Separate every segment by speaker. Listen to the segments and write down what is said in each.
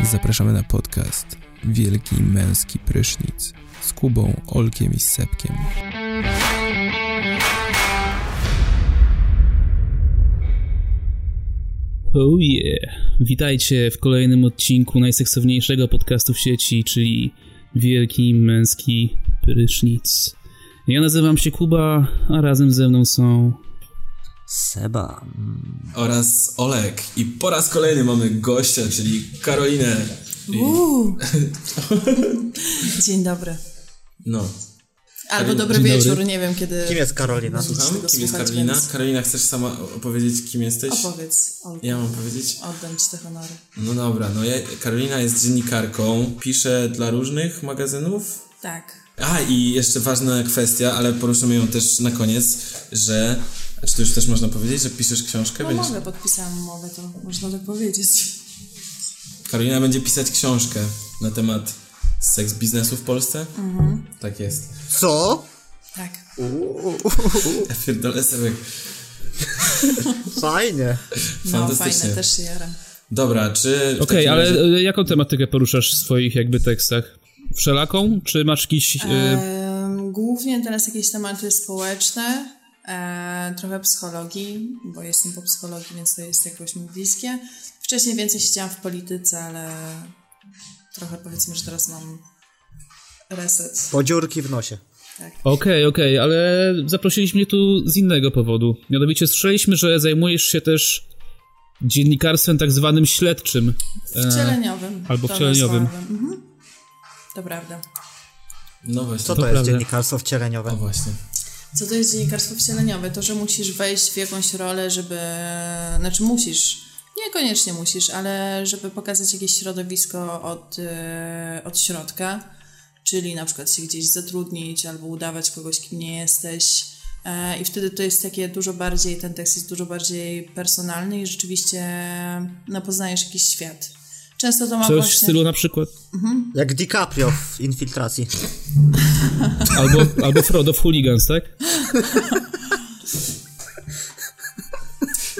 Speaker 1: Zapraszamy na podcast Wielki Męski Prysznic z Kubą, Olkiem i Sepkiem.
Speaker 2: Oh yeah. Witajcie w kolejnym odcinku najseksowniejszego podcastu w sieci, czyli Wielki Męski Prysznic. Ja nazywam się Kuba, a razem ze mną są...
Speaker 3: Seba.
Speaker 1: Oraz Olek. I po raz kolejny mamy gościa, czyli Karolinę.
Speaker 4: Uuu. Dzień dobry.
Speaker 1: No.
Speaker 4: Albo dobry
Speaker 2: Dzień
Speaker 4: wieczór,
Speaker 2: dobry.
Speaker 4: nie wiem kiedy.
Speaker 3: Kim jest Karolina?
Speaker 1: Słucham?
Speaker 4: tego
Speaker 1: Kim jest
Speaker 4: słuchać,
Speaker 1: Karolina?
Speaker 4: więc-
Speaker 1: Karolina, chcesz sama opowiedzieć, kim jesteś?
Speaker 4: Opowiedz, Olga.
Speaker 1: Ja mam powiedzieć?
Speaker 4: Oddam ci te honory.
Speaker 1: No dobra, no ja, Karolina jest dziennikarką, pisze dla różnych magazynów.
Speaker 4: Tak.
Speaker 1: A i jeszcze ważna kwestia, ale poruszymy ją też na koniec, że. a Czy to już też można powiedzieć, że piszesz książkę?
Speaker 4: No
Speaker 1: Będziesz-
Speaker 4: mogę, podpisałam umowę, to można tak powiedzieć.
Speaker 1: Karolina będzie pisać książkę na temat seks biznesu w Polsce.
Speaker 4: Mhm.
Speaker 1: Tak jest.
Speaker 3: Co?
Speaker 4: Tak.
Speaker 1: Ja pierdolę sobie.
Speaker 3: Fajnie.
Speaker 4: No
Speaker 1: Fantastycznie.
Speaker 4: fajne, też się jaram.
Speaker 1: Dobra, czy. w
Speaker 2: Okej,
Speaker 1: takim
Speaker 2: ale
Speaker 1: razie-
Speaker 2: e, jaką tematykę poruszasz w swoich jakby tekstach? Wszelaką? Czy masz jakiś... e,
Speaker 1: Y-
Speaker 4: Em, Głównie teraz jakieś tematy społeczne, e, trochę psychologii, bo jestem po psychologii, więc to jest jakoś mi bliskie. Wcześniej więcej siedziałam w polityce, ale trochę powiedzmy, że teraz mam reset.
Speaker 3: Po dziurki w nosie.
Speaker 4: Tak.
Speaker 2: Okej, okej, ale zaprosiliśmy mnie tu z innego powodu. Mianowicie słyszeliśmy, że zajmujesz się też dziennikarstwem tak zwanym śledczym.
Speaker 4: Wcieleniowym.
Speaker 2: E, albo
Speaker 4: To
Speaker 2: wcieleniowym.
Speaker 4: nazwałabym. Mhm. To prawda.
Speaker 1: No właśnie.
Speaker 3: Co to, jest
Speaker 2: prawda.
Speaker 3: dziennikarstwo
Speaker 1: O
Speaker 3: wcieleniowe?
Speaker 1: właśnie.
Speaker 4: Co to jest dziennikarstwo wcieleniowe? To, że musisz wejść w jakąś rolę, żeby... Znaczy musisz, niekoniecznie musisz, ale żeby pokazać jakieś środowisko od, e, od środka, czyli na przykład się gdzieś zatrudnić albo udawać kogoś, kim nie jesteś. E, I wtedy to jest takie dużo bardziej, ten tekst jest dużo bardziej personalny i rzeczywiście no, poznajesz jakiś świat. Często to ma
Speaker 2: Coś w
Speaker 4: właśnie...
Speaker 2: stylu na przykład...
Speaker 3: Jak DiCaprio w infiltracji.
Speaker 2: Albo, albo Frodo w Hooligans, tak?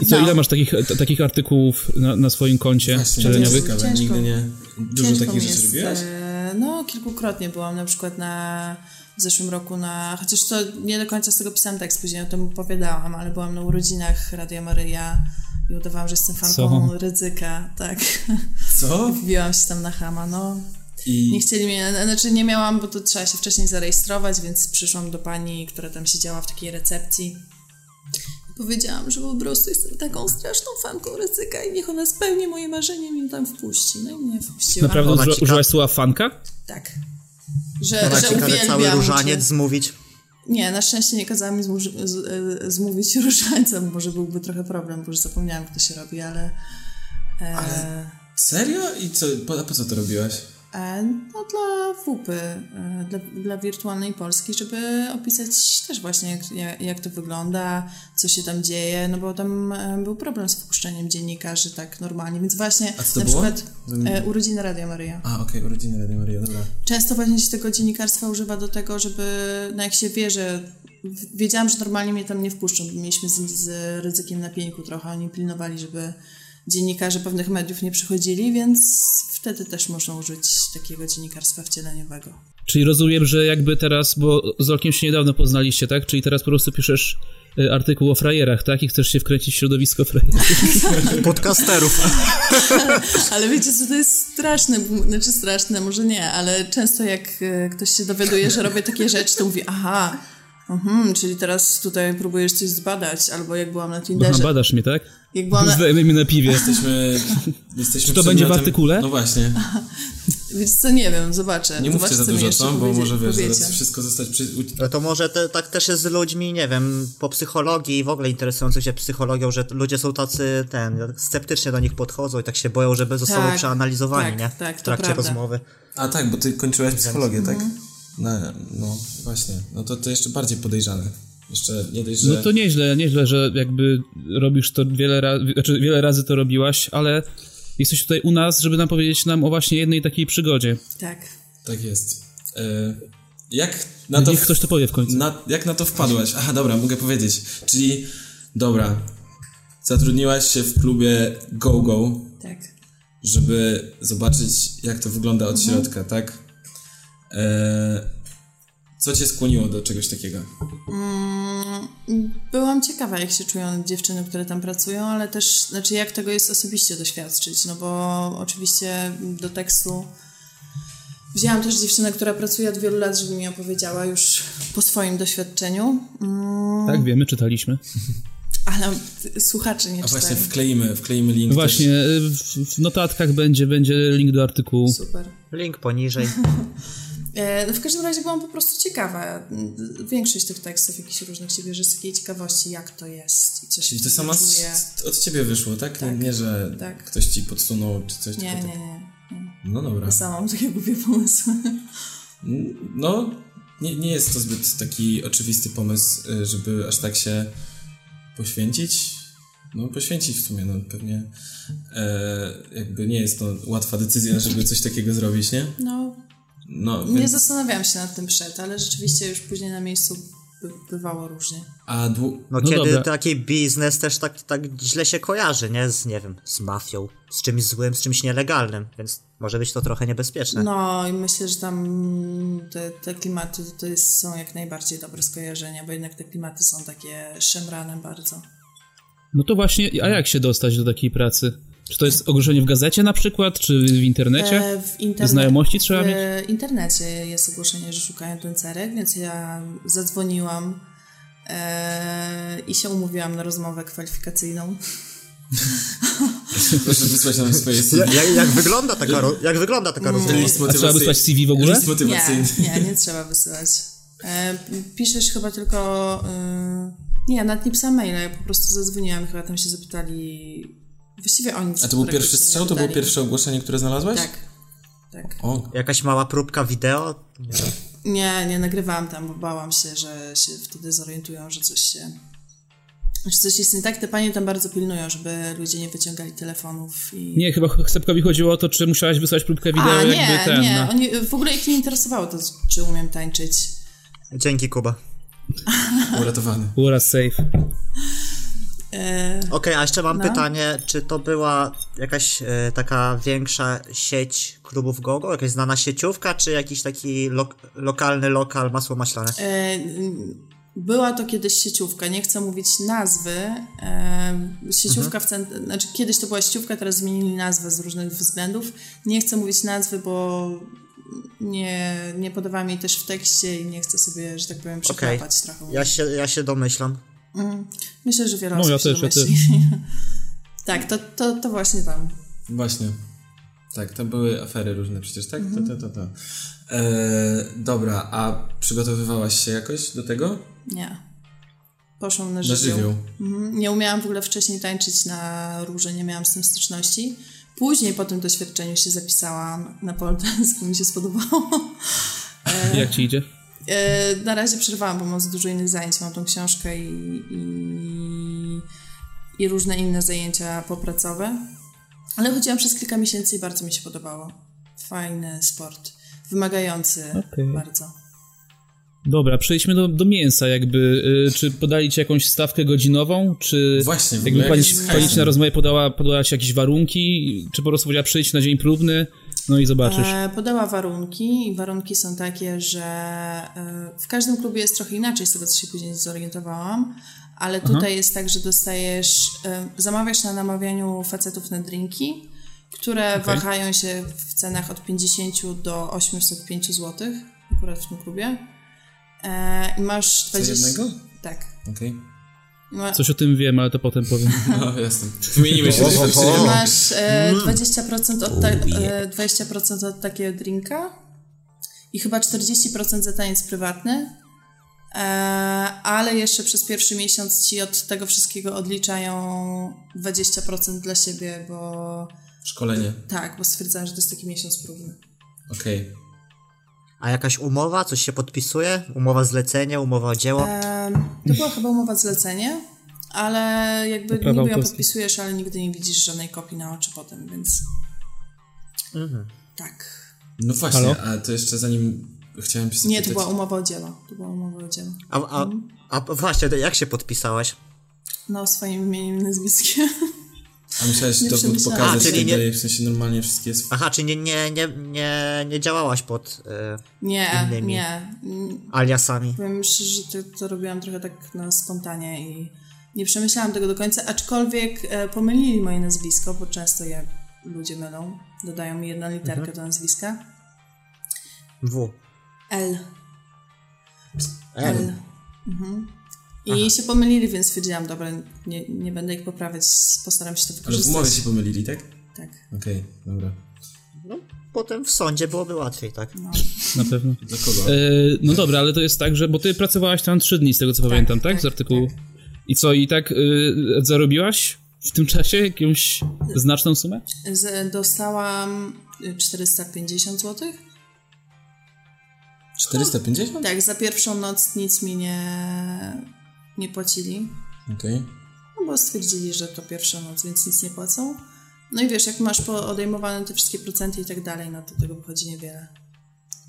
Speaker 2: I co,
Speaker 4: No.
Speaker 2: ile masz takich, t- takich artykułów na, na swoim koncie
Speaker 1: Właśnie,
Speaker 2: wcieleniowych?
Speaker 1: ciekawe,
Speaker 4: Ciężko.
Speaker 1: Nigdy nie. Dużo
Speaker 4: Ciężko mi
Speaker 1: takich rzeczy
Speaker 4: jest,
Speaker 1: robiłaś?
Speaker 4: e, No, kilkukrotnie byłam na przykład na w zeszłym roku na, chociaż to nie do końca z tego pisałam tekst, później o tym opowiadałam, ale byłam na urodzinach Radia Maryja i udawałam, że jestem fanką
Speaker 2: Co?
Speaker 4: Rydzyka, tak.
Speaker 1: Co?
Speaker 4: Wbiłam się tam na Hama, no.
Speaker 1: I
Speaker 4: Nie chcieli mnie, znaczy nie miałam, bo to trzeba się wcześniej zarejestrować, więc przyszłam do pani, która tam siedziała w takiej recepcji. Powiedziałam, że po prostu jestem taką straszną fanką Rydzyka i niech ona spełni moje marzenie i mnie tam wpuści. No i mnie wpuściła.
Speaker 2: Naprawdę
Speaker 3: Ona
Speaker 2: używa,
Speaker 3: ci-
Speaker 2: użyłaś słowa fanka?
Speaker 4: Tak. Że,
Speaker 3: Ona
Speaker 4: że
Speaker 3: ci każe cały
Speaker 4: uwielbiam
Speaker 3: różaniec
Speaker 4: cię.
Speaker 3: zmówić.
Speaker 4: Nie, na szczęście nie kazała mi zmuż, z, e, zmówić różańca, bo może byłby trochę problem, bo już zapomniałam, jak to się robi, ale... E,
Speaker 1: serio? I co? Po, a po co to robiłaś?
Speaker 4: e, no dla WUPy, e, dla, dla wirtualnej Polski, żeby opisać też właśnie, jak, jak, jak to wygląda, co się tam dzieje, no bo tam e, był problem z wpuszczeniem dziennikarzy tak normalnie, więc właśnie
Speaker 1: A co to
Speaker 4: na
Speaker 1: było?
Speaker 4: przykład e, urodziny Radia Maryja.
Speaker 1: A, okej, urodziny Rady Maria, dobra.
Speaker 4: często właśnie się tego dziennikarstwa używa do tego, żeby, no jak się wie, że w- wiedziałam, że normalnie mnie tam nie wpuszczą, bo mieliśmy z, z ryzykiem na pieńku trochę, oni pilnowali, żeby dziennikarze pewnych mediów nie przychodzili, więc wtedy też można użyć takiego dziennikarstwa wcieleniowego.
Speaker 2: Czyli rozumiem, że jakby teraz, bo z Olkiem się niedawno poznaliście, tak? Czyli teraz po prostu piszesz y, artykuł o frajerach, tak? I chcesz się wkręcić w środowisko frajerów.
Speaker 3: Podcasterów.
Speaker 4: Ale wiecie co, to jest straszne, bo- znaczy straszne, może nie, ale często jak e, ktoś się dowiaduje, że robię takie rzeczy, to mówi, aha, mhm, czyli teraz tutaj próbujesz coś zbadać, albo jak byłam na
Speaker 2: Aha,
Speaker 4: Tinderze,
Speaker 2: badasz mnie, tak?
Speaker 4: jak byłam na,
Speaker 2: Zdajemy mnie na piwie.
Speaker 1: Jesteśmy. jesteśmy
Speaker 2: Czy to
Speaker 1: przedmiotem-
Speaker 2: będzie w artykule?
Speaker 1: No właśnie.
Speaker 4: Wiesz co, nie wiem, zobaczę.
Speaker 1: Nie mówcie
Speaker 4: zobaczę,
Speaker 1: za
Speaker 4: co mi
Speaker 1: dużo,
Speaker 4: jeszcze
Speaker 1: co? Bo
Speaker 4: powiedzie-
Speaker 1: może wiesz,
Speaker 4: powiecie.
Speaker 1: zaraz wszystko zostać przy... u-
Speaker 3: Ale to może te, tak też jest z ludźmi, nie wiem, po psychologii i w ogóle interesujących się psychologią, że ludzie są tacy, ten, sceptycznie do nich podchodzą i tak się boją, żeby zostały
Speaker 4: Tak,
Speaker 3: przeanalizowani,
Speaker 4: tak,
Speaker 3: nie?
Speaker 4: tak,
Speaker 3: w
Speaker 4: to
Speaker 3: trakcie
Speaker 4: prawda.
Speaker 3: rozmowy.
Speaker 1: A tak, bo ty kończyłaś psychologię, tak?
Speaker 2: Mhm.
Speaker 1: No, no właśnie. No to, to jeszcze bardziej podejrzane. Jeszcze nie dość, że...
Speaker 2: No to nieźle, nieźle, że jakby robisz to wiele razy, znaczy wiele razy to robiłaś, ale jesteś tutaj u nas, żeby nam powiedzieć nam o właśnie jednej takiej przygodzie.
Speaker 4: Tak.
Speaker 1: Tak jest. E, jak na to...
Speaker 2: No Niech ktoś to powie w końcu.
Speaker 1: Na, jak na to wpadłaś? Aha, dobra, mogę powiedzieć. Czyli, dobra, Zatrudniłaś się w klubie GoGo,
Speaker 4: Tak.
Speaker 1: żeby zobaczyć, jak to wygląda od
Speaker 2: Mhm.
Speaker 1: środka, tak? E, co cię skłoniło do czegoś takiego?
Speaker 4: Byłam ciekawa, jak się czują dziewczyny, które tam pracują, ale też, znaczy, jak tego jest osobiście doświadczyć, no bo oczywiście do tekstu wzięłam też dziewczynę, która pracuje od wielu lat, żeby mi opowiedziała już po swoim doświadczeniu, Mm,
Speaker 2: Tak, wiemy, czytaliśmy.
Speaker 4: ale t- słuchacze nie
Speaker 1: A właśnie
Speaker 4: czytają.
Speaker 1: wkleimy, wkleimy link.
Speaker 2: tak. Właśnie,
Speaker 1: No Też.
Speaker 2: y, w, w notatkach będzie, będzie link do artykułu.
Speaker 4: Super.
Speaker 3: Link poniżej.
Speaker 4: E, No w każdym razie byłam po prostu ciekawa. Większość tych tekstów jakichś różnych się bierze z takiej ciekawości, jak to jest i co się
Speaker 1: Czyli to sama z,
Speaker 4: czuje.
Speaker 1: od ciebie wyszło, tak? Nie, że
Speaker 4: Tak.
Speaker 1: ktoś ci podsunął czy coś.
Speaker 4: Nie,
Speaker 1: tylko
Speaker 4: nie,
Speaker 1: tak.
Speaker 4: nie.
Speaker 1: No dobra.
Speaker 4: Ja sama mam takie głupie pomysły.
Speaker 1: No, nie, nie jest to zbyt taki oczywisty pomysł, y, żeby aż tak się poświęcić. No, poświęcić w sumie, no pewnie. E, jakby nie jest to łatwa decyzja, żeby coś takiego zrobić, nie?
Speaker 4: No,
Speaker 1: No,
Speaker 4: nie
Speaker 1: więc,
Speaker 4: zastanawiałam się nad tym przed, ale rzeczywiście już później na miejscu by, bywało różnie.
Speaker 1: a dłu-
Speaker 2: No
Speaker 3: No, kiedy
Speaker 2: dobra.
Speaker 3: taki biznes też tak, tak źle się kojarzy, nie? Z, nie wiem, z mafią, z czymś złym, z czymś nielegalnym, więc może być to trochę
Speaker 1: Tak.
Speaker 3: niebezpieczne.
Speaker 4: No i myślę, że tam te, te klimaty to jest, są jak najbardziej dobre skojarzenia, bo jednak te klimaty są takie szemrane bardzo.
Speaker 2: No to właśnie, a jak się dostać do takiej pracy? Czy to jest ogłoszenie w gazecie na przykład, czy w internecie?
Speaker 4: E, W interne-
Speaker 2: Znajomości trzeba
Speaker 4: w
Speaker 2: mieć?
Speaker 4: internecie jest ogłoszenie, że szukają tancerek, więc ja zadzwoniłam e, i się umówiłam na rozmowę kwalifikacyjną.
Speaker 1: proszę wysłać nam swoje CV.
Speaker 3: Jak, jak wygląda taka, ro- jak wygląda taka
Speaker 4: Mm.
Speaker 3: rozmowa?
Speaker 1: List
Speaker 2: A trzeba
Speaker 1: motywacyjny.
Speaker 2: wysłać CV w ogóle?
Speaker 1: List motywacyjny.
Speaker 4: Nie, nie, nie trzeba wysyłać. E, piszesz chyba tylko. E, nie, ja nawet nie pisałam maila, ja po prostu zadzwoniłam i chyba tam się zapytali. Właściwie oni
Speaker 1: A to był
Speaker 4: praktycznie
Speaker 1: pierwszy
Speaker 4: nie
Speaker 1: strzał? To było
Speaker 4: pytali.
Speaker 1: pierwsze ogłoszenie, które znalazłaś?
Speaker 4: Tak. Tak.
Speaker 1: O,
Speaker 3: Jakaś mała próbka wideo?
Speaker 4: Nie, nie nagrywałam tam, bo bałam się, że się wtedy zorientują, że coś się. Że coś jest nie tak. Te panie tam bardzo pilnują, żeby ludzie nie wyciągali telefonów i.
Speaker 2: Nie, chyba Chcepkowi chodziło o to, czy musiałaś wysłać próbkę wideo,
Speaker 4: A,
Speaker 2: jakby
Speaker 4: nie,
Speaker 2: ten.
Speaker 4: nie.
Speaker 2: No.
Speaker 4: Oni, w ogóle ich nie interesowało to, czy umiem tańczyć.
Speaker 3: Dzięki, Kuba.
Speaker 1: uratowany.
Speaker 2: Ura, safe.
Speaker 4: E,
Speaker 3: Okej, a jeszcze mam pytanie, czy to była jakaś e, taka większa sieć klubów GoGo, jakaś znana sieciówka, czy jakiś taki lok- lokalny lokal masło maślane?
Speaker 4: E, Była to kiedyś sieciówka, nie chcę mówić nazwy. e, Sieciówka
Speaker 2: Mhm.
Speaker 4: w cent... znaczy kiedyś to była sieciówka, teraz zmienili nazwę z różnych względów. Nie chcę mówić nazwy, bo nie, nie podawałam jej też w tekście i nie chcę sobie, że tak powiem, przeklapać trochę.
Speaker 3: Ja się, ja się domyślam.
Speaker 4: Myślę, że wiele
Speaker 2: No,
Speaker 4: osób
Speaker 2: ja
Speaker 4: się
Speaker 2: też, ja
Speaker 4: domyśli. tak, to, to, to właśnie tam.
Speaker 1: Właśnie. Tak, tam były afery różne przecież, tak? To, to, to, to. E, dobra, a przygotowywałaś się jakoś do tego?
Speaker 4: Nie. Poszłam na
Speaker 1: Na
Speaker 4: żywioł.
Speaker 1: żywioł.
Speaker 4: Mhm. Nie umiałam w ogóle wcześniej tańczyć na róże, nie miałam z tym styczności. Później po tym doświadczeniu się zapisałam na pole dance, mi się spodobało.
Speaker 2: Jak ci idzie?
Speaker 4: E, Na razie przerwałam, bo mam za dużo innych zajęć. Mam tą książkę i, i, i różne inne zajęcia popracowe. Ale chodziłam przez kilka miesięcy i bardzo mi się podobało. Fajny sport. Wymagający
Speaker 2: Okej.
Speaker 4: bardzo.
Speaker 2: Dobra, przejdźmy do, do mięsa jakby. Y, Czy podali ci jakąś stawkę godzinową, czy...
Speaker 1: Właśnie, w ogóle
Speaker 2: Jakby
Speaker 1: jak
Speaker 2: pani,
Speaker 1: jest
Speaker 2: pani ci na
Speaker 1: hajsem?
Speaker 2: rozmowie podała, podała ci jakieś warunki, czy po prostu powiedziała przyjdź na dzień próbny, no i zobaczysz.
Speaker 4: E, Podała warunki i warunki są takie, że e, w każdym klubie jest trochę inaczej, z tego co się później zorientowałam, ale tutaj jest tak, że dostajesz, e, zamawiasz na namawianiu facetów na drinki, które wahają się w cenach od 50 do 805 zł, akurat w tym klubie. E, I masz 20...
Speaker 1: jednego?
Speaker 4: Tak.
Speaker 1: Okej.
Speaker 4: I Ma,
Speaker 2: Coś o tym wiem, ale to potem powiem.
Speaker 1: No, jasne. Wymienimy się doświadczeniem.
Speaker 4: Masz e, 20%, od ta, e, 20% od takiego drinka i chyba 40% za taniec prywatny, e, ale jeszcze przez pierwszy miesiąc ci od tego wszystkiego odliczają 20% dla siebie, bo
Speaker 1: Szkolenie.
Speaker 4: tak, bo stwierdzałam, że to jest taki miesiąc próbny.
Speaker 1: Okej.
Speaker 3: A jakaś umowa, coś się podpisuje? Umowa zlecenie, umowa o dzieło?
Speaker 4: Em, to była chyba umowa zlecenie, ale jakby
Speaker 2: Prawa
Speaker 4: niby ją
Speaker 2: autorskie.
Speaker 4: podpisujesz, ale nigdy nie widzisz żadnej kopii na oczy potem, więc tak.
Speaker 1: No właśnie,
Speaker 2: Halo?
Speaker 1: a to jeszcze zanim chciałem się
Speaker 4: Nie, to
Speaker 1: zapytać-
Speaker 4: była umowa o dzieło. To była umowa o dzieło.
Speaker 3: A, a, a właśnie, to jak się podpisałaś?
Speaker 4: No, swoim imieniem i nazwiskiem.
Speaker 1: A myślałeś, że
Speaker 4: Nie
Speaker 1: dowód
Speaker 4: przemyślałem.
Speaker 1: pokazać
Speaker 3: A,
Speaker 1: i
Speaker 3: czyli
Speaker 1: tak
Speaker 3: nie-
Speaker 1: dalej, w sensie normalnie wszystkie jest...
Speaker 3: Aha, czy nie, nie, nie, nie, nie działałaś pod e,
Speaker 4: Nie,
Speaker 3: Innymi.
Speaker 4: nie. Mm,
Speaker 3: aliasami?
Speaker 4: Powiem szczerze, że to, to robiłam trochę tak na spontanie i nie przemyślałam tego do końca, aczkolwiek e, pomylili moje nazwisko, bo często je ludzie mylą. Dodają mi jedną literkę
Speaker 1: Mhm.
Speaker 4: do nazwiska.
Speaker 3: W.
Speaker 4: L.
Speaker 3: L.
Speaker 4: Mhm. I się pomylili, więc stwierdziłam, dobra, nie, nie będę ich poprawiać, postaram się to
Speaker 1: Ale w umowie
Speaker 4: wykorzystać.
Speaker 1: się pomylili, tak?
Speaker 4: Tak,
Speaker 1: Okej, dobra.
Speaker 3: No, potem w sądzie byłoby łatwiej, tak?
Speaker 4: no.
Speaker 2: na pewno.
Speaker 1: Dla kogo?
Speaker 2: E, no dobra, ale to jest tak, że bo ty pracowałaś tam trzy dni, z tego co pamiętam, tak? Z
Speaker 4: tak,
Speaker 2: artykułu. I co, i tak y, zarobiłaś w tym czasie jakąś znaczną sumę?
Speaker 4: Z, dostałam y, 450 zł.
Speaker 1: 450?
Speaker 4: Tak, za pierwszą noc nic mi nie, nie płacili,
Speaker 1: Okej.
Speaker 4: no bo stwierdzili, że to pierwsza noc, więc nic nie płacą. No i wiesz, jak masz po- odejmowane te wszystkie procenty i tak dalej, no to tego wychodzi niewiele.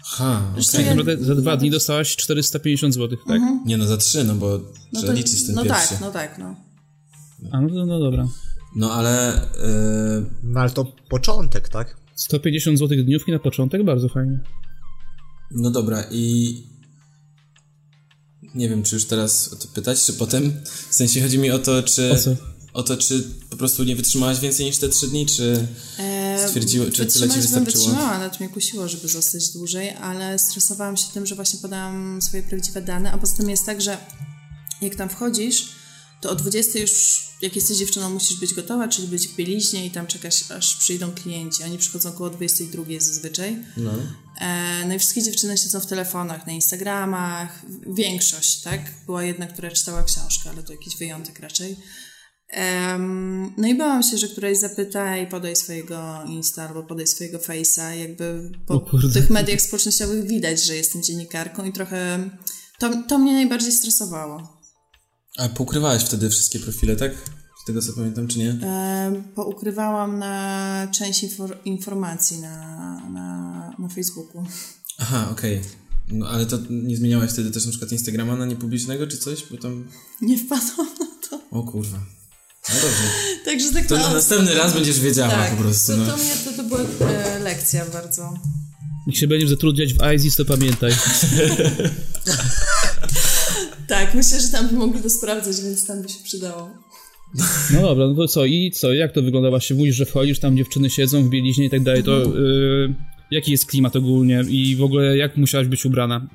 Speaker 1: Ha,
Speaker 4: Zresztą
Speaker 1: okej.
Speaker 4: ja-
Speaker 2: Naprawdę za dwa dni dostałaś 450 zł, tak?
Speaker 1: Nie no, za trzy, no bo
Speaker 4: No
Speaker 1: trzeba liczyć ten
Speaker 4: no
Speaker 1: pierwszy.
Speaker 4: tak, no tak, no.
Speaker 2: A no, to- no dobra.
Speaker 1: No ale... e,
Speaker 3: No ale to początek, tak?
Speaker 2: 150 zł dniówki na początek, bardzo fajnie.
Speaker 1: No dobra i... Nie wiem, czy już teraz o to pytać, czy potem? W sensie chodzi mi o to, czy...
Speaker 2: O co?
Speaker 1: o to, czy po prostu nie wytrzymałaś więcej niż te trzy dni, czy...
Speaker 4: E,
Speaker 1: Stwierdziły- czy tyle ci
Speaker 4: wytrzymać bym
Speaker 1: wystarczyło?
Speaker 4: wytrzymała, nawet mnie kusiło, żeby zostać dłużej, ale stresowałam się tym, że właśnie podałam swoje prawdziwe dane, a poza tym jest tak, że jak tam wchodzisz, to o 20 już, jak jesteś dziewczyną, musisz być gotowa, czyli być w bieliźnie i tam czekać, aż przyjdą klienci. Oni przychodzą około 22 zazwyczaj.
Speaker 1: No.
Speaker 4: E, no i wszystkie dziewczyny siedzą w telefonach, na Instagramach, większość, tak? Była jedna, która czytała książkę, ale to jakiś wyjątek raczej. Em, no i bałam się, że któraś zapyta i podaj swojego Insta albo podaj swojego Face'a. Jakby
Speaker 2: O
Speaker 4: po
Speaker 2: kurde.
Speaker 4: tych mediach społecznościowych widać, że jestem dziennikarką i trochę... To, to mnie najbardziej stresowało.
Speaker 1: A poukrywałaś wtedy wszystkie profile, tak? Z tego co pamiętam, czy nie?
Speaker 4: Em, poukrywałam E, na część infor- informacji na, na, na Facebooku.
Speaker 1: Aha, okej. No ale to nie zmieniałaś wtedy też na przykład Instagrama na niepublicznego czy coś? Bo tam...
Speaker 4: Nie wpadłam na to.
Speaker 1: O kurwa. No dobrze.
Speaker 4: Także tak
Speaker 1: To na
Speaker 4: naprawdę-
Speaker 1: następny raz będziesz wiedziała
Speaker 4: Tak,
Speaker 1: po prostu.
Speaker 4: to,
Speaker 1: No.
Speaker 4: to, mnie, to, to była e, lekcja bardzo.
Speaker 2: Jak się będziesz zatrudniać w ISIS, to pamiętaj.
Speaker 4: Tak, myślę, że tam by mogli to sprawdzać, więc tam by się przydało.
Speaker 2: No dobra, no to co, i co, jak to wygląda właśnie? Mówisz, że wchodzisz, tam dziewczyny siedzą w bieliźnie i tak dalej, to y, jaki jest klimat ogólnie i w ogóle jak musiałaś być ubrana?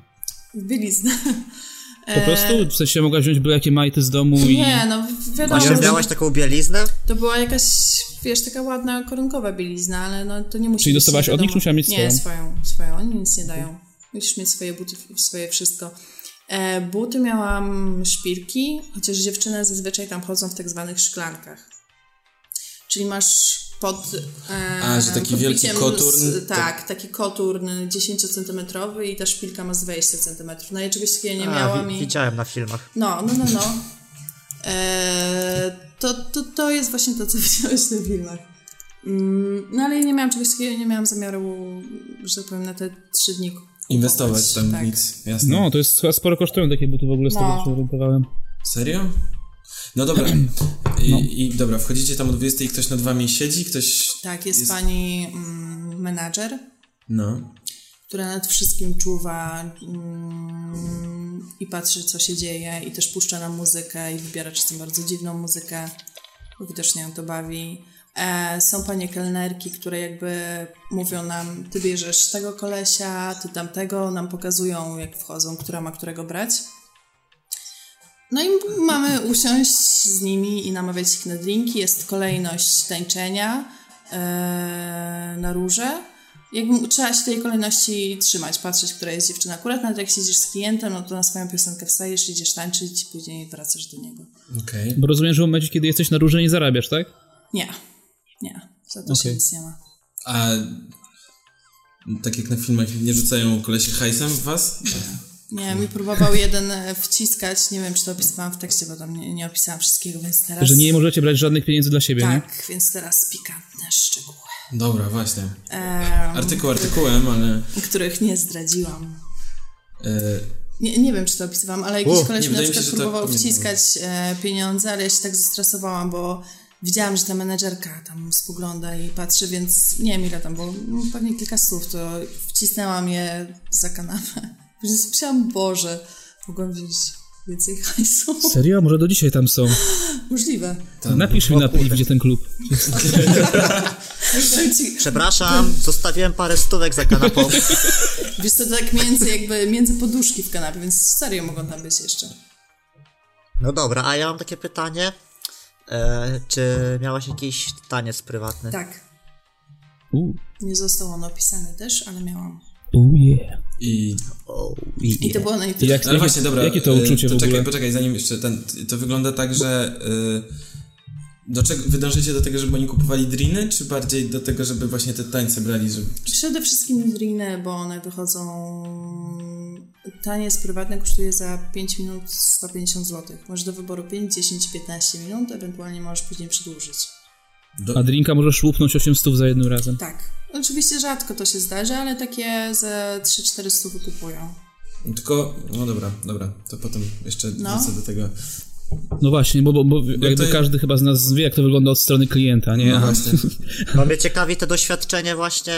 Speaker 4: W bieliznę.
Speaker 2: Po prostu, w sensie mogłaś wziąć byle jakie majty z domu i...
Speaker 4: Nie, no wiadomo,
Speaker 3: Czy
Speaker 4: że
Speaker 3: miałaś taką bieliznę?
Speaker 4: to była jakaś, wiesz, taka ładna koronkowa bielizna, ale no to nie musi
Speaker 2: Czyli
Speaker 4: być,
Speaker 2: dostałaś
Speaker 4: nie
Speaker 2: od nich,
Speaker 4: wiadomo.
Speaker 2: musiała mieć
Speaker 4: Nie,
Speaker 2: swoją?
Speaker 4: swoją, swoją, oni nic nie dają. Musisz mieć swoje buty, swoje wszystko. E, buty miałam szpilki, chociaż dziewczyny zazwyczaj tam chodzą w tak zwanych szklankach. Czyli masz pod... E,
Speaker 1: A, że taki
Speaker 4: pod
Speaker 1: wielki
Speaker 4: biciem
Speaker 1: koturn,
Speaker 4: Z, tak, taki koturn 10 centymetrowy i ta szpilka ma z 20 centymetrów. No ja czegoś takiego nie
Speaker 3: A,
Speaker 4: miałam
Speaker 3: wi-
Speaker 4: i...
Speaker 3: widziałem na filmach.
Speaker 4: No, no, no, no. Eee, to, to, to jest właśnie to, co widziałeś na filmach. Mm, no ale ja nie miałam czegoś takiego, nie miałam zamiaru, że tak powiem, na te trzy dni kupować.
Speaker 1: Inwestować tam
Speaker 4: tak.
Speaker 1: nic, jasne.
Speaker 2: No, to jest chyba sporo kosztują takie buty w ogóle, z tego
Speaker 4: No.
Speaker 2: co się orientowałem.
Speaker 1: Serio? No dobra. I,
Speaker 2: No.
Speaker 1: I dobra, wchodzicie tam o 20 i ktoś nad wami siedzi, ktoś...
Speaker 4: Tak, jest,
Speaker 1: Jest-
Speaker 4: pani mm, menadżer,
Speaker 1: No.
Speaker 4: która nad wszystkim czuwa mm, i patrzy, co się dzieje i też puszcza nam muzykę i wybiera czasem bardzo dziwną muzykę, bo widocznie ją to bawi. E, są panie kelnerki, które jakby mówią nam, ty bierzesz tego kolesia, ty tamtego, nam pokazują jak wchodzą, która ma którego brać. No i mamy usiąść z nimi i namawiać ich na drinki. Jest kolejność tańczenia e, na róże. Jakby trzeba się tej kolejności trzymać, patrzeć, która jest dziewczyna. Akurat nawet jak siedzisz z klientem, no to na swoją piosenkę wstajesz, idziesz tańczyć i później wracasz do niego.
Speaker 1: Okej.
Speaker 2: Bo rozumiem, że w momencie, kiedy jesteś na róże, nie zarabiasz, tak?
Speaker 4: Nie, nie, za to się
Speaker 2: Okej.
Speaker 4: nic nie ma.
Speaker 1: A tak jak na filmach nie rzucają kolesie hajsem w was?
Speaker 4: Nie, mi próbował jeden e, wciskać, nie wiem czy to opisywałam w tekście, bo tam nie, nie opisałam wszystkiego, więc teraz...
Speaker 2: Że nie możecie brać żadnych pieniędzy dla siebie, nie?
Speaker 4: Tak, więc teraz pikantne szczegóły, e,
Speaker 1: Dobra, właśnie.
Speaker 4: em,
Speaker 1: Artykuł artykułem, ale...
Speaker 4: których nie zdradziłam.
Speaker 1: E,
Speaker 4: Nie, nie wiem, czy to opisywałam, ale jakiś
Speaker 3: O,
Speaker 4: koleś
Speaker 1: nie,
Speaker 4: mi na
Speaker 1: wydaje mi
Speaker 4: przykład
Speaker 1: się, że to
Speaker 4: próbował
Speaker 1: pamiętam.
Speaker 4: wciskać e, pieniądze, ale ja się tak zestresowałam, bo widziałam, że ta menedżerka tam spogląda i patrzy, więc nie wiem ile tam, bo pewnie kilka słów, to wcisnęłam je za kanapę. Więc Myślałam, Boże, mogłam wziąć więcej hajsu.
Speaker 2: Serio? Może do dzisiaj tam są.
Speaker 4: Możliwe.
Speaker 2: Napisz mi na pliw, gdzie ten klub.
Speaker 4: Powiem ci,
Speaker 3: Przepraszam, zostawiłem parę stówek za kanapą.
Speaker 4: Wiesz co, to tak między jakby, między poduszki w kanapie, więc serio mogą tam być jeszcze.
Speaker 3: No dobra, a ja mam takie pytanie. E, czy miałaś jakiś taniec prywatny?
Speaker 4: Tak,
Speaker 2: Uuu,
Speaker 4: nie został on opisany też, ale miałam.
Speaker 2: oh yeah.
Speaker 1: I
Speaker 3: O,
Speaker 4: I to było na YouTube.
Speaker 2: Jak,
Speaker 1: Ale
Speaker 2: jakie,
Speaker 1: właśnie, dobra.
Speaker 2: jakie to
Speaker 1: y,
Speaker 2: uczucie
Speaker 1: to
Speaker 2: w ogóle?
Speaker 1: Czekaj, poczekaj, zanim jeszcze ten. To wygląda tak, że. Y, do czego, wy dążycie do tego, żeby oni kupowali driny, czy bardziej do tego, żeby właśnie te tańce brali? Żeby...
Speaker 4: Przede wszystkim driny, bo one wychodzą... Taniec prywatny kosztuje za 5 minut 150 zł. Możesz do wyboru 5, 10, 15 minut, ewentualnie możesz później przedłużyć.
Speaker 2: A drinka możesz łupnąć 800 za jednym razem.
Speaker 4: Tak. Oczywiście rzadko to się zdarzy, ale takie ze 3-4 stówy kupują.
Speaker 1: Tylko, no dobra, dobra, to potem jeszcze
Speaker 4: No.
Speaker 1: wrócę do tego.
Speaker 2: No właśnie, bo, bo, bo jakby
Speaker 1: to-
Speaker 2: każdy chyba z nas wie, jak to wygląda od strony klienta, nie?
Speaker 1: No właśnie.
Speaker 3: No mnie ciekawi to doświadczenie właśnie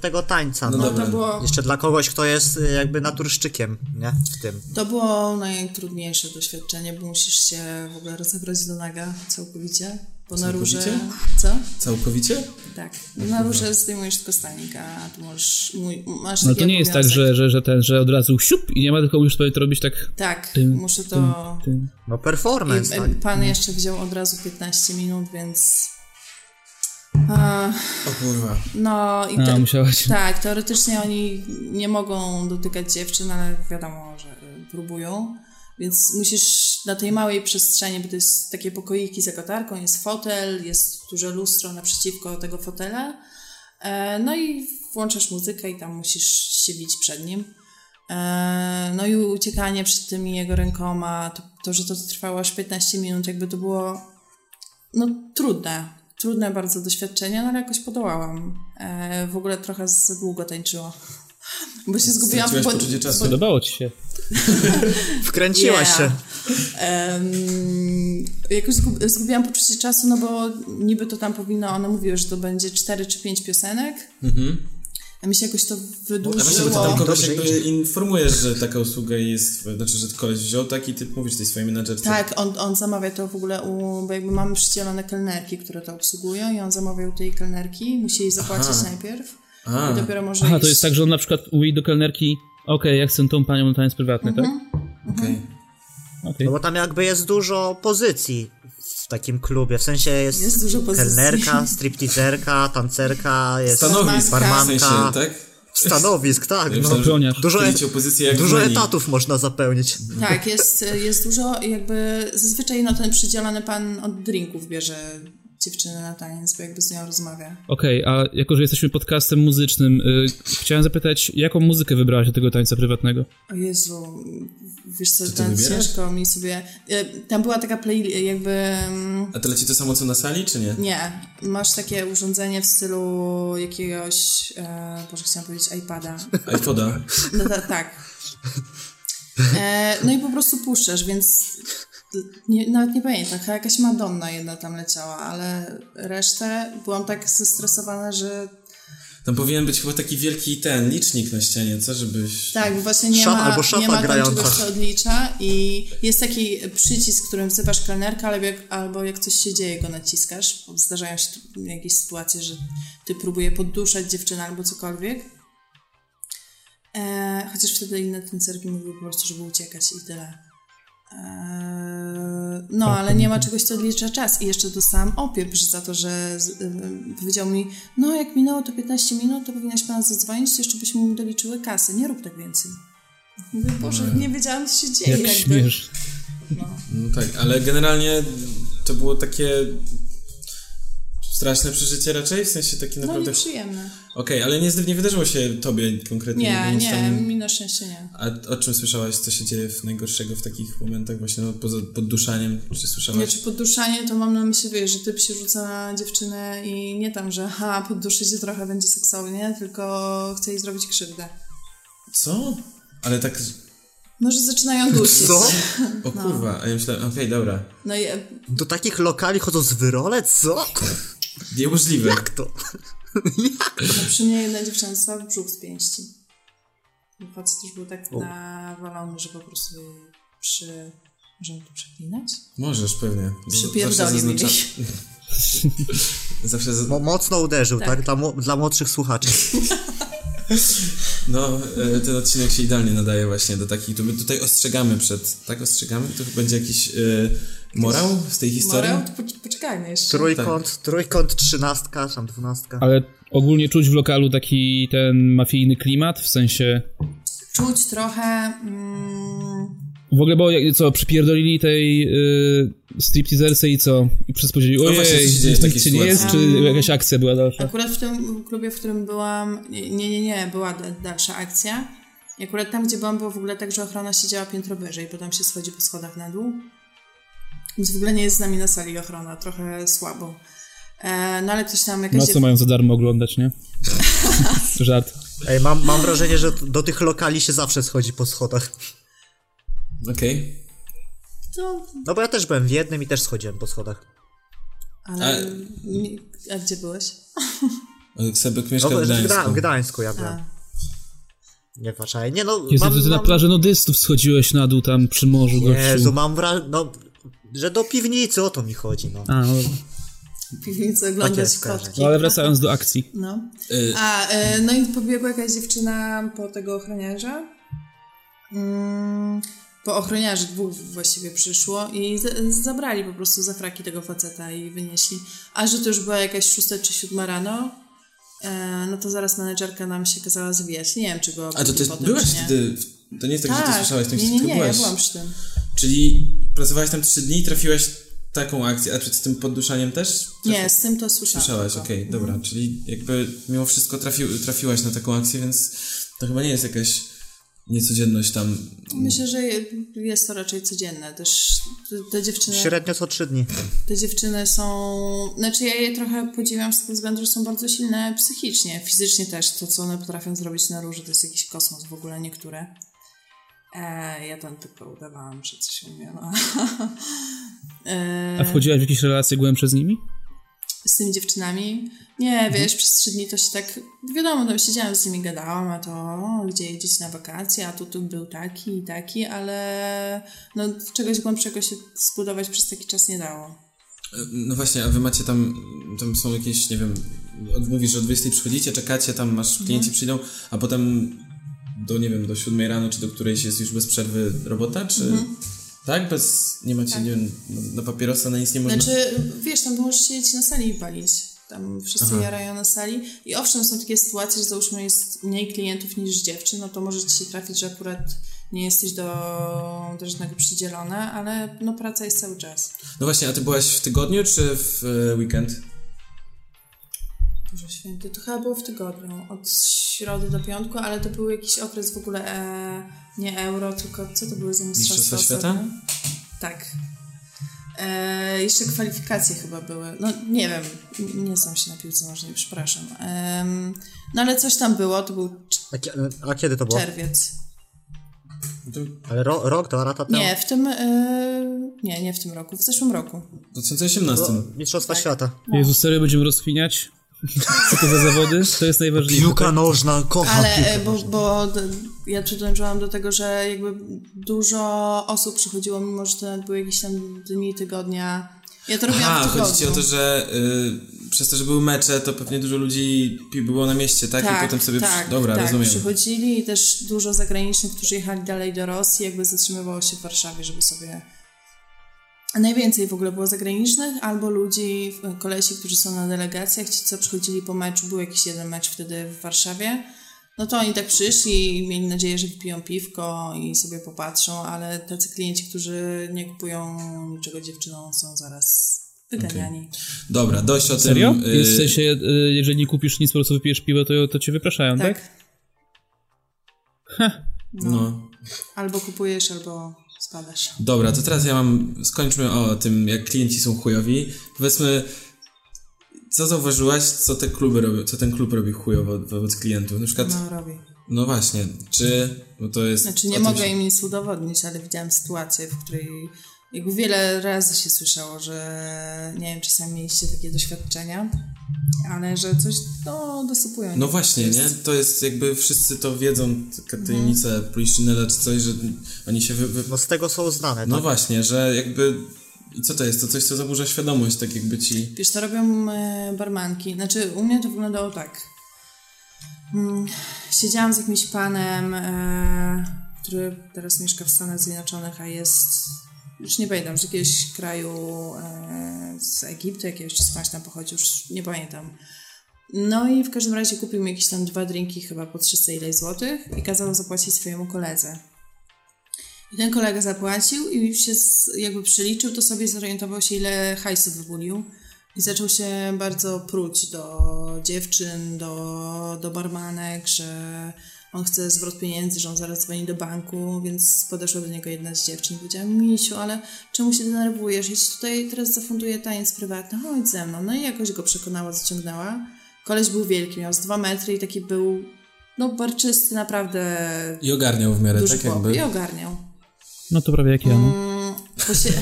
Speaker 3: tego tańca. No,
Speaker 1: No
Speaker 4: To
Speaker 1: Dobra.
Speaker 4: było,
Speaker 3: Jeszcze dla kogoś, kto jest y, jakby naturszczykiem, nie? W tym.
Speaker 4: to było najtrudniejsze doświadczenie, bo musisz się w ogóle rozebrać do naga całkowicie. Bo na róże...
Speaker 1: Całkowicie?
Speaker 4: Co?
Speaker 1: Całkowicie?
Speaker 4: Tak. Na róże zdejmujesz tylko stanik, a tu możesz, mój, masz
Speaker 2: No
Speaker 4: taki
Speaker 2: to nie jest tak,
Speaker 4: obowiązek.
Speaker 2: że, że, że, ten, że od razu siup i nie ma, tylko musisz sobie to robić tak...
Speaker 4: Tak,
Speaker 2: Tym,
Speaker 4: muszę to...
Speaker 2: tym. no.
Speaker 3: No performance,
Speaker 4: I,
Speaker 3: tak.
Speaker 4: Pan jeszcze wziął od razu 15 minut, więc... A,
Speaker 1: O kurwa.
Speaker 4: no i
Speaker 2: A,
Speaker 4: te,
Speaker 2: musiałaś.
Speaker 4: tak, teoretycznie oni nie mogą dotykać dziewczyn, ale wiadomo, że y, próbują. Więc musisz na tej małej przestrzeni, bo to jest takie pokoiki za kotarką, jest fotel, jest duże lustro naprzeciwko tego fotela. E, No i włączasz muzykę i tam musisz się bić przed nim. E, No i uciekanie przed tymi jego rękoma, to, to że to trwało aż 15 minut, jakby to było no trudne, trudne bardzo doświadczenie, no ale jakoś podołałam. E, w ogóle trochę za długo tańczyło, bo się zgubiłam.
Speaker 1: Straciłaś
Speaker 4: bo-
Speaker 1: poczucie czasu.
Speaker 2: Podobało ci się.
Speaker 3: Wkręciłaś
Speaker 4: Yeah.
Speaker 3: się.
Speaker 4: Em, jakoś zgub- zgubiłam poczucie czasu, no bo niby to tam powinno, ona mówiła, że to będzie 4 czy 5 piosenek. A mi się jakoś to
Speaker 1: A właśnie, Mhm. bo ty
Speaker 4: wydłużyło.
Speaker 1: tam kogoś
Speaker 3: Dobrze
Speaker 1: jakby
Speaker 3: idzie.
Speaker 1: informujesz, że taka usługa jest, znaczy, że koleś wziął taki typ, mówisz tej swojej menadżerce.
Speaker 4: Tak, on, on zamawia to w ogóle u, bo jakby mamy przydzielone kelnerki, które to obsługują i on zamawiał tej kelnerki, musi jej zapłacić
Speaker 1: Aha.
Speaker 4: najpierw
Speaker 1: A,
Speaker 4: i dopiero może
Speaker 2: Aha,
Speaker 4: iść.
Speaker 2: to jest tak, że on na przykład mówi do kelnerki, okej, ja chcę tą panią na taniec prywatny, tak?
Speaker 1: okej.
Speaker 2: Okej.
Speaker 3: No bo tam jakby jest dużo pozycji w takim klubie. W sensie jest,
Speaker 4: Jest dużo pozycji.
Speaker 3: kelnerka, striptizerka, tancerka, jest
Speaker 1: Stanowisk,
Speaker 4: Barmanka.
Speaker 1: w sensie, tak?
Speaker 3: stanowisk, tak.
Speaker 1: Ja
Speaker 3: No.
Speaker 1: myślałem, że
Speaker 2: Ochroniarz.
Speaker 3: Dużo,
Speaker 1: Dzielicie opozycję jak
Speaker 3: dużo
Speaker 1: w menu.
Speaker 3: etatów można zapełnić.
Speaker 4: Tak, jest, jest dużo, jakby zazwyczaj no, ten przydzielony pan od drinków bierze dziewczynę na taniec, bo jakby z nią rozmawia.
Speaker 2: Okej, a jako, że jesteśmy podcastem muzycznym, y, chciałem zapytać, jaką muzykę wybrałaś do tego tańca prywatnego?
Speaker 4: O Jezu, wiesz co,
Speaker 1: ty
Speaker 4: tam
Speaker 1: wybierasz?
Speaker 4: ciężko mi sobie... e, Tam była taka play, jakby... mm,
Speaker 1: A to leci to samo co na sali, czy nie?
Speaker 4: Nie, masz takie urządzenie w stylu jakiegoś, e, Boże, chciałam powiedzieć iPada.
Speaker 1: iPoda.
Speaker 4: No ta, tak. E, no i po prostu puszczasz, więc nie, nawet nie pamiętam, chyba jakaś Madonna jedna tam leciała, ale resztę byłam tak zestresowana, że
Speaker 1: Tam powinien być chyba taki wielki ten licznik na ścianie, co? Żebyś...
Speaker 4: tak, bo właśnie nie
Speaker 3: Szaf-
Speaker 4: ma,
Speaker 3: albo szafa
Speaker 4: nie ma tam
Speaker 3: grająca.
Speaker 4: czegoś, co odlicza i jest taki przycisk, którym wzywasz kelnerka, albo jak, albo jak coś się dzieje, go naciskasz. bo Zdarzają się tu jakieś sytuacje, że ty próbuje podduszać dziewczynę albo cokolwiek. E, chociaż wtedy inne tancerki mówiły po prostu, żeby uciekać i tyle. Eee, No, ale nie ma czegoś, co odlicza czas. I jeszcze dostałam opieprz za to, że z- ym, powiedział mi, no jak minęło to 15 minut, to powinnaś pana zadzwonić, to jeszcze byśmy mu doliczyły kasy. Nie rób tak więcej. Mówię, Boże, nie wiedziałam, co się dzieje.
Speaker 2: Jak
Speaker 4: jakby.
Speaker 2: śmiesz.
Speaker 1: No tak, ale generalnie to było takie straszne przeżycie raczej, w sensie takie
Speaker 4: No
Speaker 1: naprawdę... Okej,
Speaker 4: nieprzyjemne.
Speaker 1: ale nie, zdy- nie wydarzyło się tobie konkretnie.
Speaker 4: Nie,
Speaker 1: nic
Speaker 4: nie,
Speaker 1: tam-
Speaker 4: mi na szczęście nie.
Speaker 1: A o czym słyszałaś, co się dzieje w najgorszego w takich momentach właśnie no, poza podduszaniem? Czy
Speaker 4: Nie,
Speaker 1: słyszałaś?
Speaker 4: czy podduszanie to mam na myśli, wiesz, że typ się rzuca na dziewczynę i nie tam, że ha, podduszy się trochę, będzie seksownie, tylko chce jej zrobić krzywdę.
Speaker 1: Co? Ale tak...
Speaker 4: No, że zaczynają dusić.
Speaker 3: Co?
Speaker 1: O kurwa, a ja myślałem, okej, dobra.
Speaker 4: No i e,
Speaker 3: Do takich lokali chodzą z wyrole? Co?
Speaker 1: Niemożliwe.
Speaker 3: Jak to?
Speaker 4: no, przy mnie jedna dziewczyna dostała brzuch z pięści. I Facet też był tak nawalony, że po prostu jej przy... Możemy tu przeklinać?
Speaker 1: Możesz pewnie. Z- zawsze
Speaker 4: Przypierdolił jej.
Speaker 1: zaznacza- Zawsze z...
Speaker 3: Mo- mocno uderzył, tak? Dla, mo- dla młodszych słuchaczy.
Speaker 1: No, e, ten odcinek się idealnie nadaje właśnie do takich. Tu my tutaj ostrzegamy przed. Tak, ostrzegamy? Tu będzie jakiś e, morał z tej historii?
Speaker 4: Morał? To po- Poczekajmy jeszcze.
Speaker 3: Trójkąt, trójkąt, trzynastka, tam dwunastka.
Speaker 2: Ale ogólnie czuć w lokalu taki ten mafijny klimat, w sensie...
Speaker 4: Czuć trochę... Mm,
Speaker 2: W ogóle, bo jak- co, przypierdolili tej y, stripteaserce i co? I wszyscy powiedzieli, ojej,
Speaker 1: No właśnie, co się dzieje w takiej
Speaker 2: nic ci nie jest, czy
Speaker 1: sytuacji?
Speaker 2: jakaś akcja była dalsza?
Speaker 4: Akurat w tym klubie, w którym byłam, nie, nie, nie, była d- dalsza akcja. I akurat tam, gdzie byłam, było w ogóle tak, że ochrona siedziała piętro wyżej, potem się schodzi po schodach na dół. Więc w ogóle nie jest z nami na sali ochrona, trochę słabo. E, no ale ktoś tam jakaś...
Speaker 2: No co mają za darmo oglądać, nie? Żart.
Speaker 3: Ej, mam, mam wrażenie, że do tych lokali się zawsze schodzi po schodach.
Speaker 1: Okej.
Speaker 4: To,
Speaker 3: No bo ja też byłem w jednym i też schodziłem po schodach.
Speaker 4: ale...
Speaker 1: Ale-
Speaker 4: mi- A gdzie byłeś?
Speaker 1: Okay. Sebek
Speaker 3: No,
Speaker 1: mieszka
Speaker 3: w,
Speaker 1: w Gdańsku.
Speaker 3: Gda- w Gdańsku ja byłem.
Speaker 4: A.
Speaker 3: Nie w Warszawie. Nie no,
Speaker 2: Jezu,
Speaker 3: mam,
Speaker 2: ty na
Speaker 3: mam,
Speaker 2: plażę nudystów schodziłeś na dół tam przy morzu,
Speaker 3: Jezu,
Speaker 2: gościu.
Speaker 3: mam wrażenie, no, że do piwnicy o to mi chodzi, no.
Speaker 2: A, no,
Speaker 4: W piwnicy
Speaker 1: Tak
Speaker 3: Takie
Speaker 4: oglądać
Speaker 3: jest, kojarzę.
Speaker 4: kotki.
Speaker 2: no ale wracając do akcji.
Speaker 4: No.
Speaker 1: Y,
Speaker 4: A, e, no i pobiegła jakaś dziewczyna po tego ochroniarza. Mm, po ochroniarzy dwóch właściwie przyszło i z- zabrali po prostu za fraki tego faceta i wynieśli. A że to już była jakaś szósta czy siódma rano, e, no to zaraz menedżerka nam się kazała zwijać. Nie wiem, czy go
Speaker 1: a to ty
Speaker 4: potem, czy
Speaker 1: byłaś
Speaker 4: nie.
Speaker 1: wtedy. w- To nie jest tak, że ty słyszałeś ten
Speaker 4: nie, nie,
Speaker 1: tylko
Speaker 4: nie, ja
Speaker 1: byłaś.
Speaker 4: byłam przy tym.
Speaker 1: Czyli pracowałaś tam 3 dni i trafiłaś taką akcję, a przed tym podduszaniem też?
Speaker 4: Nie, Mhm. z tym to słyszałam.
Speaker 1: Słyszałaś,
Speaker 4: tylko.
Speaker 1: okej, dobra, czyli jakby mimo wszystko trafił, trafiłaś na taką akcję, więc to chyba nie jest jakaś niecodzienność tam.
Speaker 4: Myślę, że je- jest to raczej codzienne. Też te- te dziewczyny...
Speaker 3: Średnio co trzy dni.
Speaker 4: te dziewczyny są. Znaczy, ja je trochę podziwiam z tego względu, że są bardzo silne psychicznie, fizycznie też. To, co one potrafią zrobić na róży, to jest jakiś kosmos w ogóle, niektóre. E, ja tam tylko udawałam, że coś umiem. a-
Speaker 2: A
Speaker 4: E,
Speaker 2: wchodziłaś w jakieś relacje głębsze z nimi?
Speaker 4: z tymi dziewczynami. Nie, wiesz, przez trzy dni to się tak, wiadomo, tam siedziałam z nimi, gadałam, a to o, gdzie jedzieć na wakacje, a tu, tu był taki i taki, ale no, czegoś głębszego się zbudować przez taki czas nie dało.
Speaker 1: No właśnie, a wy macie tam, tam są jakieś, nie wiem, od- mówisz, że o 20 przychodzicie, czekacie, tam masz,
Speaker 4: No.
Speaker 1: klienci przyjdą, a potem do, nie wiem, do 7 rano, czy do którejś jest już bez przerwy robota, czy...
Speaker 4: Mhm.
Speaker 1: Tak? Bez, nie macie, nie wiem, na- na papierosa na nic nie można?
Speaker 4: Znaczy, wiesz, tam możesz siedzieć na sali i palić. Tam wszyscy jarają na sali. I owszem, są takie sytuacje, że załóżmy jest mniej klientów niż dziewczyn, no to może ci się trafić, że akurat nie jesteś do, do żadnego przydzielona, ale no praca jest cały czas.
Speaker 1: No właśnie, a ty byłaś w tygodniu, czy w e, weekend?
Speaker 4: Boże święty, to chyba było w tygodniu, od środy do piątku, ale to był jakiś okres w ogóle e, nie euro, tylko co to były za mistrzostwa,
Speaker 1: Mistrzostwa świata?
Speaker 4: ostatnio? Tak. E, jeszcze kwalifikacje chyba były. No nie wiem, n- nie znam się na piłce nożnej, przepraszam. Em, no ale coś tam było, to był cz-
Speaker 3: A, kie- a kiedy to było?
Speaker 4: czerwiec.
Speaker 1: To
Speaker 3: Ale ro, rok, dwa lata temu?
Speaker 4: Nie, w tym... E, nie, nie w tym roku, w zeszłym roku.
Speaker 1: w 2018.
Speaker 3: To
Speaker 4: No,
Speaker 3: Mistrzostwa
Speaker 4: Tak.
Speaker 3: Świata.
Speaker 2: Jezu, serio będziemy rozkwiniać? Co to za zawody? To jest najważniejsze.
Speaker 3: Piłka nożna, kocham
Speaker 4: Ale
Speaker 3: piłkę
Speaker 4: e, bo,
Speaker 3: nożną.
Speaker 4: bo d- ja przytączyłam do tego, że jakby dużo osób przychodziło, mimo że to nawet były jakieś tam dni, tygodnia. Ja to robiłam
Speaker 1: Aha,
Speaker 4: w tygodniu.
Speaker 1: chodzi ci o to, że y, przez to, że były mecze, to pewnie dużo ludzi pi- było na mieście, tak? I potem sobie...
Speaker 4: tak,
Speaker 1: przy... Dobra,
Speaker 4: tak,
Speaker 1: rozumiem.
Speaker 4: przychodzili i też dużo zagranicznych, którzy jechali dalej do Rosji, jakby zatrzymywało się w Warszawie, żeby sobie... Najwięcej w ogóle było zagranicznych, albo ludzi, kolesi, którzy są na delegacjach, ci co przychodzili po meczu, był jakiś jeden mecz wtedy w Warszawie, no to oni tak przyszli i mieli nadzieję, że wypiją piwko i sobie popatrzą, ale tacy klienci, którzy nie kupują niczego dziewczyną, są zaraz wyganiani.
Speaker 1: Dobra, dość o
Speaker 2: Serio?
Speaker 1: tym... y,
Speaker 2: Jest w sensie, y, jeżeli nie kupisz nic, po prostu wypijesz piwo, to, to cię wypraszają, tak?
Speaker 1: No.
Speaker 4: Albo kupujesz, albo spadasz.
Speaker 1: Dobra, to teraz ja mam... Skończmy o tym, jak klienci są chujowi. Powiedzmy, co zauważyłaś, co te kluby robią, co ten klub robi chujowo wobec klientów? Na przykład
Speaker 4: No, robi.
Speaker 1: No właśnie, czy, bo to jest...
Speaker 4: Znaczy
Speaker 1: o
Speaker 4: nie
Speaker 1: tym
Speaker 4: mogę
Speaker 1: się-
Speaker 4: im nic udowodnić, ale widziałam sytuację, w której jakby wiele razy się słyszało, że nie wiem, czasami mieliście takie doświadczenia, ale że coś no, dosypują.
Speaker 1: No właśnie, nie? To jest jakby wszyscy to wiedzą, taka
Speaker 4: No.
Speaker 1: tajemnica Prishinella czy coś, że oni się wy, wy,
Speaker 4: Tak.
Speaker 3: No z tego są znane,
Speaker 1: No
Speaker 3: tak?
Speaker 1: właśnie, że jakby. I co to jest? To coś, co zaburza świadomość, tak jakby ci.
Speaker 4: Wiesz, to robią e, barmanki. Znaczy, u mnie to wyglądało tak. Mm, Siedziałam z jakimś panem, e, który teraz mieszka w Stanach Zjednoczonych, a jest, już nie pamiętam, z jakiegoś kraju, e, z Egiptu jakiegoś, czy skądś tam pochodzi, już nie pamiętam. No i w każdym razie kupił mi jakieś tam dwa drinki chyba po 300 ileś złotych i kazał zapłacić swojemu koledze. I ten kolega zapłacił i już się z, jakby przeliczył, to sobie zorientował się, ile hajsu wybulił. I zaczął się bardzo pruć do dziewczyn, do, do barmanek, że on chce zwrot pieniędzy, że on zaraz dzwoni do banku, więc podeszła do niego jedna z dziewczyn i powiedziała, Misiu, ale czemu się denerwujesz? Ja ci tutaj teraz zafunduję taniec prywatny, chodź ze mną. No i jakoś go przekonała, zaciągnęła. Koleś był wielki, miał z dwa metry i taki był, no barczysty, naprawdę
Speaker 1: I ogarniał w miarę,
Speaker 4: duży
Speaker 1: tak
Speaker 4: chłop.
Speaker 1: jakby.
Speaker 4: I ogarniał.
Speaker 2: No to prawie jak ja. No.
Speaker 4: Mm, posie...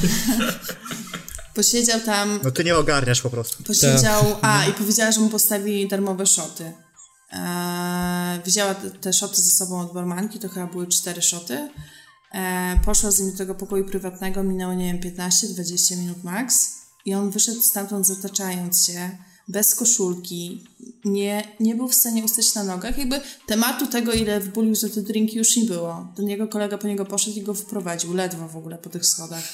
Speaker 4: posiedział tam
Speaker 3: No ty nie ogarniasz po prostu.
Speaker 4: posiedział, a i powiedziała, że mu postawili darmowe szoty. Eee, wzięła te, te szoty ze sobą od barmanki, to chyba były cztery szoty. Eee, poszła z nim do tego pokoju prywatnego, minęło, nie wiem, 15-20 minut max. I on wyszedł stamtąd zataczając się, bez koszulki, nie, nie był w stanie ustać na nogach. Jakby tematu tego, ile wbulił za te drinki, już nie było. Ten jego kolega po niego poszedł i go wyprowadził, ledwo w ogóle po tych schodach.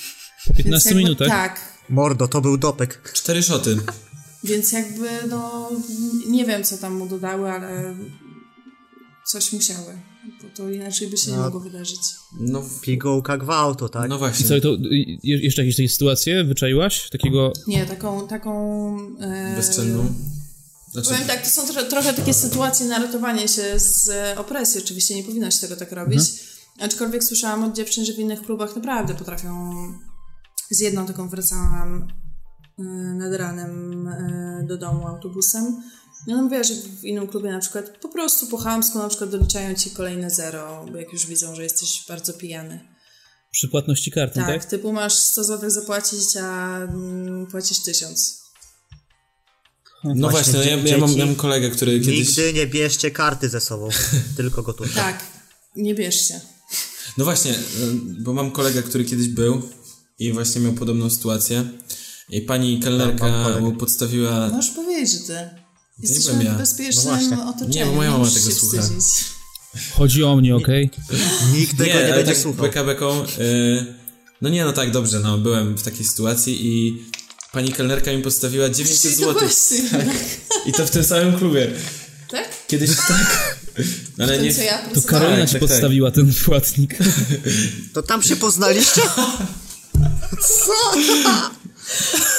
Speaker 2: Po
Speaker 4: Więc
Speaker 2: 15
Speaker 4: jakby
Speaker 2: minutach.
Speaker 4: Tak,
Speaker 3: Mordo, to był dopek.
Speaker 1: Cztery szoty.
Speaker 4: więc jakby, no, nie wiem, co tam mu dodały, ale coś musiały. Bo to inaczej by się nie
Speaker 3: No.
Speaker 4: mogło wydarzyć.
Speaker 1: No, w-
Speaker 3: Pigułka gwałtu, tak?
Speaker 1: no
Speaker 2: I
Speaker 1: właśnie.
Speaker 2: co, to y, je- jeszcze jakieś takie sytuacje wyczaiłaś? Takiego,
Speaker 4: Nie, taką, taką... E,
Speaker 1: Bezczelną. Znaczy,
Speaker 4: Powiem tak, to są tro, trochę takie sytuacje na ratowanie się z e, opresji. Oczywiście nie powinno się tego tak robić. Aczkolwiek słyszałam od dziewczyn, że w innych klubach naprawdę potrafią... Z jedną taką wracałam e, nad ranem e, do domu autobusem. No ona mówiła, że w innym klubie na przykład po prostu po chamsku na przykład doliczają ci kolejne zero, bo jak już widzą, że jesteś bardzo pijany.
Speaker 2: przy płatności kartą,
Speaker 4: Tak,
Speaker 2: tak?
Speaker 4: typu masz 100 zł zapłacić, a mm, płacisz 1000.
Speaker 1: no właśnie,
Speaker 3: Właśnie,
Speaker 1: no ja,
Speaker 3: dzie-
Speaker 1: ja mam,
Speaker 3: dzieci
Speaker 1: ja mam kolegę, który kiedyś.
Speaker 3: Nigdy nie bierzcie karty ze sobą, tylko gotówkę.
Speaker 4: Tak, nie bierzcie.
Speaker 1: No właśnie, y, bo mam kolegę, który kiedyś był i właśnie miał podobną sytuację. I pani
Speaker 3: mam
Speaker 1: kelnerka
Speaker 3: kolegę.
Speaker 1: mu podstawiła.
Speaker 4: Możesz powiedzieć, że ty. Jesteśmy
Speaker 1: byłem ja.
Speaker 4: w bezpiecznym
Speaker 3: No właśnie.
Speaker 4: otoczeniu.
Speaker 1: Nie, bo moja mama
Speaker 4: musisz
Speaker 1: tego
Speaker 4: się
Speaker 1: słucha.
Speaker 4: wstydzić.
Speaker 2: Chodzi o mnie, okej?
Speaker 3: Nikt tego nie,
Speaker 1: ale
Speaker 3: będzie
Speaker 1: tak
Speaker 3: słuchał.
Speaker 1: Beka beką, y, no nie, no tak, dobrze, no byłem w takiej sytuacji i pani kelnerka mi podstawiła 900
Speaker 4: Czyli to
Speaker 1: zł.
Speaker 4: No właśnie,
Speaker 1: I to w tym samym klubie.
Speaker 4: tak?
Speaker 1: Kiedyś tak. No, ale
Speaker 4: Ten,
Speaker 1: nie.
Speaker 4: co ja
Speaker 2: To
Speaker 4: pracowałam.
Speaker 2: Karolina
Speaker 1: tak,
Speaker 2: ci
Speaker 1: tak, tak.
Speaker 2: podstawiła ten płatnik.
Speaker 3: To tam się poznaliście? Co?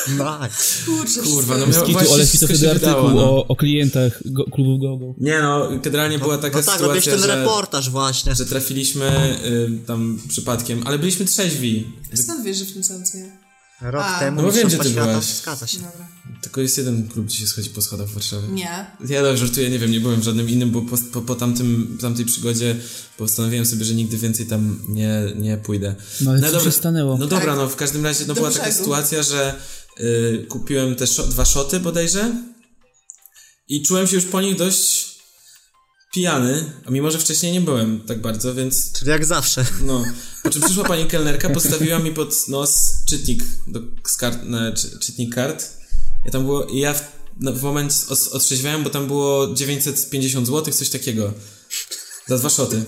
Speaker 3: Nice.
Speaker 4: Kurczę,
Speaker 1: Kurwa, no
Speaker 4: wszystko.
Speaker 1: miał
Speaker 2: Kitu,
Speaker 1: właśnie
Speaker 2: ale to
Speaker 1: wszystko
Speaker 2: wtedy
Speaker 1: się wydało,
Speaker 2: artykuł
Speaker 1: no.
Speaker 2: o, o klientach go, klubów GoGo.
Speaker 1: Nie no, generalnie była taka
Speaker 3: No tak, robisz
Speaker 1: sytuacja,
Speaker 3: ten
Speaker 1: że,
Speaker 3: reportaż właśnie.
Speaker 1: że trafiliśmy y, tam przypadkiem, ale byliśmy trzeźwi.
Speaker 4: Skąd wiesz, że w tym samym co ja?
Speaker 3: Rok
Speaker 4: A.
Speaker 3: temu
Speaker 1: No bo wiem,
Speaker 3: Mistrzostwa
Speaker 1: gdzie ty
Speaker 3: Świata
Speaker 1: byłaś.
Speaker 3: Zgadza się.
Speaker 4: Dobra.
Speaker 1: Tylko jest jeden klub, gdzie się schodzi po schodach w Warszawie.
Speaker 4: Nie.
Speaker 1: Ja dobrze żartuję, nie wiem, nie byłem w żadnym innym, bo po, po, po tamtym, tamtej przygodzie postanowiłem sobie, że nigdy więcej tam nie, nie pójdę.
Speaker 2: No ale co się stanęło?
Speaker 1: No dobra, no w każdym razie no,
Speaker 4: Do
Speaker 1: była taka
Speaker 4: brzegu.
Speaker 1: sytuacja, że y, kupiłem te szo- dwa szoty bodajże i czułem się już po nich dość pijany, a mimo, że wcześniej nie byłem tak bardzo, więc
Speaker 3: Czyli jak zawsze.
Speaker 1: no. Po czym przyszła pani kelnerka, postawiła mi pod nos czytnik do, z kart, na, czy, czytnik kart. Ja tam było, i ja w, no, w moment os, otrzeźwiałem, bo tam było 950 zł, coś takiego. Za dwa szoty.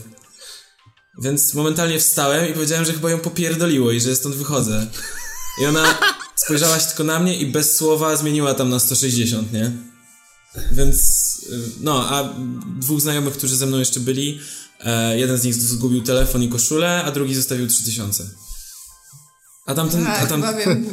Speaker 1: Więc momentalnie wstałem i powiedziałem, że chyba ją popierdoliło i że stąd wychodzę. I ona spojrzała się tylko na mnie i bez słowa zmieniła tam na 160, nie? Więc y, no, a dwóch znajomych, którzy ze mną jeszcze byli, e, jeden z nich zgubił telefon i koszulę, a drugi zostawił 3000. A tamten, a
Speaker 4: Tak,
Speaker 1: tam...
Speaker 4: chyba wiem.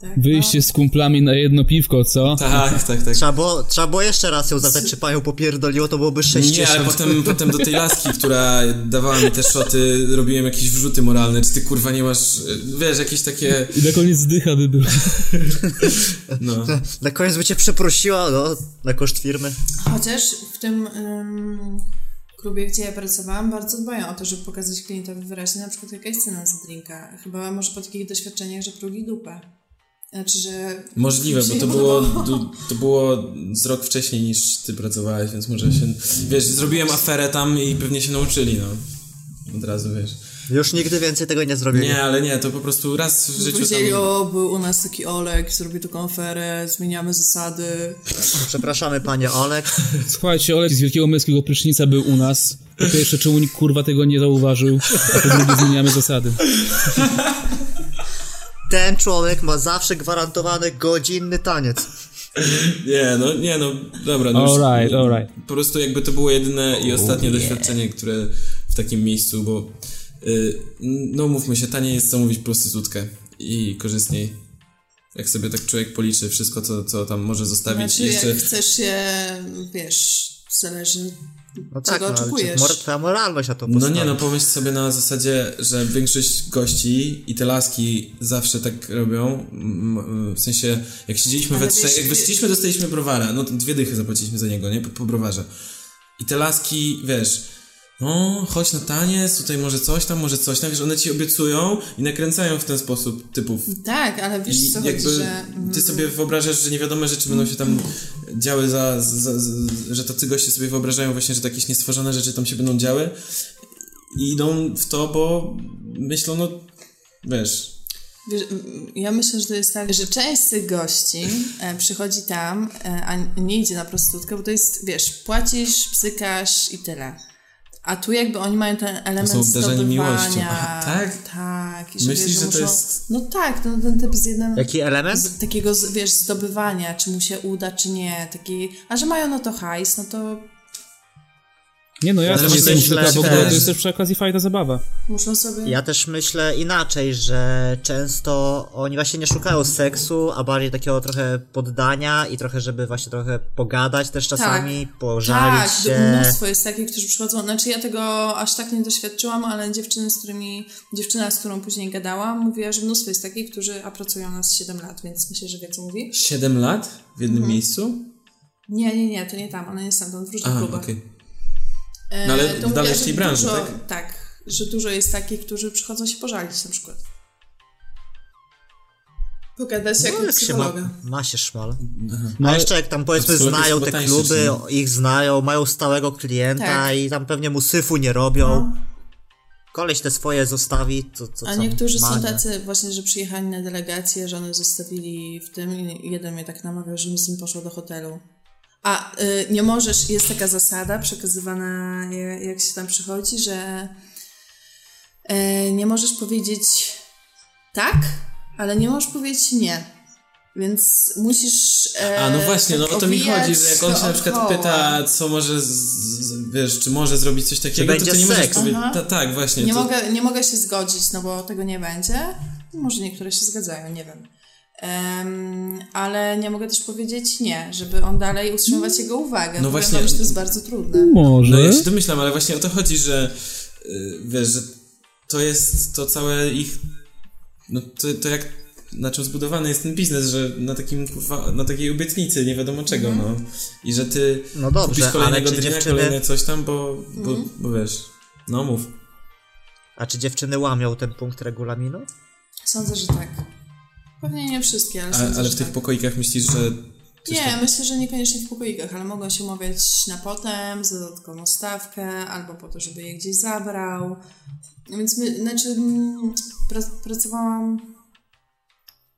Speaker 4: Tak,
Speaker 2: Wyjście z kumplami na jedno piwko, co?
Speaker 1: Tak, tak, tak.
Speaker 3: Trzeba było, trzeba było jeszcze raz ją zapytać, czy panią popierdoliło, to byłoby
Speaker 1: Nie, ale
Speaker 3: 60.
Speaker 1: potem, potem do tej laski, która dawała mi te szoty, robiłem jakieś wrzuty moralne, czy ty kurwa nie masz, y, wiesz, jakieś takie,
Speaker 2: I na koniec zdycha by było.
Speaker 1: no.
Speaker 3: Na koniec by cię przeprosiła, no, na koszt firmy.
Speaker 4: no. Chociaż w tym ym, klubie, gdzie ja pracowałam, bardzo dbają o to, żeby pokazać klientowi wyraźnie na przykład jaka jest cena za drinka. Chyba może po takich doświadczeniach, że prugi dupę. Znaczy, że...
Speaker 1: Możliwe,
Speaker 4: mi się
Speaker 1: bo to
Speaker 4: nie
Speaker 1: było,
Speaker 4: podobało.
Speaker 1: du- to było z rok wcześniej niż ty pracowałeś, więc może się... Wiesz, zrobiłem aferę tam i pewnie się nauczyli, no. Od razu, wiesz.
Speaker 3: Już nigdy więcej tego nie zrobili.
Speaker 1: Nie, ale nie, to po prostu raz w życiu
Speaker 4: Powiedzieli,
Speaker 1: tam...
Speaker 4: o, był u nas taki Olek, zrobił tu konferę, zmieniamy zasady.
Speaker 3: Przepraszamy panie Olek.
Speaker 2: Słuchajcie, Olek z Wielkiego Męskiego Prysznica był u nas. Po pierwsze, czemu nikt kurwa tego nie zauważył? A po drugie, zmieniamy zasady.
Speaker 3: Ten człowiek ma zawsze gwarantowany godzinny taniec.
Speaker 1: Nie, no, nie, no, dobra, no już-
Speaker 2: Alright, alright.
Speaker 1: Po prostu jakby to było jedyne i ostatnie doświadczenie, które w takim miejscu, bo... y, no, mówmy się, taniej jest zamówić prostytutkę i korzystniej. Jak sobie tak człowiek policzy wszystko, co, co tam może zostawić
Speaker 4: Znaczy,
Speaker 1: jeszcze...
Speaker 4: jak chcesz się, wiesz, zależy
Speaker 3: No
Speaker 4: Czego
Speaker 3: tak, no, ale czy
Speaker 4: oczekujesz?
Speaker 3: mor- twoja moralność na to
Speaker 1: No
Speaker 3: postawi.
Speaker 1: nie, no pomyśl sobie na zasadzie, że większość gości i te laski zawsze tak robią. m, m, W sensie, jak siedzieliśmy
Speaker 4: Ale
Speaker 1: we trzech,
Speaker 4: wiesz,
Speaker 1: jak
Speaker 4: ty-
Speaker 1: weszliśmy, dostaliśmy browara. No to dwie dychy zapłaciliśmy za niego, nie? Po, po browarze. I te laski, wiesz, no chodź na taniec, tutaj może coś tam, może coś tam, wiesz, one ci obiecują i nakręcają w ten sposób typów.
Speaker 4: Tak, ale wiesz
Speaker 1: I
Speaker 4: co
Speaker 1: jakby
Speaker 4: chodzi, że... mm,
Speaker 1: ty sobie wyobrażasz, że niewiadome rzeczy będą się tam działy za, za, za że tacy goście sobie wyobrażają właśnie, że takie jakieś niestworzone rzeczy tam się będą działy i idą w to, bo myślą, no wiesz,
Speaker 4: Wiesz, mm, ja myślę, że to jest tak, że część z tych gości e, przychodzi tam, e, a nie idzie na prostytutkę, bo to jest, wiesz, płacisz, psykasz i tyle. A tu jakby oni mają ten element
Speaker 1: są obdarzeni
Speaker 4: zdobywania.
Speaker 1: miłością. Aha, tak?
Speaker 4: Tak. I że
Speaker 1: Myślisz,
Speaker 4: wiesz,
Speaker 1: że to
Speaker 4: muszą...
Speaker 1: jest-
Speaker 4: No tak, no, ten typ z jednym...
Speaker 3: Jaki element?
Speaker 4: Z takiego, z- wiesz, zdobywania, czy mu się uda, czy nie. Taki... A że mają no to hajs, no to
Speaker 2: Nie no, ja
Speaker 1: Ale
Speaker 2: też
Speaker 1: myślę,
Speaker 2: jestem
Speaker 1: że
Speaker 2: muzyka, bo
Speaker 1: też.
Speaker 2: to jest też przy okazji fajna zabawa.
Speaker 4: muszą sobie...
Speaker 3: Ja też myślę inaczej, że często oni właśnie nie szukają seksu, a bardziej takiego trochę poddania i trochę, żeby właśnie trochę pogadać też czasami, pożalić
Speaker 4: tak,
Speaker 3: się.
Speaker 4: mnóstwo jest takich, którzy przychodzą. Znaczy ja tego aż tak nie doświadczyłam, ale dziewczyny, z którymi, dziewczyna, z którą później gadałam, mówiła, że mnóstwo jest takich, którzy, a pracują nas 7 lat, więc myślę, że wie, co mówi.
Speaker 1: 7 lat w jednym
Speaker 4: Mhm.
Speaker 1: miejscu?
Speaker 4: Nie, nie, nie, to nie tam, ona nie stamtąd, w różnych
Speaker 1: Aha,
Speaker 4: klubach.
Speaker 1: okej.
Speaker 4: E,
Speaker 1: No ale
Speaker 4: to
Speaker 1: dalej w
Speaker 4: że
Speaker 1: tej branży,
Speaker 4: dużo,
Speaker 1: tak?
Speaker 4: Tak, że dużo jest takich, którzy przychodzą się pożalić na przykład. Pogadać jak
Speaker 3: No,
Speaker 4: u
Speaker 3: jak się ma,
Speaker 4: psychologa.
Speaker 3: ma się szmal.
Speaker 1: Mhm.
Speaker 2: No,
Speaker 3: A jeszcze jak tam powiedzmy
Speaker 1: Absolutnie
Speaker 3: znają te
Speaker 1: spotańczy,
Speaker 3: kluby, ich znają, mają stałego klienta
Speaker 4: Tak. No.
Speaker 3: i tam pewnie mu syfu nie robią. Koleś te swoje zostawi, to, to
Speaker 4: A
Speaker 3: co?
Speaker 4: niektórzy są
Speaker 3: Mania.
Speaker 4: tacy właśnie, że przyjechali na delegację, że one zostawili w tym i jeden mnie tak namawiał, żebym z nim poszła do hotelu. A y, nie możesz, jest taka zasada przekazywana, je- jak się tam przychodzi, że y, nie możesz powiedzieć tak, ale nie możesz powiedzieć nie. Więc musisz. E,
Speaker 1: A no właśnie, no
Speaker 4: tak
Speaker 1: o to mi
Speaker 4: owijać
Speaker 1: chodzi, że jak on się na przykład
Speaker 4: dookoła.
Speaker 1: pyta, co może, z, z, wiesz, czy może zrobić coś takiego, to
Speaker 3: będzie
Speaker 1: ty nie możesz
Speaker 3: seks.
Speaker 1: powiedzieć,
Speaker 4: Aha.
Speaker 1: ta, tak, właśnie.
Speaker 4: Nie,
Speaker 1: to,
Speaker 4: mogę, nie mogę się zgodzić, no bo tego nie będzie. Może niektóre się zgadzają, nie wiem. Em, ale nie mogę też powiedzieć nie, żeby on dalej utrzymywać jego uwagę. Powiem
Speaker 1: No właśnie.
Speaker 4: wam, że to jest bardzo trudne.
Speaker 1: No
Speaker 3: Hmm?
Speaker 2: Może.
Speaker 1: ja się domyślam, ale właśnie o to chodzi, że y, wiesz, że to jest to całe ich. No to, to jak na czym zbudowany jest ten biznes, że na takim kurwa, na takiej obietnicy nie wiadomo czego,
Speaker 4: Mhm.
Speaker 1: no. I że ty
Speaker 3: No dobrze,
Speaker 1: kupisz kolejnego
Speaker 3: ale czy
Speaker 1: dnia,
Speaker 3: dziewczyny-
Speaker 1: kolejne coś tam, bo, bo,
Speaker 4: Mhm.
Speaker 1: bo wiesz, no mów.
Speaker 3: A czy dziewczyny łamią ten punkt regulaminu?
Speaker 4: Sądzę, że tak. Pewnie nie wszystkie, ale
Speaker 1: A,
Speaker 4: sądzę,
Speaker 1: ale
Speaker 4: że
Speaker 1: w tych
Speaker 4: tak.
Speaker 1: pokoikach myślisz, że. coś
Speaker 4: Nie,
Speaker 1: tam-
Speaker 4: myślę, że niekoniecznie w pokoikach, ale mogą się umawiać na potem, za dodatkową stawkę, albo po to, żeby je gdzieś zabrał. Więc my, znaczy, mm, pra- pracowałam.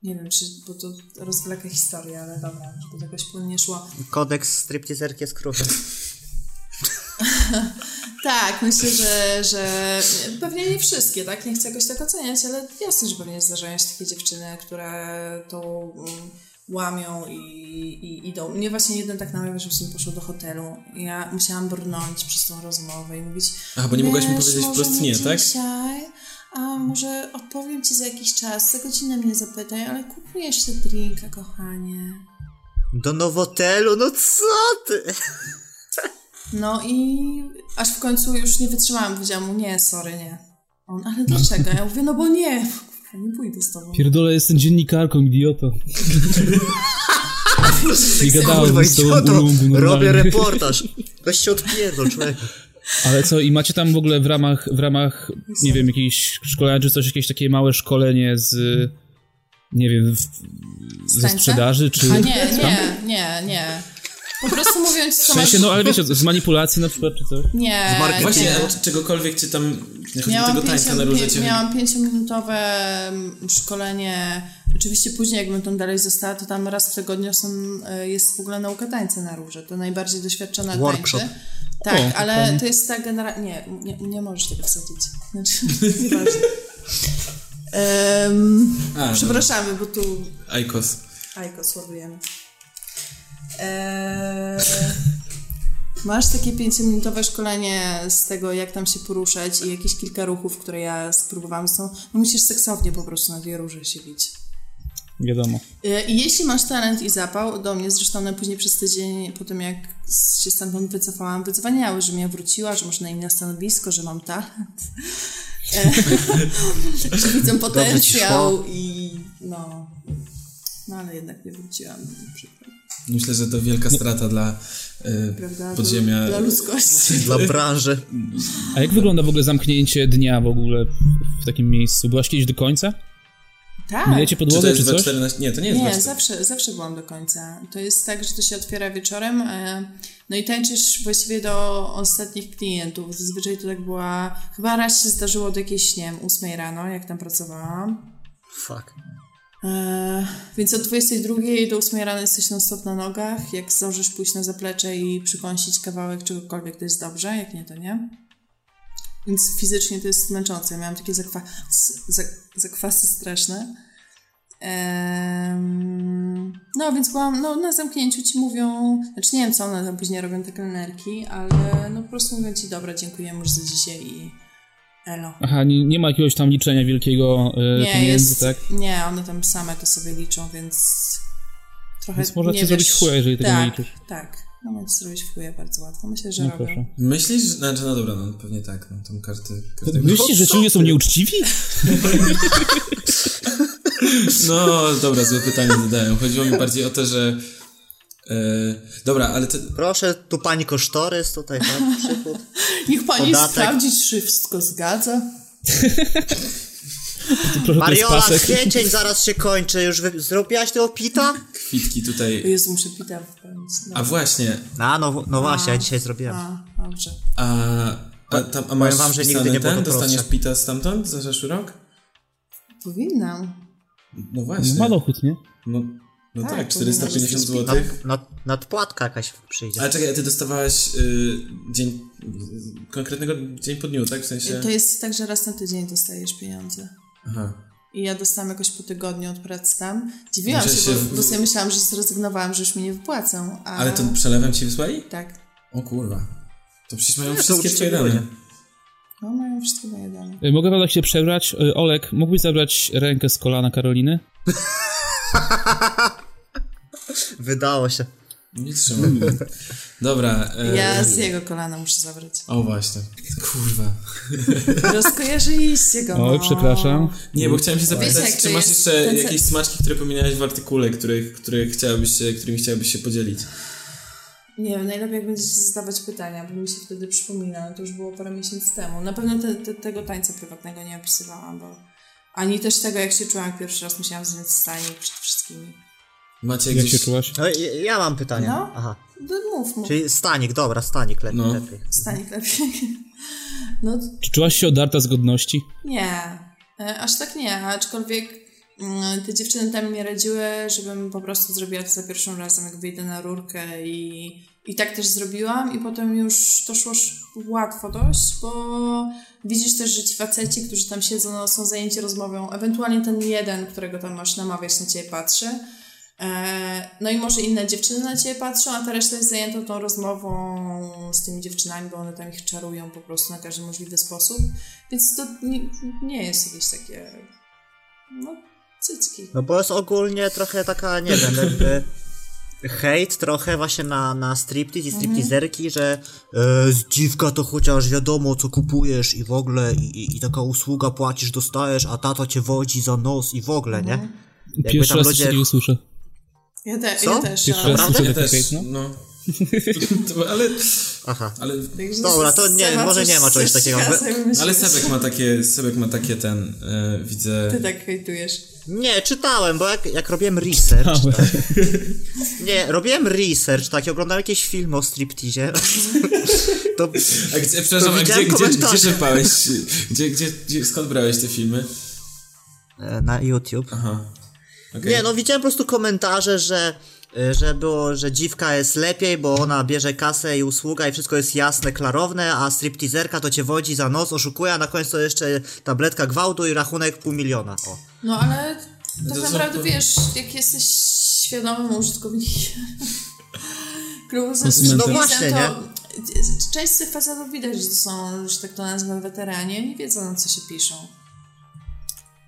Speaker 4: Nie wiem, czy, bo to rozwleka historię, ale dobra, żeby to jakoś płynnie szło.
Speaker 3: Kodeks striptizerki jest kruchy.
Speaker 4: Tak, myślę, że, że pewnie nie wszystkie, tak? Nie chcę jakoś tak oceniać, ale jasne, że pewnie zdarzają się takie dziewczyny, które to mm, łamią i, i idą. Mnie właśnie jeden tak namawiał, żebym z nim poszła do hotelu. Ja musiałam brnąć przez tą rozmowę i mówić...
Speaker 1: Aha, bo nie mogłaś mi
Speaker 4: "Wiesz,
Speaker 1: powiedzieć
Speaker 4: może
Speaker 1: wprost nie, tak?
Speaker 4: dzisiaj, a może odpowiem ci za jakiś czas, za godzinę mnie zapytaj, ale kup mi jeszcze drinka, kochanie.
Speaker 3: Do nowotelu, no co ty?
Speaker 4: No i aż w końcu już nie wytrzymałam, powiedziałam mu nie, sorry, nie. On, ale dlaczego? Ja mówię, no bo nie, Kurwa, nie pójdę z tobą.
Speaker 2: Pierdolę, jestem dziennikarką, idioto. Nie gadałem
Speaker 3: Kurwa,
Speaker 2: z tobą
Speaker 3: idioto,
Speaker 2: bulungu,
Speaker 3: robię
Speaker 2: normalnie.
Speaker 3: reportaż. Weź się odpierdol, człowiek.
Speaker 2: Ale co, i macie tam w ogóle w ramach, w ramach nie wiem, jakiejś szkolenia czy coś, jakieś takie małe szkolenie z, nie wiem, w, ze
Speaker 4: Tańca?
Speaker 2: sprzedaży, czy...
Speaker 4: A nie, nie, nie, nie. Po prostu mówiąc,
Speaker 2: W
Speaker 4: co masz...
Speaker 2: sensie, no ale wiecie, z manipulacji na przykład, czy coś?
Speaker 4: Nie,
Speaker 3: Z marketingu.
Speaker 1: Właśnie,
Speaker 4: nie.
Speaker 1: a czy- czegokolwiek czy tam, nie chodzi o
Speaker 4: Miałam,
Speaker 1: tego tańca na róże
Speaker 4: pięcio,
Speaker 1: cię
Speaker 4: pie, miałam pięciominutowe mm, szkolenie. Oczywiście później, jakbym tam dalej została, to tam raz w tygodniu są, y, jest w ogóle nauka tańca na róże. To najbardziej doświadczone
Speaker 3: Workshop.
Speaker 4: tańczy. Tak,
Speaker 2: O,
Speaker 4: ale
Speaker 2: fajnie.
Speaker 4: to jest ta generacja... Nie, nie, nie możesz tego wsadzić. Znaczy, nieważne. Em,
Speaker 1: A, no.
Speaker 4: przepraszamy, bo tu
Speaker 1: Aikos.
Speaker 4: Ajko, słabujemy. Eee, masz takie 5-minutowe szkolenie z tego, jak tam się poruszać i jakieś kilka ruchów, które ja spróbowałam są. No musisz seksownie po prostu na dwie róże się bić.
Speaker 2: Wiadomo.
Speaker 4: Eee, I jeśli masz talent i zapał, do mnie zresztą na później przez tydzień, po tym jak s- się stamtąd wycofałam, wydzwaniały, że mnie wróciła, że może na inne stanowisko, że mam talent. Eee, że widzę potencjał i no... No ale jednak nie wróciłam. Przykro.
Speaker 1: Myślę, że to wielka strata dla y,
Speaker 4: prawda?
Speaker 1: podziemia.
Speaker 4: Dla ludzkości.
Speaker 3: Dla branży.
Speaker 2: A jak wygląda w ogóle zamknięcie dnia w ogóle w takim miejscu? Byłaś kiedyś do końca?
Speaker 4: Tak.
Speaker 2: Myjecie
Speaker 1: Czy to
Speaker 2: podłogę, czy,
Speaker 1: jest
Speaker 2: coś?
Speaker 1: 2.14? Nie, to nie jest
Speaker 4: Nie,
Speaker 1: 2.14.
Speaker 4: zawsze, zawsze byłam do końca. To jest tak, że to się otwiera wieczorem, e, no i tańczysz właściwie do ostatnich klientów. Zazwyczaj to tak była, chyba raz się zdarzyło do jakiejś, nie wiem, 8 rano, jak tam pracowałam.
Speaker 3: Fuck.
Speaker 4: E, więc od 22 do 8 rano jesteś non stop na nogach. Jak zdążysz pójść na zaplecze i przykąsić kawałek czegokolwiek, to jest dobrze, jak nie, to nie. Więc fizycznie to jest męczące. Ja miałam takie zakwasy, zakwasy straszne. Em, no, więc byłam, no, na zamknięciu ci mówią, znaczy nie wiem, co one tam później robią, te kelnerki, ale no po prostu mówią ci, dobra, dziękujemy już za dzisiaj i elo.
Speaker 2: Aha, nie, nie ma jakiegoś tam liczenia wielkiego e,
Speaker 4: Nie,
Speaker 2: pieniędzy,
Speaker 4: jest,
Speaker 2: tak?
Speaker 4: nie, one tam same to sobie liczą, więc trochę
Speaker 2: Więc można
Speaker 4: nie
Speaker 2: ci
Speaker 4: wiesz.
Speaker 2: zrobić chuja, jeżeli tego nie
Speaker 4: tak,
Speaker 2: liczysz.
Speaker 4: Tak, no możecie zrobić w chuja bardzo łatwo. Myślę, że
Speaker 2: No
Speaker 4: robią.
Speaker 2: proszę.
Speaker 1: Myślisz, że... Znaczy, no dobra, no pewnie tak, no tam karty... karty...
Speaker 2: Myślisz, że ci ludzie są nieuczciwi?
Speaker 1: No, dobra, złe pytanie zadałem. Chodziło mi bardziej o to, że... y, dobra, ale to...
Speaker 3: Proszę, tu pani kosztorys, tutaj pan przychód.
Speaker 4: Niech pani
Speaker 3: Podatek.
Speaker 4: sprawdzić, czy wszystko zgadza.
Speaker 2: Proszę, to jest
Speaker 3: Mariola,
Speaker 2: pasek.
Speaker 3: kwiecień zaraz się kończy, już wy... zrobiłaś tego pita?
Speaker 1: kwitki tutaj...
Speaker 4: Jezu, muszę pita wpędzić. No.
Speaker 1: A właśnie,
Speaker 3: A, no, no właśnie, ja dzisiaj zrobiłem.
Speaker 4: A, dobrze.
Speaker 1: a... A, tam, a masz
Speaker 3: wam, że nigdy
Speaker 1: wpisany
Speaker 3: nie było
Speaker 1: ten?
Speaker 3: to prostsze.
Speaker 1: Dostaniesz pita stamtąd za zeszły rok?
Speaker 4: Powinnam.
Speaker 1: No
Speaker 2: No,
Speaker 1: właśnie.
Speaker 2: Malochód, nie?
Speaker 1: No, no tak,
Speaker 4: Tak, powinno
Speaker 1: 450
Speaker 4: być
Speaker 1: zł.
Speaker 3: Nad, nad, No, nadpłatka jakaś przyjdzie.
Speaker 1: No, Ale czekaj, a ty dostawałaś y, dzień, y, konkretnego dzień po dniu, tak? W sensie...
Speaker 4: To jest tak, że raz na tydzień dostajesz pieniądze.
Speaker 1: Aha.
Speaker 4: I ja dostałam jakoś po tygodniu od pracy tam. Dziwiłam
Speaker 1: Że
Speaker 4: się,
Speaker 1: się
Speaker 4: bo,
Speaker 1: w-
Speaker 4: bo sobie myślałam, że zrezygnowałam, że już mi nie wypłacą. A...
Speaker 1: Ale to przelewem ci wysłali?
Speaker 4: Tak.
Speaker 1: O kurwa. To
Speaker 2: No,
Speaker 1: przecież mają
Speaker 3: to
Speaker 1: wszystkie
Speaker 3: uczciwi
Speaker 1: twoje dane.
Speaker 3: ludzie.
Speaker 4: No, mają wszystko moje dane.
Speaker 2: Y, Mogę Waldek się przebrać? Y, Olek, mógłbyś zabrać rękę z kolana Karoliny?
Speaker 3: Wydało się.
Speaker 1: Nie trzymam.
Speaker 2: Mm.
Speaker 1: Dobra. E,
Speaker 4: Ja z jego kolana muszę zabrać.
Speaker 1: O właśnie. Kurwa.
Speaker 4: Rozkojarzyliście go.
Speaker 2: Oj,
Speaker 4: no.
Speaker 2: przepraszam.
Speaker 1: Nie, bo chciałem się zapytać,
Speaker 4: jak to
Speaker 1: czy masz
Speaker 4: jest?
Speaker 1: jeszcze
Speaker 4: Ten se-
Speaker 1: jakieś smaczki, które pominąłeś w artykule, których, których chciałabyś się, którymi chciałabyś się podzielić?
Speaker 4: Nie wiem, najlepiej jak będziecie zadawać pytania, bo mi się wtedy przypomina. To już było parę miesięcy temu. Na pewno te, te, tego tańca prywatnego nie opisywałam, bo ani też tego, jak się czułam jak pierwszy raz, musiałam znieść stanie przed wszystkimi.
Speaker 1: Macie
Speaker 2: Jak
Speaker 1: gdzieś...
Speaker 2: się czułaś?
Speaker 3: No, i- ja mam pytanie.
Speaker 4: No.
Speaker 3: Aha.
Speaker 4: No, mów mu,
Speaker 3: Czyli stanik, dobra, stanik lepiej.
Speaker 1: No.
Speaker 3: lepiej.
Speaker 4: stanik lepiej. No
Speaker 2: Czy czułaś się odarta z godności?
Speaker 4: Nie, e, aż tak nie, aczkolwiek mm, te dziewczyny tam mi radziły, żebym po prostu zrobiła to za pierwszym razem, jak wyjdę na rurkę i, i tak też zrobiłam i potem już to szło sz- łatwo dość, bo widzisz też, że ci faceci, którzy tam siedzą, no, są zajęci rozmową, ewentualnie ten jeden, którego tam masz namawiać, na ciebie patrzy. E, No i może inne dziewczyny na ciebie patrzą, a ta reszta jest zajęta tą rozmową z tymi dziewczynami, bo one tam ich czarują po prostu na każdy możliwy sposób. Więc to nie, nie jest jakieś takie. No, cycki.
Speaker 3: No bo jest ogólnie trochę taka, nie wiem, jakby hejt trochę właśnie na, na striptease i stripteaserki, że e, z dziwka to chociaż wiadomo co kupujesz i w ogóle i, i, i taka usługa płacisz, dostajesz, a tata cię wodzi za nos i w ogóle, nie? Jakby
Speaker 2: Pierwszy
Speaker 3: tam
Speaker 2: raz coś
Speaker 3: ludzie...
Speaker 2: takiego słyszę.
Speaker 4: Ja, te,
Speaker 3: Co?
Speaker 4: ja też.
Speaker 2: Pierwszy
Speaker 4: ale-
Speaker 2: raz słyszę
Speaker 1: Ja
Speaker 2: taki
Speaker 1: też,
Speaker 2: hejt, no.
Speaker 1: no. ale,
Speaker 3: Aha.
Speaker 1: ale,
Speaker 4: Także
Speaker 3: Dobra,
Speaker 4: z-
Speaker 3: to nie,
Speaker 4: Seba
Speaker 3: może
Speaker 4: coś-
Speaker 3: nie ma czegoś
Speaker 4: coś
Speaker 3: takiego.
Speaker 4: ja sobie
Speaker 1: ale
Speaker 4: myślę,
Speaker 1: Sebek ma takie, Sebek ma takie ten, e, widzę...
Speaker 4: Ty tak hejtujesz.
Speaker 3: Nie, czytałem, bo jak, jak robiłem research,
Speaker 2: Małe.
Speaker 3: nie, robiłem research, tak, i oglądałem jakieś filmy o striptizie, to
Speaker 1: A E, gdzie, przepraszam, a
Speaker 3: To
Speaker 1: gdzie,
Speaker 3: widziałem
Speaker 1: gdzie,
Speaker 3: komentarze.
Speaker 1: gdzie czerpałeś? Gdzie, gdzie, gdzie, skąd brałeś te filmy?
Speaker 3: e, na YouTube.
Speaker 1: Aha. Okej.
Speaker 3: Nie, no widziałem po prostu komentarze, że, y, że było, że dziwka jest lepiej, bo ona bierze kasę i usługa i wszystko jest jasne, klarowne, a striptizerka to cię wodzi za nos, oszukuje, a na końcu to jeszcze tabletka gwałtu i rachunek pół miliona. O.
Speaker 4: No ale tak
Speaker 1: to są-
Speaker 4: naprawdę wiesz, jak jesteś świadomym użytkownikiem klubu ze
Speaker 2: Konsumentem.
Speaker 4: striptizem,
Speaker 3: No właśnie,
Speaker 4: to e, część z tych facetów widać, że to są, że tak to nazwę, weteranie, nie wiedzą na co się piszą.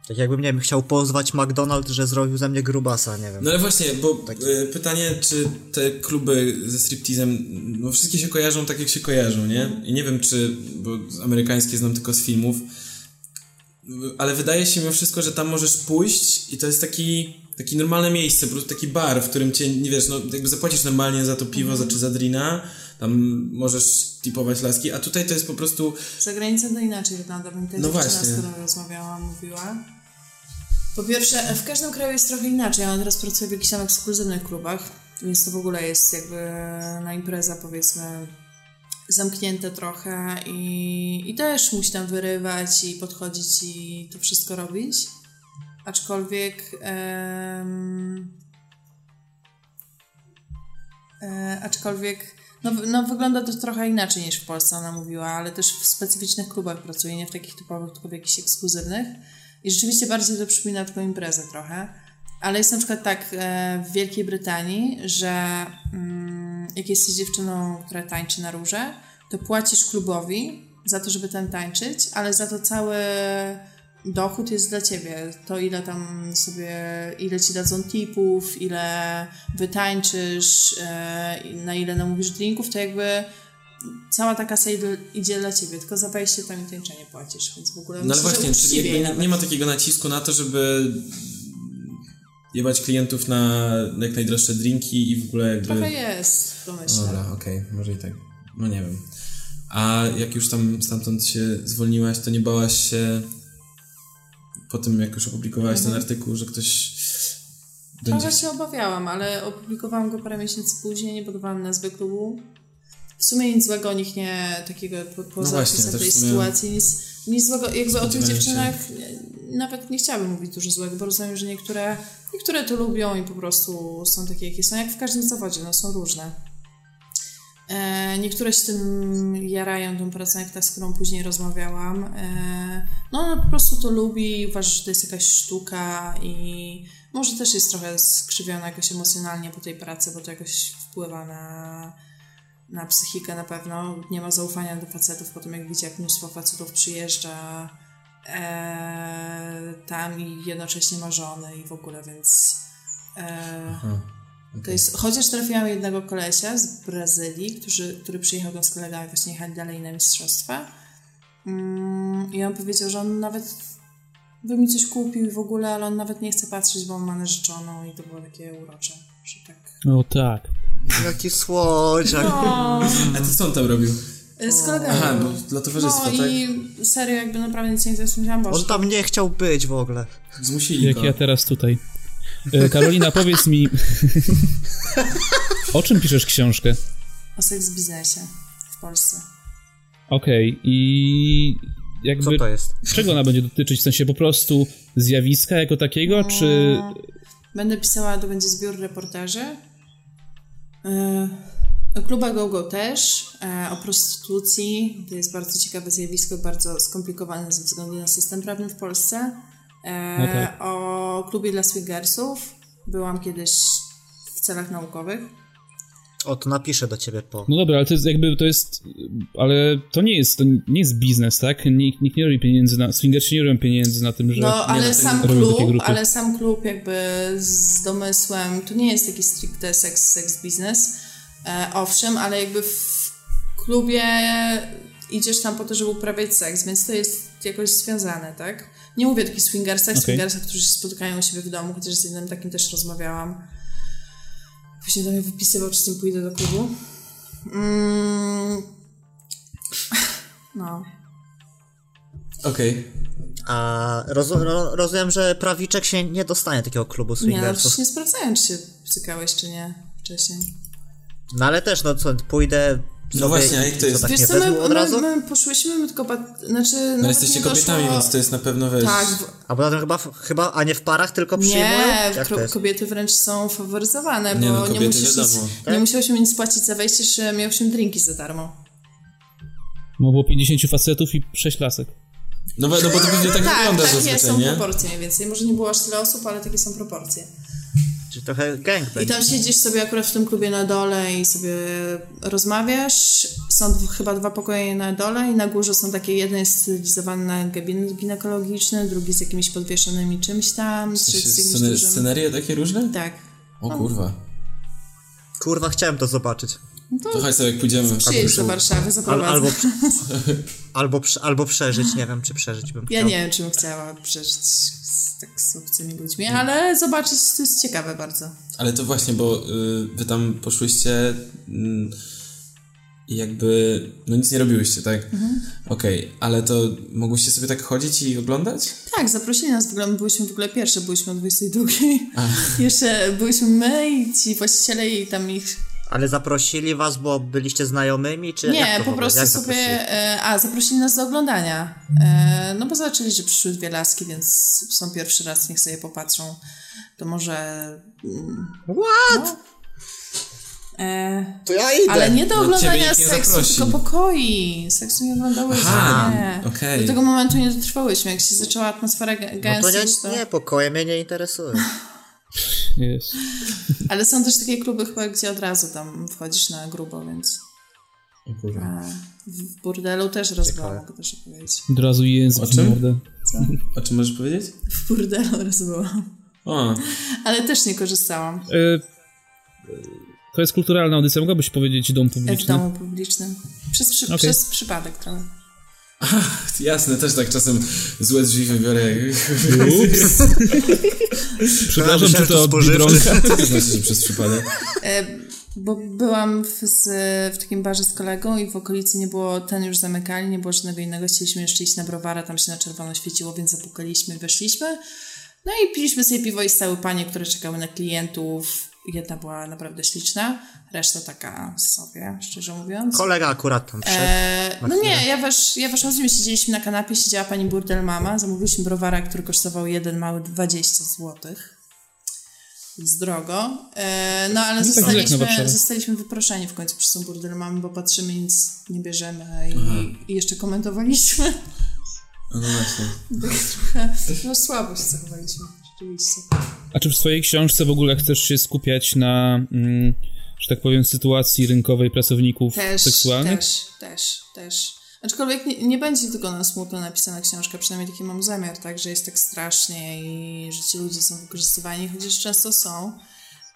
Speaker 3: Tak jakbym, nie wiem, chciał pozwać McDonald, że zrobił ze mnie grubasa, nie wiem.
Speaker 1: No ale właśnie, bo e, pytanie, czy te kluby ze striptizem, no wszystkie się kojarzą tak jak się kojarzą, nie? I nie wiem czy, bo amerykańskie znam tylko z filmów, w- ale wydaje się mimo wszystko, że tam możesz pójść i to jest taki, taki normalne miejsce, po prostu taki bar, w którym cię, nie wiesz, no jakby zapłacisz normalnie za to piwo za, czy za drina, tam możesz tipować laski, a tutaj to jest po prostu,
Speaker 4: Za granicą to inaczej wygląda, bym też
Speaker 1: No
Speaker 4: no dziewczyna,
Speaker 1: właśnie.
Speaker 4: z którą rozmawiałam, mówiła. Po pierwsze, e, w każdym kraju jest trochę inaczej. Ja teraz pracuję w jakichś tam ekskluzywnych klubach, więc to w ogóle jest jakby na impreza, powiedzmy, zamknięte trochę i, i też musi tam wyrywać i podchodzić i to wszystko robić. Aczkolwiek. em, E, aczkolwiek no, w- no, wygląda to trochę inaczej niż w Polsce, ona mówiła, ale też w specyficznych klubach pracuje, nie w takich typowych, tylko w jakichś ekskluzywnych. I rzeczywiście bardziej to przypomina tylko imprezę trochę. Ale jest na przykład tak e, w Wielkiej Brytanii, że mm, jak jesteś dziewczyną, która tańczy na róże, to płacisz klubowi za to, żeby tam tańczyć, ale za to cały dochód jest dla ciebie. To ile tam sobie, ile ci dadzą tipów, ile wytańczysz, e, i na ile namówisz drinków, to jakby cała ta kasa idzie- idzie dla ciebie, tylko za wejście tam i tańczenie płacisz, więc w ogóle
Speaker 1: no ale
Speaker 4: myślę, że
Speaker 1: właśnie, czyli
Speaker 4: uczciwiej
Speaker 1: jakby nie,
Speaker 4: nawet.
Speaker 1: nie ma takiego nacisku na to, żeby jebać klientów na jak najdroższe drinki i w ogóle jakby...
Speaker 4: Trochę jest, to myślę.
Speaker 1: Dobra, okej, może i tak. No nie wiem. A jak już tam stamtąd się zwolniłaś, to nie bałaś się po tym, jak już opublikowałaś
Speaker 4: Mhm.
Speaker 1: ten artykuł, że ktoś będzie...
Speaker 4: Trochę się No obawiałam, ale opublikowałam go parę miesięcy później, nie podawałam nazwy klubu. W sumie nic złego o nich nie, takiego po, poza
Speaker 1: No właśnie,
Speaker 4: opisem
Speaker 1: też
Speaker 4: tej
Speaker 1: w sumie-
Speaker 4: sytuacji, nic, nic złego, jakby o
Speaker 1: Spodziewałem
Speaker 4: tych
Speaker 1: się.
Speaker 4: dziewczynach e, nawet nie chciałabym mówić dużo złego, bo rozumiem, że niektóre, niektóre to lubią i po prostu są takie, jakie są, jak w każdym zawodzie, no są różne. E, niektóre się tym jarają, tą pracą, jak ta, z którą później rozmawiałam. E, no ona po prostu to lubi, uważa, że to jest jakaś sztuka i może też jest trochę skrzywiona jakoś emocjonalnie po tej pracy, bo to jakoś wpływa na, na psychikę na pewno. Nie ma zaufania do facetów po tym, jak widzi, jak mnóstwo facetów przyjeżdża e, tam i jednocześnie ma żonę i w ogóle, więc... E,
Speaker 1: Aha,
Speaker 4: to jest, chociaż trafiłam jednego kolesia z Brazylii, który, który przyjechał tam z kolegami, właśnie jechali dalej na mistrzostwa. Mm, I on powiedział, że on nawet by mi coś kupił i w ogóle, ale on nawet nie chce patrzeć, bo on ma narzeczoną i to było takie urocze, że tak.
Speaker 2: O tak.
Speaker 3: Jaki słodziak.
Speaker 4: No,
Speaker 1: A ty co on tam robił?
Speaker 4: E, z kolegami.
Speaker 1: Aha, bo dla towarzystwa,
Speaker 4: no
Speaker 1: tak?
Speaker 4: i serio, jakby naprawdę nic nie interesowałam, bo
Speaker 3: On tam nie chciał być w ogóle.
Speaker 1: Zmusili
Speaker 2: Jak
Speaker 1: go.
Speaker 2: ja teraz tutaj. E, Karolina, powiedz mi. o czym piszesz książkę?
Speaker 4: o seks biznesie w Polsce.
Speaker 2: Okej, i jakby.
Speaker 3: Co to jest?
Speaker 2: Czego ona będzie dotyczyć? W sensie po prostu zjawiska jako takiego, czy.
Speaker 4: Będę pisała, to będzie zbiór reportaży. E, O klubach GoGo też, e, o prostytucji. To jest bardzo ciekawe zjawisko, bardzo skomplikowane ze względu na system prawny w Polsce. E,
Speaker 2: No tak.
Speaker 4: O klubie dla swingersów. Byłam kiedyś w celach naukowych.
Speaker 3: O, to napiszę do ciebie po.
Speaker 2: No dobra, ale to jest jakby, to jest, ale to nie jest, to nie jest biznes, tak? Nikt, nikt nie robi pieniędzy na, swingersi nie robią pieniędzy na tym, że...
Speaker 4: No, ale sam
Speaker 2: robią takie
Speaker 4: klub,
Speaker 2: grupy.
Speaker 4: ale sam klub jakby z domysłem, to nie jest taki stricte seks, seks biznes, e, owszem, ale jakby w klubie idziesz tam po to, żeby uprawiać seks, więc to jest jakoś związane, tak? Nie mówię o takich swingersach,
Speaker 2: Okej.
Speaker 4: swingersach, którzy się spotykają u siebie w domu, chociaż z jednym takim też rozmawiałam. Później do mnie wypisywał, czy z tym pójdę do klubu. Mm. No.
Speaker 1: Okej. No,
Speaker 3: A rozu- ro- rozumiem, że prawiczek się nie dostanie takiego klubu
Speaker 4: Nie, no
Speaker 3: swingersów.
Speaker 4: przecież nie sprawdzałem, czy się cykałeś, czy nie wcześniej.
Speaker 3: No ale też, no co, pójdę...
Speaker 1: No
Speaker 3: sobie
Speaker 1: właśnie, a
Speaker 3: i
Speaker 1: jak to jest?
Speaker 3: Co, tak
Speaker 4: Wiesz
Speaker 3: mnie
Speaker 4: co, my,
Speaker 3: wezmą od razu?
Speaker 4: my, my poszłyśmy, my tylko... Bat... Znaczy,
Speaker 1: No
Speaker 4: nawet
Speaker 1: jesteście
Speaker 4: nie
Speaker 1: kobietami,
Speaker 4: doszło...
Speaker 1: więc to jest na pewno weź.
Speaker 4: Tak, w...
Speaker 3: A poza tym chyba, chyba, a nie w parach, tylko przyjmują?
Speaker 4: Nie,
Speaker 3: Jak
Speaker 4: kro-
Speaker 3: to jest?
Speaker 4: kobiety wręcz są faworyzowane,
Speaker 1: Nie,
Speaker 4: bo
Speaker 1: no,
Speaker 4: nie,
Speaker 1: kobiety
Speaker 4: musisz nic,
Speaker 1: wiadomo.
Speaker 4: nie musiało się nic płacić za wejście, że miał się drinki za darmo.
Speaker 2: No było 50 facetów i 6 lasek.
Speaker 1: No, bo- no bo to pewnie tak,
Speaker 4: tak,
Speaker 1: wygląda
Speaker 4: takie
Speaker 1: zazwyczaj,
Speaker 4: są
Speaker 1: nie?
Speaker 4: proporcje mniej więcej. Może nie było aż tyle osób, ale takie są proporcje.
Speaker 3: Czy trochę gang
Speaker 4: I
Speaker 3: będzie?
Speaker 4: tam siedzisz sobie akurat w tym klubie na dole i sobie rozmawiasz. Są dw- chyba dwa pokoje na dole i na górze są takie, jeden jest stylizowany na gabinet ginekologiczny, drugi z jakimiś podwieszonymi czymś tam,
Speaker 1: W
Speaker 4: trzeci
Speaker 1: sensie
Speaker 4: z jakimś
Speaker 1: Znaczy, sceny-
Speaker 4: dużym...
Speaker 1: Scenerie takie różne?
Speaker 4: Tak.
Speaker 1: O kurwa.
Speaker 3: Kurwa, chciałem to zobaczyć.
Speaker 1: To chodź sobie, jak pójdziemy.
Speaker 4: Przyjedź do Warszawy,
Speaker 3: Al,
Speaker 4: zaprowadzę.
Speaker 3: albo, albo, prze- albo przeżyć, nie wiem, czy przeżyć bym
Speaker 4: Ja
Speaker 3: chciał.
Speaker 4: nie wiem, czy bym chciała przeżyć z, tak z obcymi ludźmi,
Speaker 1: Mm.
Speaker 4: ale zobaczyć to jest ciekawe bardzo.
Speaker 1: Ale to właśnie, bo y, wy tam poszłyście mm, i jakby, no nic nie robiłyście, tak? Okej, ale to mogłyście sobie tak chodzić i oglądać?
Speaker 4: Tak, zaprosili nas w ogóle, my byliśmy w ogóle pierwsze, byliśmy o 22. Jeszcze byliśmy my i ci właściciele i tam ich...
Speaker 3: Ale zaprosili was, bo byliście znajomymi, czy jak
Speaker 4: Nie,
Speaker 3: to w
Speaker 4: po
Speaker 3: ogóle?
Speaker 4: prostu
Speaker 3: jak
Speaker 4: sobie...
Speaker 3: zaprosili?
Speaker 4: e, A, zaprosili nas do oglądania. E, No bo zobaczyli, że przyszły dwie laski, więc są pierwszy raz, niech sobie popatrzą. To może... mm,
Speaker 3: What?
Speaker 4: E,
Speaker 3: To ja idę!
Speaker 4: Ale nie do
Speaker 1: No,
Speaker 4: oglądania
Speaker 1: ciebie nikt nie
Speaker 4: seksu,
Speaker 1: zaprosi.
Speaker 4: tylko pokoi. Seksu nie oglądałyśmy.
Speaker 1: Aha,
Speaker 4: nie.
Speaker 1: okej.
Speaker 4: Do tego momentu nie dotrwałyśmy. Jak się zaczęła atmosfera gę-
Speaker 3: No to nie,
Speaker 4: gęsić, to...
Speaker 3: nie, pokoje mnie nie interesują.
Speaker 2: Jest.
Speaker 4: Ale są też takie kluby chyba, gdzie od razu tam wchodzisz na grubo, więc...
Speaker 1: O kurwa.
Speaker 4: A w burdelu też rozbyła, mogę też powiedzieć.
Speaker 2: Od razu język
Speaker 1: O czym?
Speaker 2: w mordę.
Speaker 4: Co?
Speaker 1: O czym możesz powiedzieć?
Speaker 4: W burdelu rozbyłam.
Speaker 1: O,
Speaker 4: Ale też nie korzystałam.
Speaker 2: E, e, to jest kulturalna audycja, mogłabyś powiedzieć dom
Speaker 4: W
Speaker 2: publiczny?
Speaker 4: domu publicznym. Przez, przy,
Speaker 2: Okej.
Speaker 4: przez przypadek trochę.
Speaker 1: jasne, też tak czasem złe drzwi wybiorę.
Speaker 2: Ups. Przepraszam,
Speaker 3: myślałem,
Speaker 2: czy
Speaker 3: że
Speaker 2: to
Speaker 3: to spożywcze.
Speaker 2: Biedronka?
Speaker 1: Co to znaczy, że przez przypadek?
Speaker 4: E, Bo byłam w, z, w takim barze z kolegą i w okolicy nie było, ten już zamykali, nie było żadnego innego. Chcieliśmy jeszcze iść na browara, tam się na czerwono świeciło, więc zapukaliśmy, weszliśmy. No i piliśmy sobie piwo i stały panie, które czekały na klientów. Jedna była naprawdę śliczna, reszta taka sobie, szczerze mówiąc.
Speaker 3: Kolega akurat tam wszedł.
Speaker 4: E, no nie, ja, wesz, ja weszłam z nimi, siedzieliśmy na kanapie, siedziała pani burdel mama, zamówiliśmy browara, który kosztował jeden mały 20 złotych. Z drogo. E, no ale
Speaker 2: tak źle jak na
Speaker 4: zostaliśmy,
Speaker 2: Warszawę.
Speaker 4: zostaliśmy wyproszeni w końcu przez tą burdel mamy, bo patrzymy, nic nie bierzemy i, i jeszcze komentowaliśmy.
Speaker 1: No właśnie.
Speaker 4: No słabość zachowaliśmy, rzeczywiście.
Speaker 2: A czy w swojej książce w ogóle chcesz się skupiać na, mm, że tak powiem, sytuacji rynkowej pracowników
Speaker 4: Też,
Speaker 2: seksualnych?
Speaker 4: też, też, też. Aczkolwiek nie, nie będzie tylko na smutno napisana książka, przynajmniej taki mam zamiar, tak, że jest tak strasznie i że ci ludzie są wykorzystywani, chociaż często są.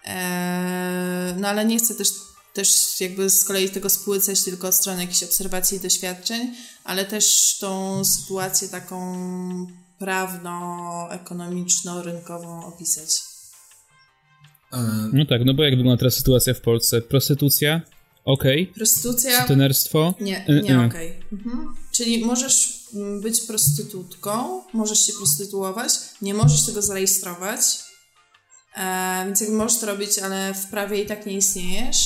Speaker 4: Eee, no ale nie chcę też, też jakby z kolei tego spłycać tylko od strony jakichś obserwacji i doświadczeń, ale też tą sytuację taką prawno-ekonomiczno-rynkową opisać.
Speaker 1: A,
Speaker 2: No tak, no bo jak wygląda teraz sytuacja w Polsce? Prostytucja? Okej.
Speaker 4: Prostytucja...
Speaker 2: Tenerstwo?
Speaker 4: Nie,
Speaker 2: Y,
Speaker 4: nie
Speaker 2: y.
Speaker 4: okej. Mhm. Czyli możesz mm, być prostytutką, możesz się prostytuować, nie możesz tego zarejestrować, e, więc jakby możesz to robić, ale w prawie i tak nie istniejesz.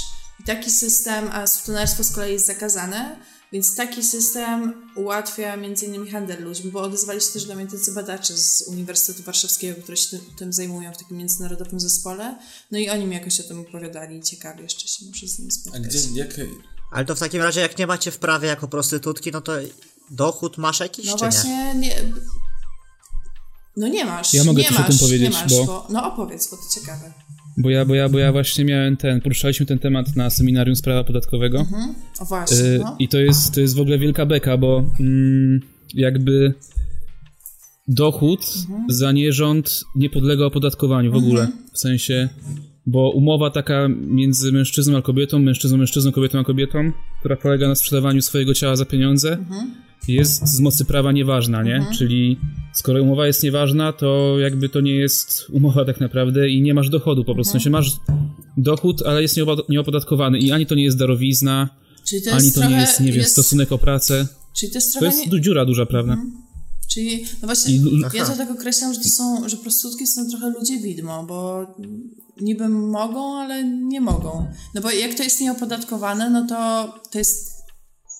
Speaker 4: I taki system, a sutenerstwo z kolei jest zakazane, więc taki system ułatwia między innymi handel ludźmi, bo odezwali się też do mnie tacy badacze z Uniwersytetu Warszawskiego, które się tym, tym zajmują w takim międzynarodowym zespole, no i oni mi jakoś o tym opowiadali, ciekawie jeszcze się muszę z nimi
Speaker 1: a
Speaker 4: spotkać.
Speaker 1: gdzie, jak...
Speaker 3: Ale to w takim razie, jak nie macie w prawie jako prostytutki, no to dochód masz jakiś,
Speaker 4: No
Speaker 3: czy nie?
Speaker 4: właśnie nie. No nie masz.
Speaker 2: Ja mogę
Speaker 4: nie
Speaker 2: coś o
Speaker 4: masz,
Speaker 2: tym powiedzieć,
Speaker 4: nie masz,
Speaker 2: bo-
Speaker 4: No opowiedz, bo to ciekawe.
Speaker 2: Bo ja, bo ja, bo ja właśnie miałem ten, poruszaliśmy ten temat na seminarium z prawa podatkowego.
Speaker 4: O właśnie,
Speaker 2: Y,
Speaker 4: no.
Speaker 2: I to jest, to jest w ogóle wielka beka, bo mm, jakby dochód za nierząd nie podlega opodatkowaniu w ogóle. W sensie, bo umowa taka między mężczyzną a kobietą, mężczyzną a mężczyzną, kobietą a kobietą, która polega na sprzedawaniu swojego ciała za pieniądze, jest z mocy prawa nieważna, nie? Czyli skoro umowa jest nieważna, to jakby to nie jest umowa tak naprawdę i nie masz dochodu po prostu. W sensie masz dochód, ale jest nieoba- nieopodatkowany i ani to nie jest darowizna,
Speaker 4: Czyli to
Speaker 2: ani to nie
Speaker 4: trochę-
Speaker 2: jest, nie wiem, stosunek o pracę.
Speaker 4: Czyli to
Speaker 2: To
Speaker 4: jest trochę...
Speaker 2: jest
Speaker 4: nie- Mhm.
Speaker 2: du- dziura duża, prawda?
Speaker 4: Czyli, no właśnie,
Speaker 2: I-
Speaker 4: ja
Speaker 3: Aha.
Speaker 4: to tak określam, że to są, że prostytutki są trochę ludzie widmo, bo niby mogą, ale nie mogą. No bo jak to jest nieopodatkowane, no to to jest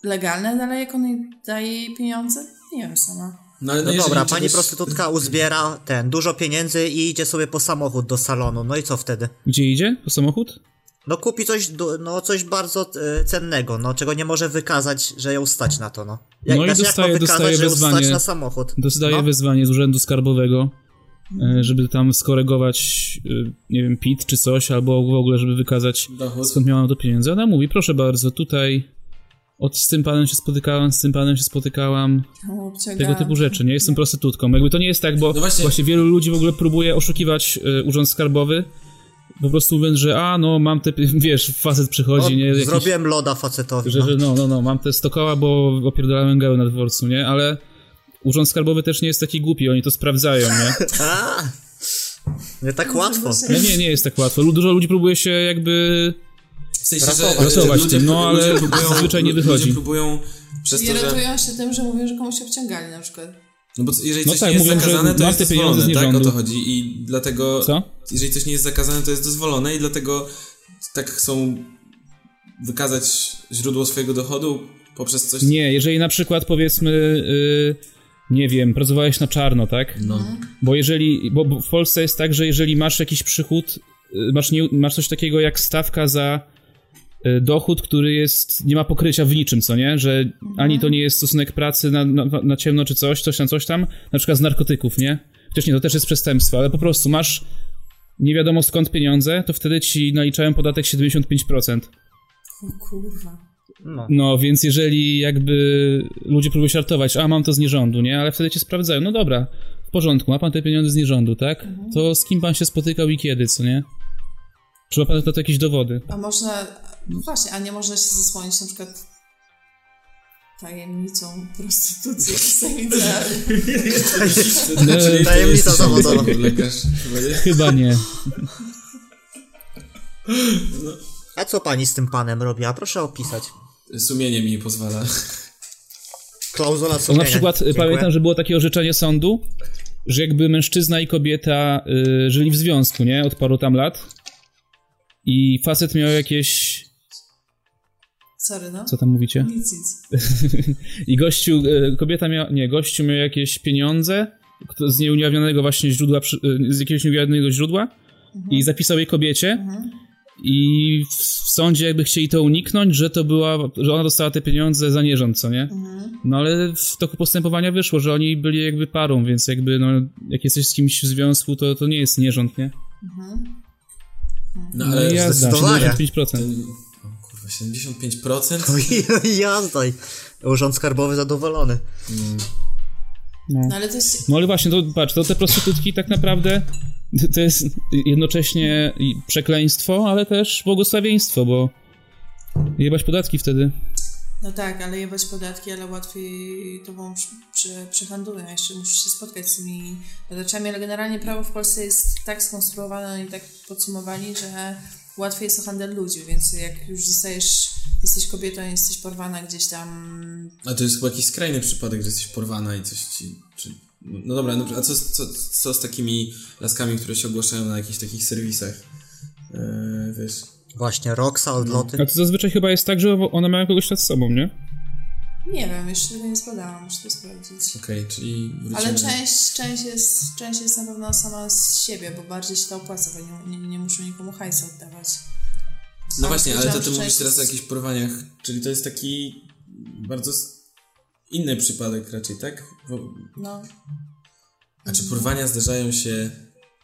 Speaker 4: legalne, ale jak on jej daje jej pieniądze? Nie wiem sama.
Speaker 1: No, ale
Speaker 3: No
Speaker 1: jeżeli
Speaker 3: dobra,
Speaker 1: czegoś-
Speaker 3: pani prostytutka uzbiera ten, dużo pieniędzy i idzie sobie po samochód do salonu, no i co wtedy?
Speaker 2: Gdzie idzie? Po samochód?
Speaker 3: No kupi coś, du- no coś bardzo e, cennego, no czego nie może wykazać, że ją stać na to, no.
Speaker 2: No i
Speaker 3: znaczy,
Speaker 2: dostaje-
Speaker 3: ma wykazać,
Speaker 2: dostaje
Speaker 3: że ją
Speaker 2: wezwanie.
Speaker 3: stać na samochód?
Speaker 2: Dostaje
Speaker 3: no.
Speaker 2: wezwanie z urzędu skarbowego,
Speaker 4: Mhm.
Speaker 2: e, żeby tam skorygować, e, nie wiem, PIT czy coś, albo w ogóle, żeby wykazać
Speaker 1: Dochód.
Speaker 2: skąd miała to pieniądze. Ona mówi, proszę bardzo, tutaj od z tym panem się spotykałam, z tym panem się spotykałam,
Speaker 4: Tam obciąga-
Speaker 2: tego typu rzeczy, nie? Jestem prostytutką. Jakby to nie jest tak, bo
Speaker 1: No właśnie-
Speaker 2: właśnie... wielu ludzi w ogóle próbuje oszukiwać y, urząd skarbowy, po prostu mówiąc, że a, no mam te, pi- wiesz, facet przychodzi,
Speaker 3: No,
Speaker 2: nie? Jakiś,
Speaker 3: Zrobiłem loda facetowi,
Speaker 2: że,
Speaker 3: no.
Speaker 2: że no, no, no, mam te 100 koła, bo opierdalałem gały na dworcu, nie? Ale urząd skarbowy też nie jest taki głupi, oni to sprawdzają, nie?
Speaker 3: A! Nie tak łatwo.
Speaker 2: No nie, nie jest tak łatwo. Lu- Dużo ludzi próbuje się jakby...
Speaker 1: W sensie, że
Speaker 3: Ratować.
Speaker 1: że
Speaker 2: Ratować
Speaker 1: ludzie
Speaker 2: tym, no,
Speaker 1: pró-
Speaker 2: ale
Speaker 1: ludzie próbują-
Speaker 2: zazwyczaj nie wychodzi.
Speaker 1: Ludzie próbują przez
Speaker 4: I
Speaker 1: to, że...
Speaker 4: irytują się tym, że mówią, że komuś obciągali na przykład.
Speaker 1: No bo co- jeżeli
Speaker 2: No
Speaker 1: coś
Speaker 2: tak,
Speaker 1: nie jest
Speaker 2: mówią, że
Speaker 1: zakazane, to
Speaker 2: masz
Speaker 1: jest
Speaker 2: te pieniądze
Speaker 1: dozwolone,
Speaker 2: z
Speaker 1: tak? O
Speaker 2: nierządu.
Speaker 1: to chodzi i dlatego...
Speaker 2: Co?
Speaker 1: Jeżeli coś nie jest zakazane, to jest dozwolone i dlatego tak chcą wykazać źródło swojego dochodu poprzez coś...
Speaker 2: Nie, jeżeli na przykład powiedzmy... y, nie wiem, pracowałeś na czarno, tak?
Speaker 1: No.
Speaker 2: Bo jeżeli, bo bo w Polsce jest tak, że jeżeli masz jakiś przychód, y, masz, nie, masz coś takiego jak stawka za y, dochód, który jest, nie ma pokrycia w niczym, co nie? Że ani to nie jest stosunek pracy na, na, na ciemno czy coś, coś tam, coś tam, na przykład z narkotyków, nie? Chociaż nie, to też jest przestępstwo, ale po prostu masz nie wiadomo skąd pieniądze, to wtedy ci naliczają podatek 75%.
Speaker 4: O kurwa.
Speaker 3: No.
Speaker 2: No, więc jeżeli jakby ludzie próbują żartować, a mam to z nierządu, nie? Ale wtedy cię sprawdzają, no dobra, w porządku, ma pan te pieniądze z nierządu, tak? To z kim pan się spotykał i kiedy, co nie? Czy ma pan na to jakieś dowody?
Speaker 4: A można, no właśnie, a nie można się zasłonić na przykład tajemnicą prostytucji w sejmie.
Speaker 2: e,
Speaker 1: Czyli to
Speaker 3: Tajemnica
Speaker 1: jest- tak,
Speaker 3: zawodowa.
Speaker 1: Lekarz, chyba nie?
Speaker 2: Chyba nie.
Speaker 3: A co pani z tym panem robiła? Proszę opisać.
Speaker 1: Sumienie mi nie pozwala.
Speaker 3: Klauzula
Speaker 2: To
Speaker 3: sumienia.
Speaker 2: na przykład e, y,
Speaker 3: Dziękuję.
Speaker 2: pamiętam, że było takie orzeczenie sądu, że jakby mężczyzna i kobieta y, żyli w związku, nie? Od paru tam lat. I facet miał jakieś...
Speaker 4: Sorry, no.
Speaker 2: Co tam mówicie?
Speaker 4: Nic, nic.
Speaker 2: I gościu, e, kobieta miała, nie, gościu miał jakieś pieniądze kto- z nieujawnionego właśnie źródła, przy- e, z jakiegoś nieujawnionego źródła i zapisał je kobiecie
Speaker 4: Mhm.
Speaker 2: i w, w sądzie jakby chcieli to uniknąć, że to była, że ona dostała te pieniądze za nierząd, co nie? No ale w toku postępowania wyszło, że oni byli jakby parą, więc jakby no, jak jesteś z kimś w związku, to, to nie jest nierząd, nie?
Speaker 1: No
Speaker 2: No
Speaker 1: ale...
Speaker 2: i jazda,
Speaker 3: zdecydowanie.
Speaker 2: 75%.
Speaker 1: O Kurwa, 75%?
Speaker 3: No i- i jazda. i Urząd Skarbowy zadowolony.
Speaker 4: No ale to jest,
Speaker 2: No ale właśnie, to patrz, to te prostytutki tak naprawdę to jest jednocześnie i przekleństwo, ale też błogosławieństwo, bo jebać podatki wtedy.
Speaker 4: no tak, ale jebać podatki, ale łatwiej to wam przy, przy, przehandlują. Ja Jeszcze muszę się spotkać z tymi badaczami, ale generalnie prawo w Polsce jest tak skonstruowane i tak podsumowani, że łatwiej jest o handel ludzi, więc jak już zostajesz, jesteś kobietą, jesteś porwana gdzieś tam
Speaker 1: A to jest chyba jakiś skrajny przypadek, że jesteś porwana i coś ci... Czy... No dobra, no, a co, z- co, co z takimi laskami, które się ogłaszają na jakichś takich serwisach? Eee, wiesz...
Speaker 3: Właśnie, Roxa, odloty.
Speaker 2: A to zazwyczaj chyba jest tak, że one mają kogoś nad sobą, nie?
Speaker 4: Nie wiem, jeszcze tego nie zbadałam, muszę to sprawdzić.
Speaker 1: Okej, czyli wrócimy
Speaker 4: Ale
Speaker 1: do-
Speaker 4: część, część, jest, część jest na pewno sama z siebie, bo bardziej się to opłaca, bo nie, nie, nie muszę nikomu hajsa oddawać.
Speaker 1: No właśnie, ale to ty
Speaker 4: Część-
Speaker 1: mówisz teraz o jakichś porwaniach, czyli to jest taki bardzo s- inny przypadek raczej, tak? Bo,
Speaker 4: No,
Speaker 1: a czy porwania zdarzają się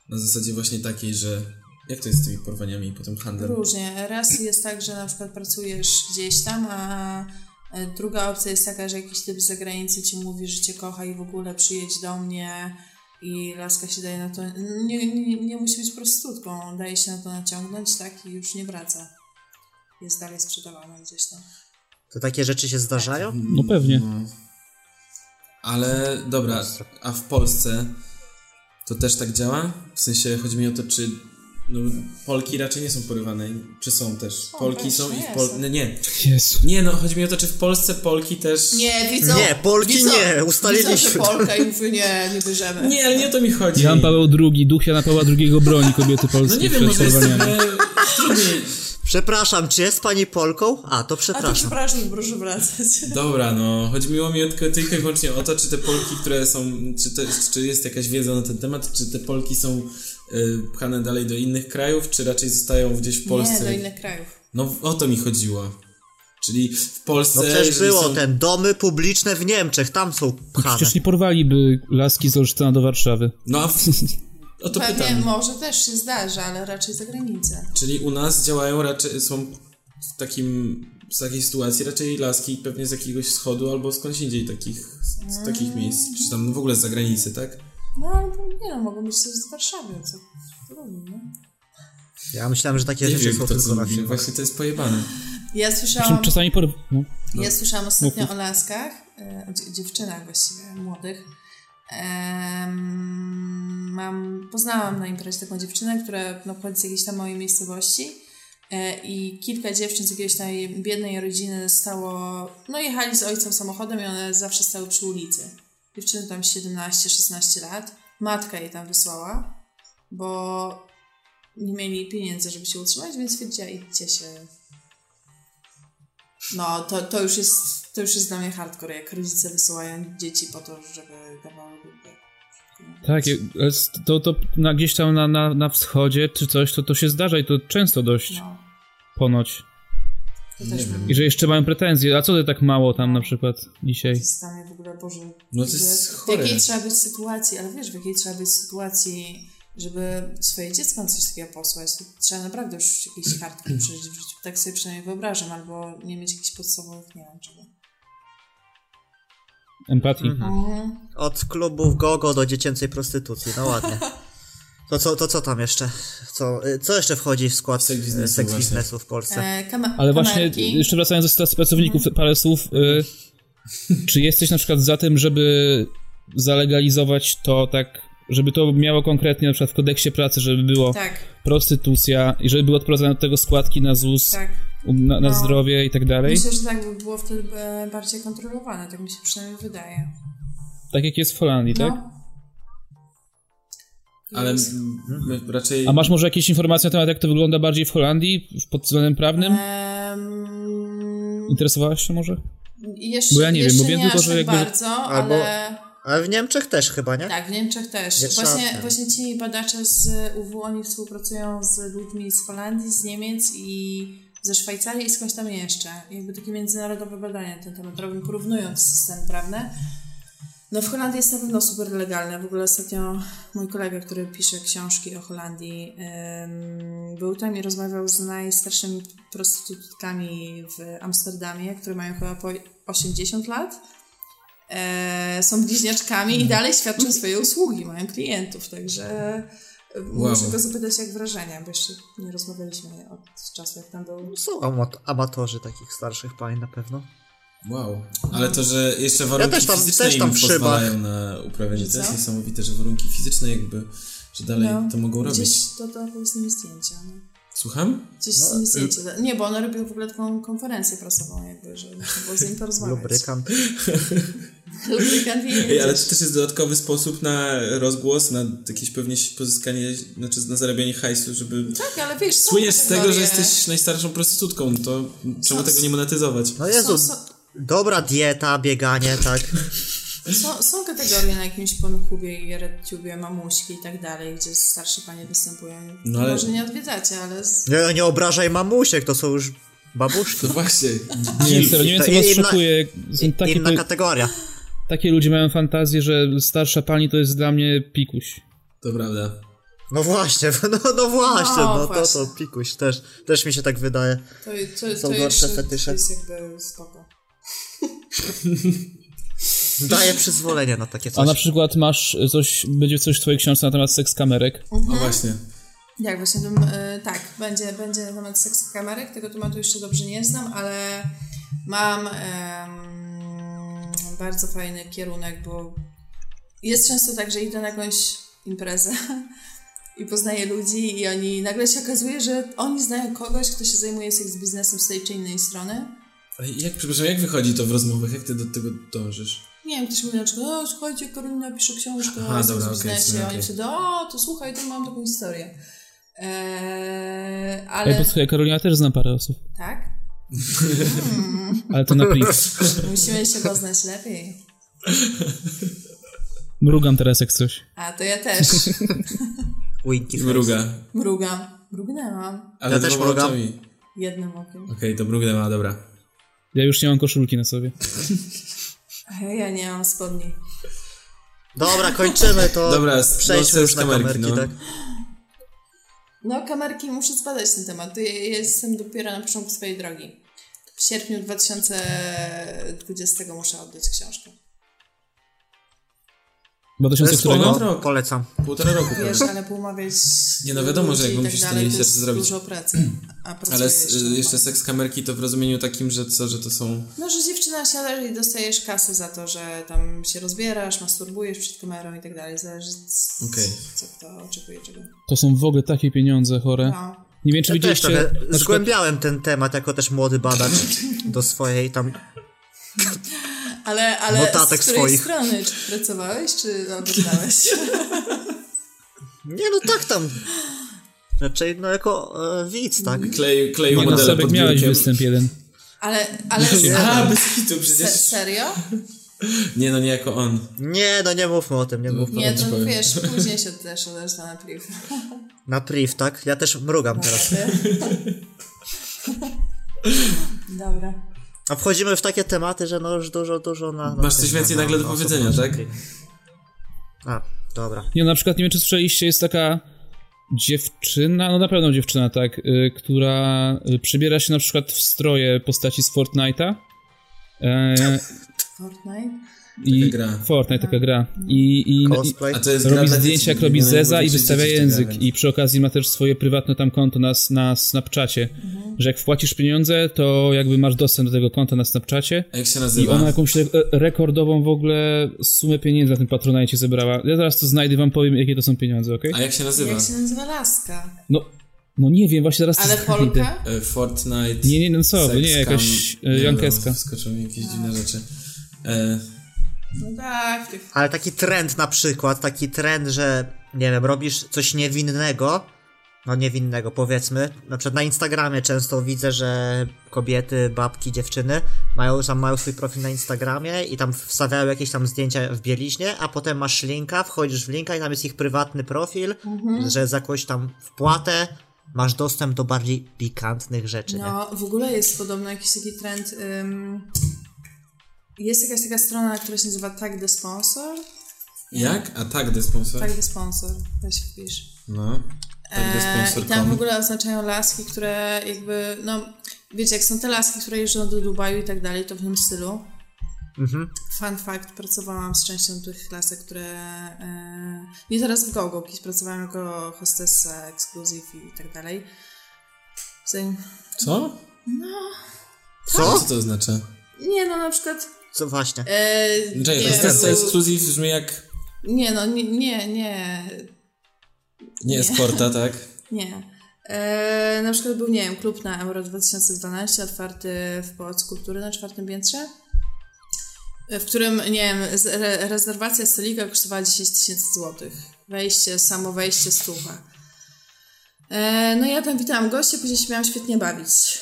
Speaker 1: na zasadzie właśnie takiej, że jak to jest z tymi porwaniami i potem handlem?
Speaker 4: różnie. Raz jest tak, że na przykład pracujesz gdzieś tam, a e, druga opcja jest taka, że jakiś typ z zagranicy ci mówi, że cię kocha i w ogóle przyjedź do mnie i laska się daje na to... Nie, nie, nie musi być prostytutką, daje się na to naciągnąć, tak, i już nie wraca. Jest dalej sprzedawana gdzieś tam.
Speaker 3: To takie rzeczy się zdarzają?
Speaker 2: No pewnie.
Speaker 1: No. Ale dobra, a w Polsce to też tak działa? W sensie chodzi mi o to, czy No, Polki raczej nie są porywane. Czy są też?
Speaker 4: Są,
Speaker 1: Polki
Speaker 4: też,
Speaker 1: są i
Speaker 4: nie,
Speaker 1: w Pol...
Speaker 4: są.
Speaker 1: no, Nie.
Speaker 2: Jezu.
Speaker 1: Nie, no chodzi mi o to, czy w Polsce Polki też...
Speaker 4: Nie, widzą.
Speaker 3: Nie, Polki
Speaker 4: widzą,
Speaker 3: nie, ustaliliśmy.
Speaker 4: Widzą, że Polka i mówię, nie, nie bierzemy.
Speaker 1: Nie, ale nie o to mi chodzi.
Speaker 2: Jan Paweł II, duch Jana Pawła II broni kobiety
Speaker 1: No
Speaker 2: polskie
Speaker 1: nie wiem,
Speaker 2: przed
Speaker 1: może jest
Speaker 2: porwaniami.
Speaker 1: trochę trudniej.
Speaker 3: Przepraszam, czy jest pani Polką? A, to
Speaker 4: A to
Speaker 3: przepraszam.
Speaker 4: przepraszam, proszę wracać.
Speaker 1: Dobra, no. Chodziło mi tylko, tylko i wyłącznie o to, czy te Polki, które są... Czy, te, czy jest jakaś wiedza na ten temat, czy te Polki są y, pchane dalej do innych krajów, czy raczej zostają gdzieś w Polsce?
Speaker 4: Nie, do innych krajów.
Speaker 1: No o to mi chodziło. Czyli w Polsce...
Speaker 3: No przecież
Speaker 1: jeżeli
Speaker 3: było
Speaker 1: są...
Speaker 3: ten domy publiczne w Niemczech, tam są pchane.
Speaker 2: Przecież nie porwaliby laski z Olsztyna do Warszawy.
Speaker 1: No a... W... O to
Speaker 4: Pewnie
Speaker 1: pytam.
Speaker 4: może też się zdarza, ale raczej za granicę.
Speaker 1: Czyli u nas działają raczej, są w takim, z takiej sytuacji raczej laski pewnie z jakiegoś wschodu albo skądś indziej takich, z, z
Speaker 4: Mm.
Speaker 1: takich miejsc, czy tam w ogóle z zagranicy, tak?
Speaker 4: No, albo nie no, mogą być też z Warszawy, co trudno. nie?
Speaker 3: Ja myślałem, że takie
Speaker 1: Nie
Speaker 3: rzeczy
Speaker 1: wiem
Speaker 3: są
Speaker 1: kto
Speaker 3: tylko
Speaker 1: co
Speaker 3: na
Speaker 1: mówi,
Speaker 3: filmach.
Speaker 1: właśnie to jest pojebane.
Speaker 4: Ja
Speaker 2: Czym
Speaker 4: słyszałam,
Speaker 2: czasami por... No.
Speaker 4: ja słyszałam ostatnio o laskach, e, o dzie- dziewczynach właściwie, młodych. Em, mam, poznałam na imprezie taką dziewczynę, która no, pochodzi z jakiejś tam mojej miejscowości e, i kilka dziewczyn z jakiejś tam jej biednej rodziny stało, no jechali z ojcem samochodem i one zawsze stały przy ulicy. Dziewczyny tam 17-16 lat, matka jej tam wysłała, bo nie mieli pieniędzy, żeby się utrzymać, więc stwierdziła, idźcie się. No, to, to, już jest, to już jest dla mnie hardcore, jak rodzice wysyłają dzieci po to, żeby dawały dupę.
Speaker 2: Tak, je- to, to na, gdzieś tam na, na, na wschodzie czy coś, to, to się zdarza i to często dość,
Speaker 4: No,
Speaker 2: ponoć.
Speaker 4: to też bym-
Speaker 2: I że jeszcze mają pretensje, a co ty tak mało tam na przykład dzisiaj?
Speaker 4: to jest dla mnie w ogóle, Boże,
Speaker 1: No to jest
Speaker 4: że w
Speaker 1: chore.
Speaker 4: jakiej trzeba być sytuacji, ale wiesz, w jakiej trzeba być sytuacji, żeby swoje dziecko na coś takiego posłać, to trzeba naprawdę już jakieś hardcore przeżyć w życiu, tak sobie przynajmniej wyobrażam, albo nie mieć jakichś podstawowych, nie wiem czego.
Speaker 2: Empatii.
Speaker 4: Mhm.
Speaker 3: Od klubów gogo do dziecięcej prostytucji, no ładnie. To co, to co tam jeszcze? Co, y, co jeszcze wchodzi w skład
Speaker 1: Seks
Speaker 3: y,
Speaker 1: biznesu
Speaker 3: seks
Speaker 1: właśnie.
Speaker 3: biznesu w Polsce?
Speaker 4: E, kama-
Speaker 2: Ale właśnie,
Speaker 4: kamerki.
Speaker 2: jeszcze wracając do sytuacji pracowników,
Speaker 4: Mhm.
Speaker 2: parę słów. Y, czy jesteś na przykład za tym, żeby zalegalizować to tak, żeby to miało konkretnie na przykład w kodeksie pracy, żeby było
Speaker 4: Tak,
Speaker 2: prostytucja i żeby były odprowadzane od tego składki na ZUS,
Speaker 4: tak.
Speaker 2: na, na
Speaker 4: No.
Speaker 2: zdrowie i tak dalej?
Speaker 4: Myślę, że tak by było wtedy e, bardziej kontrolowane, tak mi się przynajmniej wydaje.
Speaker 2: Tak jak jest w Holandii, tak?
Speaker 4: No.
Speaker 1: Ale m,
Speaker 3: Mhm.
Speaker 1: m, raczej...
Speaker 2: A masz może jakieś informacje na temat, jak to wygląda bardziej w Holandii w- pod względem
Speaker 4: E-
Speaker 2: prawnym?
Speaker 4: Em,
Speaker 2: Interesowałaś się może?
Speaker 4: jeszcze,
Speaker 2: Bo ja nie wiem,
Speaker 4: jeszcze
Speaker 2: mówię
Speaker 4: nie
Speaker 2: tylko,
Speaker 4: aż
Speaker 2: że
Speaker 4: tak
Speaker 2: jakby-
Speaker 4: bardzo,
Speaker 3: Albo-
Speaker 4: ale...
Speaker 3: Ale w Niemczech też chyba, nie?
Speaker 4: Tak, w Niemczech też.
Speaker 3: Nie trzeba
Speaker 4: właśnie,
Speaker 3: ten.
Speaker 4: właśnie ci badacze z UW, oni współpracują z ludźmi z Holandii, z Niemiec i ze Szwajcarii i skądś tam jeszcze. Jakby takie międzynarodowe badania na ten temat robią, porównując system prawny. No w Holandii jest na pewno super legalne. W ogóle ostatnio mój kolega, który pisze książki o Holandii, em, był tam i rozmawiał z najstarszymi prostytutkami w Amsterdamie, które mają chyba po 80 lat. E, są bliźniaczkami
Speaker 1: Mhm.
Speaker 4: i dalej świadczą swoje usługi, mają klientów, także e,
Speaker 1: Wow.
Speaker 4: muszę go zapytać jak wrażenia, bo jeszcze nie rozmawialiśmy od czasu jak tam był.
Speaker 3: Są amat- amatorzy takich starszych pań na pewno.
Speaker 1: Wow. Ale to, że jeszcze warunki
Speaker 3: też tam-
Speaker 1: fizyczne
Speaker 3: też tam
Speaker 1: im
Speaker 3: w szybach.
Speaker 1: pozwalają na uprawianie, to
Speaker 4: Co?
Speaker 1: jest niesamowite, że warunki fizyczne jakby, że dalej
Speaker 4: No,
Speaker 1: to mogą robić.
Speaker 4: Gdzieś to, to były z nimi zdjęcia. No.
Speaker 1: Słucham?
Speaker 4: Gdzieś z nimi
Speaker 1: y-
Speaker 4: zdjęcia. Nie, bo one robiły w ogóle taką konferencję prasową jakby, że można było z nimi porozmawiać.
Speaker 3: Lubrykant.
Speaker 4: Lubrykant i
Speaker 1: Ej, ale to też jest dodatkowy sposób na rozgłos, na jakieś pewnie pozyskanie, znaczy na zarabianie hajsu, żeby...
Speaker 4: Tak, ale wiesz, są
Speaker 1: Słyniesz z tego, że
Speaker 4: kategorie.
Speaker 1: jesteś najstarszą prostytutką, to czemu tego nie monetyzować?
Speaker 3: No
Speaker 4: Są,
Speaker 3: Jezu,
Speaker 4: są,
Speaker 3: dobra dieta, bieganie, tak.
Speaker 4: są, są kategorie na jakimś Pornhubie i RedTubie, mamuśki i tak dalej, gdzie starsze panie występują.
Speaker 1: No ale-
Speaker 4: Może nie odwiedzacie, ale... Z...
Speaker 3: Nie, nie obrażaj mamusiek, to są już babuszki.
Speaker 1: To No właśnie.
Speaker 2: Nie, serio, nie wiem, co
Speaker 3: To
Speaker 2: was
Speaker 3: inna-
Speaker 2: szokuje. Są takie,
Speaker 3: Inna
Speaker 2: po-
Speaker 3: kategoria.
Speaker 2: takie ludzie mają fantazję, że starsza pani to jest dla mnie pikuś.
Speaker 1: To prawda.
Speaker 3: No właśnie, no, no właśnie,
Speaker 4: No,
Speaker 3: no,
Speaker 4: właśnie.
Speaker 3: to to pikuś, też, też mi się tak wydaje.
Speaker 4: To, to,
Speaker 3: Są
Speaker 4: to
Speaker 3: gorsze
Speaker 4: jeszcze
Speaker 3: fetysze.
Speaker 4: jest jakby spoko.
Speaker 3: Daje przyzwolenie na takie
Speaker 2: A
Speaker 3: coś.
Speaker 2: na przykład masz coś, będzie coś w twojej książce na temat seks kamerek.
Speaker 4: No
Speaker 1: O No właśnie.
Speaker 4: Tak, Mhm. właśnie tym, y, tak, będzie, będzie na temat seksu kamerek, tego tematu jeszcze dobrze nie znam, ale mam em, bardzo fajny kierunek, bo jest często tak, że idę na jakąś imprezę i poznaje ludzi i oni nagle się okazuje, że oni znają kogoś, kto się zajmuje seks biznesem z tej czy innej strony.
Speaker 1: Ale jak, przepraszam, jak wychodzi to w rozmowach? Jak ty do tego dążysz?
Speaker 4: Nie wiem, ktoś mówi na przykład, o słuchajcie, Karolina pisze książkę
Speaker 1: Aha,
Speaker 4: o seks
Speaker 1: dobra, okej,
Speaker 4: biznesie,
Speaker 1: sorry,
Speaker 4: oni
Speaker 1: okej.
Speaker 4: wtedy, o to słuchaj, to mam taką historię. Eee,
Speaker 2: Ale...
Speaker 4: ale...
Speaker 2: posłuchaj, Karolina też znam parę osób,
Speaker 4: Tak?
Speaker 2: ale to na Prix.
Speaker 4: Musimy się poznać lepiej.
Speaker 2: Mrugam teraz jak coś.
Speaker 4: A, to ja też.
Speaker 3: Winky face.
Speaker 1: Mruga.
Speaker 4: Mrugam. Mrugnęłam.
Speaker 1: Ale
Speaker 3: Ja też
Speaker 1: dwoma
Speaker 3: mrugam.
Speaker 1: oczami.
Speaker 4: Jednym okiem.
Speaker 1: Okej, to mrugnęła, dobra.
Speaker 2: Ja już nie mam koszulki na sobie.
Speaker 4: Hej, ja nie mam spodni.
Speaker 3: Dobra, kończymy to.
Speaker 1: Dobra, s-
Speaker 3: przejdźmy
Speaker 1: no,
Speaker 3: już na
Speaker 1: kamerki,
Speaker 3: kamerki,
Speaker 1: no.
Speaker 3: tak?
Speaker 4: No, kamerki muszę zbadać ten temat. Ja ja jestem dopiero na początku swojej drogi. W sierpniu 2020 muszę oddać książkę.
Speaker 3: To
Speaker 2: 2000
Speaker 3: jest
Speaker 2: którego?
Speaker 1: spoko.
Speaker 3: spoko, no. polecam.
Speaker 1: Półtora roku
Speaker 4: Wiesz,
Speaker 3: tak,
Speaker 1: pewnie.
Speaker 4: ale pomawiać.
Speaker 1: Nie, no wiadomo,
Speaker 4: ludzi
Speaker 1: że jakby
Speaker 4: i tak
Speaker 1: musisz
Speaker 4: dalej,
Speaker 1: tyle research
Speaker 4: to jest
Speaker 1: zrobić.
Speaker 4: dużo pracy. A pracuję
Speaker 1: Ale s-
Speaker 4: jeszcze.
Speaker 1: jeszcze seks kamerki to w rozumieniu takim, że co, że to są...
Speaker 4: No, że dziewczyna siada i dostajesz kasę za to, że tam się rozbierasz, masturbujesz przed kamerą i tak dalej. Zależy, c-
Speaker 1: Okej.
Speaker 4: co kto oczekuje czego.
Speaker 2: To są w ogóle takie pieniądze chore.
Speaker 4: No.
Speaker 2: Nie wiem, czy
Speaker 3: Ja też
Speaker 2: widzieliście...
Speaker 3: trochę
Speaker 2: na przykład-
Speaker 3: zgłębiałem ten temat jako też młody badacz do swojej tam...
Speaker 4: Ale, ale
Speaker 3: Notatek
Speaker 4: z której
Speaker 3: swoich.
Speaker 4: strony? Czy pracowałeś, czy oglądałeś?
Speaker 3: Nie no tak tam. Raczej no jako e, widz, tak?
Speaker 1: Klej, kleju
Speaker 2: Nie, no,
Speaker 1: modele
Speaker 2: Sebek,
Speaker 1: pod
Speaker 2: miałeś
Speaker 1: biurkiem.
Speaker 2: występ jeden.
Speaker 4: Ale, ale
Speaker 1: A, bez hitu
Speaker 4: se,
Speaker 1: przecież.
Speaker 4: serio?
Speaker 1: Nie, no nie jako on.
Speaker 3: Nie, no nie mówmy o tym, nie mówmy.
Speaker 4: Nie,
Speaker 1: ci
Speaker 4: to
Speaker 1: powiem.
Speaker 4: wiesz, później się też odeszła na priv.
Speaker 3: Na priv, tak? Ja też mrugam teraz.
Speaker 4: Dobra.
Speaker 3: A wchodzimy w takie tematy, że no już dużo, dużo na... na
Speaker 1: Masz coś więcej nagle do powiedzenia, tak?
Speaker 3: A, dobra.
Speaker 2: Nie, na przykład nie wiem, czy słyszeliście, jest taka dziewczyna, no na pewno dziewczyna, tak, y, która y, przebiera się na przykład w stroje postaci z Fortnite'a. E,
Speaker 4: Fortnite?
Speaker 2: i
Speaker 1: Taka gra.
Speaker 2: Fortnite, taka gra. I, i,
Speaker 3: Cosplay.
Speaker 1: A to jest gra
Speaker 2: robi
Speaker 1: dla
Speaker 2: zdjęcia, jak
Speaker 1: dzieci,
Speaker 2: robi
Speaker 1: nie wiadomo,
Speaker 2: Zeza i
Speaker 1: czy
Speaker 2: wystawia
Speaker 1: dzieci w to
Speaker 2: język.
Speaker 1: grają.
Speaker 2: I przy okazji ma też swoje prywatne tam konto na, na Snapchacie.
Speaker 4: Mhm.
Speaker 2: Że jak wpłacisz pieniądze, to jakby masz dostęp do tego konta na Snapchacie.
Speaker 1: A jak się
Speaker 2: I
Speaker 1: nazywa?
Speaker 2: ona jakąś re- rekordową w ogóle sumę pieniędzy na tym patronajcie zebrała. Ja zaraz to znajdę, wam powiem, jakie to są pieniądze, okej?
Speaker 1: A jak się nazywa?
Speaker 4: Jak się nazywa laska?
Speaker 2: No, no nie wiem, właśnie zaraz to
Speaker 4: Ale
Speaker 2: znajdę.
Speaker 4: Polka?
Speaker 1: E, Fortnite.
Speaker 2: Nie, nie, no co wy,
Speaker 1: Sex
Speaker 2: nie, jakaś
Speaker 1: Cam.
Speaker 2: e,
Speaker 1: Nie
Speaker 2: Jankeska.
Speaker 1: wiem, Wskoczą mi jakieś
Speaker 4: Tak.
Speaker 1: dziwne rzeczy. E,
Speaker 4: No tak, tych-
Speaker 3: Ale taki trend na przykład, taki trend, że nie wiem, robisz coś niewinnego, no niewinnego powiedzmy, na przykład na Instagramie często widzę, że kobiety, babki, dziewczyny mają, tam mają swój profil na Instagramie i tam wstawiają jakieś tam zdjęcia w bieliźnie, a potem masz linka, wchodzisz w linka i tam jest ich prywatny profil,
Speaker 4: Mhm.
Speaker 3: że za jakąś tam wpłatę masz dostęp do bardziej pikantnych rzeczy, nie?
Speaker 4: No, w ogóle jest podobno jakiś taki trend. ym, jest jakaś taka strona, która się nazywa Tag the Sponsor.
Speaker 1: jak? A tak, The Sponsor.
Speaker 4: Tag the Sponsor, weź wpisz.
Speaker 1: No. Tak, The
Speaker 4: Eee, I
Speaker 1: Sponsor.
Speaker 4: tam w ogóle oznaczają laski, które jakby, no, wiecie, jak są te laski, które jeżdżą do Dubaju i tak dalej, to w tym stylu.
Speaker 3: Mhm.
Speaker 4: Fun fact, pracowałam z częścią tych lasek, które... E, nie teraz w GoGo, kiedyś pracowałam jako hostessa, exclusive i tak dalej. Zanim,
Speaker 1: Co? Co
Speaker 3: Co?
Speaker 1: to oznacza?
Speaker 4: nie, no na przykład...
Speaker 3: Co właśnie?
Speaker 4: E,
Speaker 1: Czekaj,
Speaker 4: nie,
Speaker 1: Hostessa
Speaker 4: był-
Speaker 1: Exclusive brzmi jak...
Speaker 4: Nie, no nie, nie, nie,
Speaker 1: Nie,
Speaker 4: Nie.
Speaker 1: eskorta, tak?
Speaker 4: nie. E, na przykład był, nie wiem, klub na Euro 2012, otwarty w Pałacu Kultury na czwartym piętrze, e, w którym, nie wiem, z, re, rezerwacja stolika kosztowała 10 tysięcy złotych. Wejście, samo wejście, stuwa. E, no ja tam witałam goście, później się miałam świetnie bawić.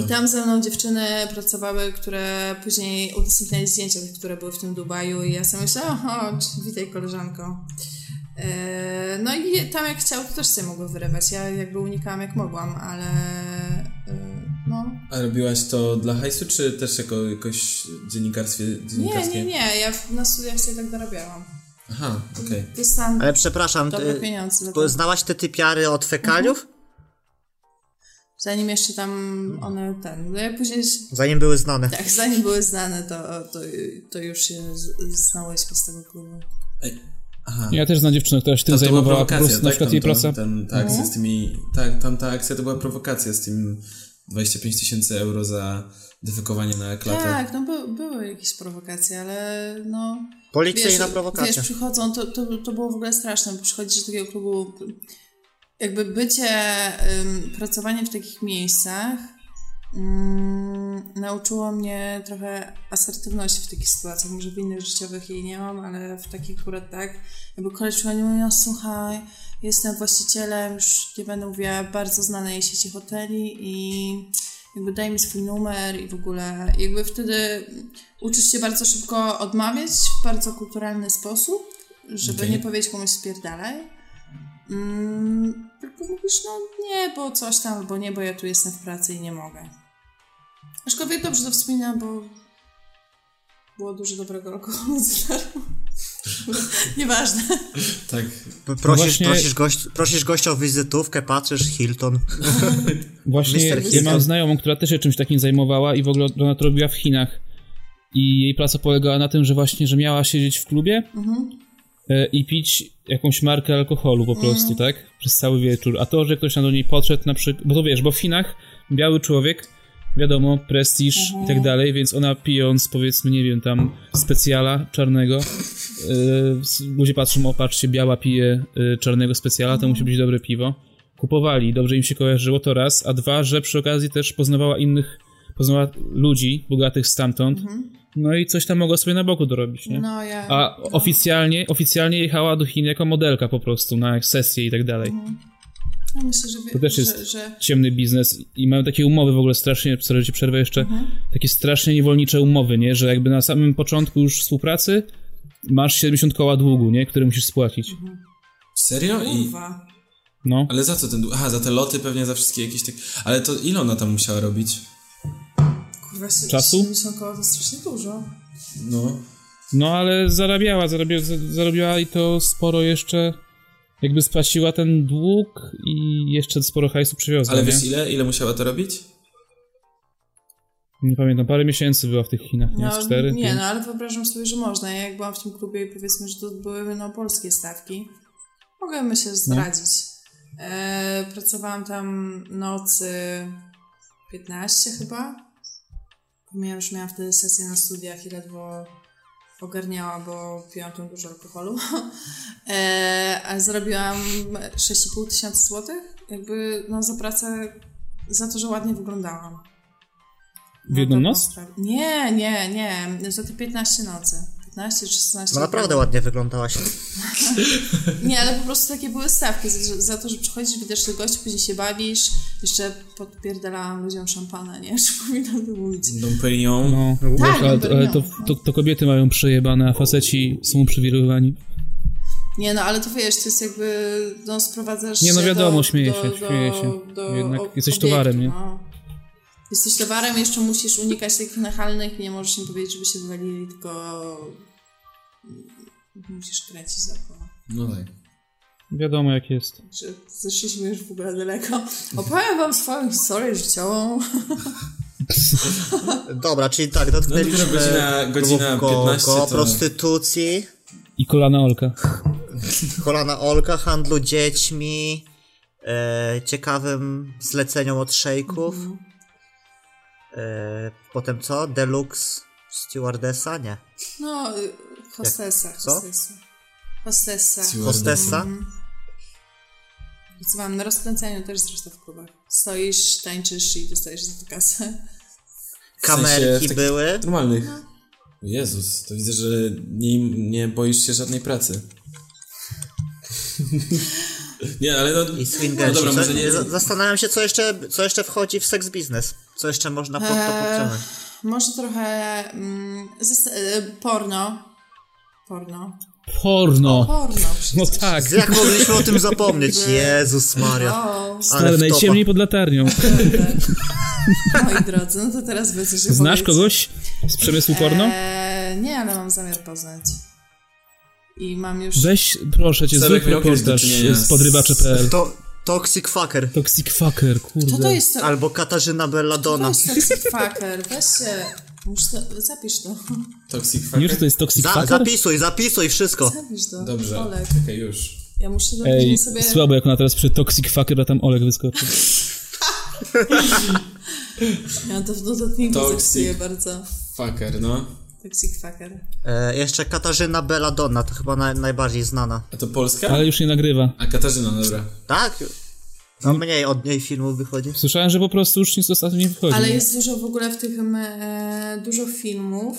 Speaker 4: I tam ze mną dziewczyny pracowały, które później udostępniali zdjęcia, tych, które były w tym Dubaju i ja sobie myślałam, oho, witaj koleżanko. E, No i tam jak chciał, to też sobie mogły wyrywać. Ja jakby unikałam jak mogłam, ale e, no...
Speaker 1: A robiłaś to dla hajsu, czy też jako jakoś dziennikarstwie,
Speaker 4: Nie,
Speaker 1: dziennikarskie?
Speaker 4: nie, nie, ja w- na studiach sobie tak dorabiałam.
Speaker 1: Aha, okej.
Speaker 4: Dostałam
Speaker 3: Ale przepraszam,
Speaker 4: dobre
Speaker 3: ty,
Speaker 4: pieniądze. za to.
Speaker 3: bo znałaś te typiary od fekaliów?
Speaker 4: Zanim jeszcze tam one ten... no Ja później...
Speaker 3: Zanim były znane.
Speaker 4: Tak, zanim były znane, to, to, to już się z- znałyśmy z tego klubu.
Speaker 1: Ej, Aha.
Speaker 2: Ja też znam dziewczynę, która się tym
Speaker 1: To, to była
Speaker 2: zajmowała, po
Speaker 1: prowokacja,
Speaker 2: prostu
Speaker 1: tak?
Speaker 2: na przykład
Speaker 1: Tam
Speaker 2: jej
Speaker 1: to-
Speaker 2: praca.
Speaker 1: Ten,
Speaker 4: Mhm.
Speaker 1: ta akcja z tymi, tak, tamta akcja to była prowokacja z tym 25 tysięcy euro za defekowanie na klatę.
Speaker 4: Tak, no by, były jakieś prowokacje, ale no...
Speaker 3: Policyjna prowokacja.
Speaker 4: Wiesz, przychodzą, to, to, to było w ogóle straszne, bo przychodzisz do takiego klubu, jakby bycie, ym, pracowanie w takich miejscach ym, nauczyło mnie trochę asertywności w takich sytuacjach. Może w innych życiowych jej nie mam, ale w takich akurat tak. Jakby koleś przychodzi i mówi, no słuchaj, jestem właścicielem, już nie będę mówiła, bardzo znanej sieci hoteli i jakby daj mi swój numer i w ogóle jakby wtedy uczysz się bardzo szybko odmawiać w bardzo kulturalny sposób, żeby
Speaker 1: Okej.
Speaker 4: nie powiedzieć komuś spierdalaj. Mm, tylko mówisz, no nie, bo coś tam, albo nie, bo ja tu jestem w pracy i nie mogę. Aczkolwiek dobrze to wspomina, bo było dużo dobrego alkoholu z darmo. Nieważne.
Speaker 1: Tak.
Speaker 3: Prosisz,
Speaker 2: właśnie-
Speaker 3: prosisz, gość, prosisz gościa o wizytówkę, patrzysz, Hilton.
Speaker 2: Właśnie
Speaker 3: Mr.
Speaker 2: ja
Speaker 3: Hilton.
Speaker 2: mam znajomą, która też się czymś takim zajmowała i w ogóle ona to robiła w Chinach. I jej praca polegała na tym, że właśnie, że miała siedzieć w klubie e, i pić jakąś markę alkoholu po prostu, tak? Przez cały wieczór. A to, że ktoś tam do niej podszedł na przykład... Bo to wiesz, bo w Chinach biały człowiek, wiadomo, prestiż i tak dalej, więc ona pijąc powiedzmy, nie wiem, tam specjala czarnego, e, s- ludzie patrzą, o patrzcie, biała pije e, czarnego specjala, to musi być dobre piwo. Kupowali, dobrze im się kojarzyło, to raz, a dwa, że przy okazji też poznawała innych, poznawała ludzi bogatych stamtąd, no i coś tam mogła sobie na boku dorobić, nie?
Speaker 4: No ja.
Speaker 2: A oficjalnie, oficjalnie jechała do Chin jako modelka po prostu na sesje i tak dalej.
Speaker 4: Ja myślę, że, wie,
Speaker 2: To też
Speaker 4: że,
Speaker 2: jest
Speaker 4: że
Speaker 2: ciemny biznes i mają takie umowy w ogóle strasznie, sorry, że ci przerwę jeszcze,
Speaker 4: Mhm.
Speaker 2: takie strasznie niewolnicze umowy, nie? Że jakby na samym początku już współpracy masz 70 koła długu, nie? Który musisz spłacić.
Speaker 4: Mhm.
Speaker 1: Serio? I,
Speaker 4: kurwa.
Speaker 2: No.
Speaker 1: ale za co ten... dłu- Aha, za te loty pewnie, za wszystkie jakieś tak... Ale to ile ona tam musiała robić?
Speaker 4: Kurwa, się-
Speaker 2: Czasu?
Speaker 4: 70 koła to strasznie dużo.
Speaker 1: No...
Speaker 2: No ale zarabiała, zarabiała, zarobiła i to sporo jeszcze, jakby spłaciła ten dług i jeszcze sporo hajsu przywiozła,
Speaker 1: Ale
Speaker 2: nie?
Speaker 1: wiesz ile? Ile musiała to robić?
Speaker 2: Nie pamiętam, parę miesięcy była w tych Chinach, nie?
Speaker 4: No,
Speaker 2: Z cztery,
Speaker 4: nie,
Speaker 2: pięć.
Speaker 4: no ale wyobrażam sobie, że można. Ja jak byłam w tym klubie i powiedzmy, że to były no, polskie stawki, mogłem
Speaker 2: No.
Speaker 4: się zdradzić. E, pracowałam tam nocy 15 chyba. Miałam, już miałam wtedy sesję na studiach i ledwo ogarniała, bo piłam tam dużo alkoholu. E, ale zarobiłam 6,5 tysiąca złotych jakby no, za pracę, za to, że ładnie wyglądałam. No
Speaker 2: W jedną
Speaker 4: dobrą
Speaker 2: noc?
Speaker 4: sprawę. tak. Nie, nie, nie. Za te 15 nocy. 15 czy 16.
Speaker 3: No naprawdę ładnie wyglądałaś.
Speaker 4: Nie, ale po prostu takie były stawki za, za to, że przychodzisz, widzisz tych gości, później się bawisz. Jeszcze podpierdalałam ludziom szampana, nie? Już powinnam to mówić.
Speaker 1: Dom Perignon.
Speaker 2: No,
Speaker 4: Tak,
Speaker 2: ale,
Speaker 4: no,
Speaker 2: ale
Speaker 4: no.
Speaker 2: to, to, to kobiety mają przejebane, a faceci są uprzywilejowani.
Speaker 4: Nie no, ale to wiesz, to jest jakby, no sprowadzasz
Speaker 2: Nie, no
Speaker 4: się
Speaker 2: wiadomo,
Speaker 4: do,
Speaker 2: śmieję
Speaker 4: do,
Speaker 2: się,
Speaker 4: do,
Speaker 2: śmieję się.
Speaker 4: Do
Speaker 2: Jednak
Speaker 4: ob-
Speaker 2: jesteś
Speaker 4: obiektu,
Speaker 2: towarem, nie?
Speaker 4: No. Jesteś towarem, jeszcze musisz unikać takich nachalnych, nie możesz im powiedzieć, żeby się wywalili, tylko musisz kręcić za koło.
Speaker 1: No tak.
Speaker 2: Wiadomo jak jest.
Speaker 4: Także zeszliśmy już w ogóle daleko. Opowiem wam swoją historię życiową.
Speaker 3: Dobra, czyli tak,
Speaker 1: No dopiero
Speaker 3: dotknęliśmy
Speaker 1: godzina, godzina
Speaker 3: kogo-
Speaker 1: 15
Speaker 3: kogo
Speaker 1: to...
Speaker 3: prostytucji,
Speaker 2: I kolana Olka.
Speaker 3: kolana Olka, handlu dziećmi, e, ciekawym zleceniom od szejków. E, potem co? Deluxe stewardessa? Nie.
Speaker 4: No, y, hostesa,
Speaker 3: co?
Speaker 4: hostesa. Hostesa.
Speaker 3: Hostessa?
Speaker 4: Pracowałam na rozkręcaniu też zresztą w klubach. Stoisz, tańczysz i dostajesz za to kasę.
Speaker 3: Kamerki
Speaker 1: w takich-
Speaker 3: były.
Speaker 1: Normalnych. Jezus, to widzę, że nie, nie boisz się żadnej pracy. nie, ale no...
Speaker 3: I
Speaker 1: no
Speaker 3: swingersi.
Speaker 1: dobra,
Speaker 3: Co-
Speaker 1: może nie...
Speaker 3: za- Zastanawiam się, co jeszcze, co jeszcze wchodzi w seks biznes. Co jeszcze można pod to podciągnąć.
Speaker 4: Może trochę mm, zas- e, porno. Porno.
Speaker 2: Porno!
Speaker 4: Porno.
Speaker 2: No
Speaker 4: przecież.
Speaker 2: tak.
Speaker 3: Jak mogliśmy o tym zapomnieć? Jezus Maria.
Speaker 4: O,
Speaker 2: Stary,
Speaker 3: wtopa.
Speaker 2: najciemniej pod latarnią.
Speaker 4: moi drodzy, no to teraz będzie się
Speaker 2: Znasz
Speaker 4: powiedzieć.
Speaker 2: kogoś z przemysłu porno?
Speaker 4: Eee, nie, ale mam zamiar poznać. I mam już...
Speaker 2: Weź, proszę cię,
Speaker 1: Sarek
Speaker 2: zrób
Speaker 1: miał kiedyś do
Speaker 2: reportaż
Speaker 1: czynienia
Speaker 2: z
Speaker 1: z-
Speaker 2: podrywacze.pl.
Speaker 3: To, toxic fucker.
Speaker 2: Toxic fucker, kurde.
Speaker 4: Co to jest to?
Speaker 3: Albo Katarzyna Belladonna.
Speaker 4: Weź toxic fucker, weź się... Muszę to... Zapisz to.
Speaker 1: Toxic fucker.
Speaker 2: Już to jest toxic
Speaker 3: Za,
Speaker 2: fucker?
Speaker 3: zapisuj, zapisuj wszystko.
Speaker 4: Zapisz to.
Speaker 1: Dobrze,
Speaker 4: Olek.
Speaker 1: okej, już.
Speaker 4: Ja muszę
Speaker 2: Ej,
Speaker 4: Ej, sobie...
Speaker 2: słabo jak ona teraz przy toxic fucker, a tam Olek wyskoczy.
Speaker 4: Ja to w dodatniku
Speaker 1: Toxic.
Speaker 4: zapisuję bardzo.
Speaker 1: Fucker, no.
Speaker 4: Toxic fucker.
Speaker 3: E, jeszcze Katarzyna Belladonna, to chyba naj, najbardziej znana.
Speaker 1: A to Polska?
Speaker 2: Ale już nie nagrywa.
Speaker 1: A Katarzyna, no dobra.
Speaker 3: Tak? No mniej od niej filmów wychodzi.
Speaker 2: Słyszałem, że po prostu już nic ostatnio nie wychodzi.
Speaker 4: Ale jest dużo w ogóle w tych em, e, dużo filmów,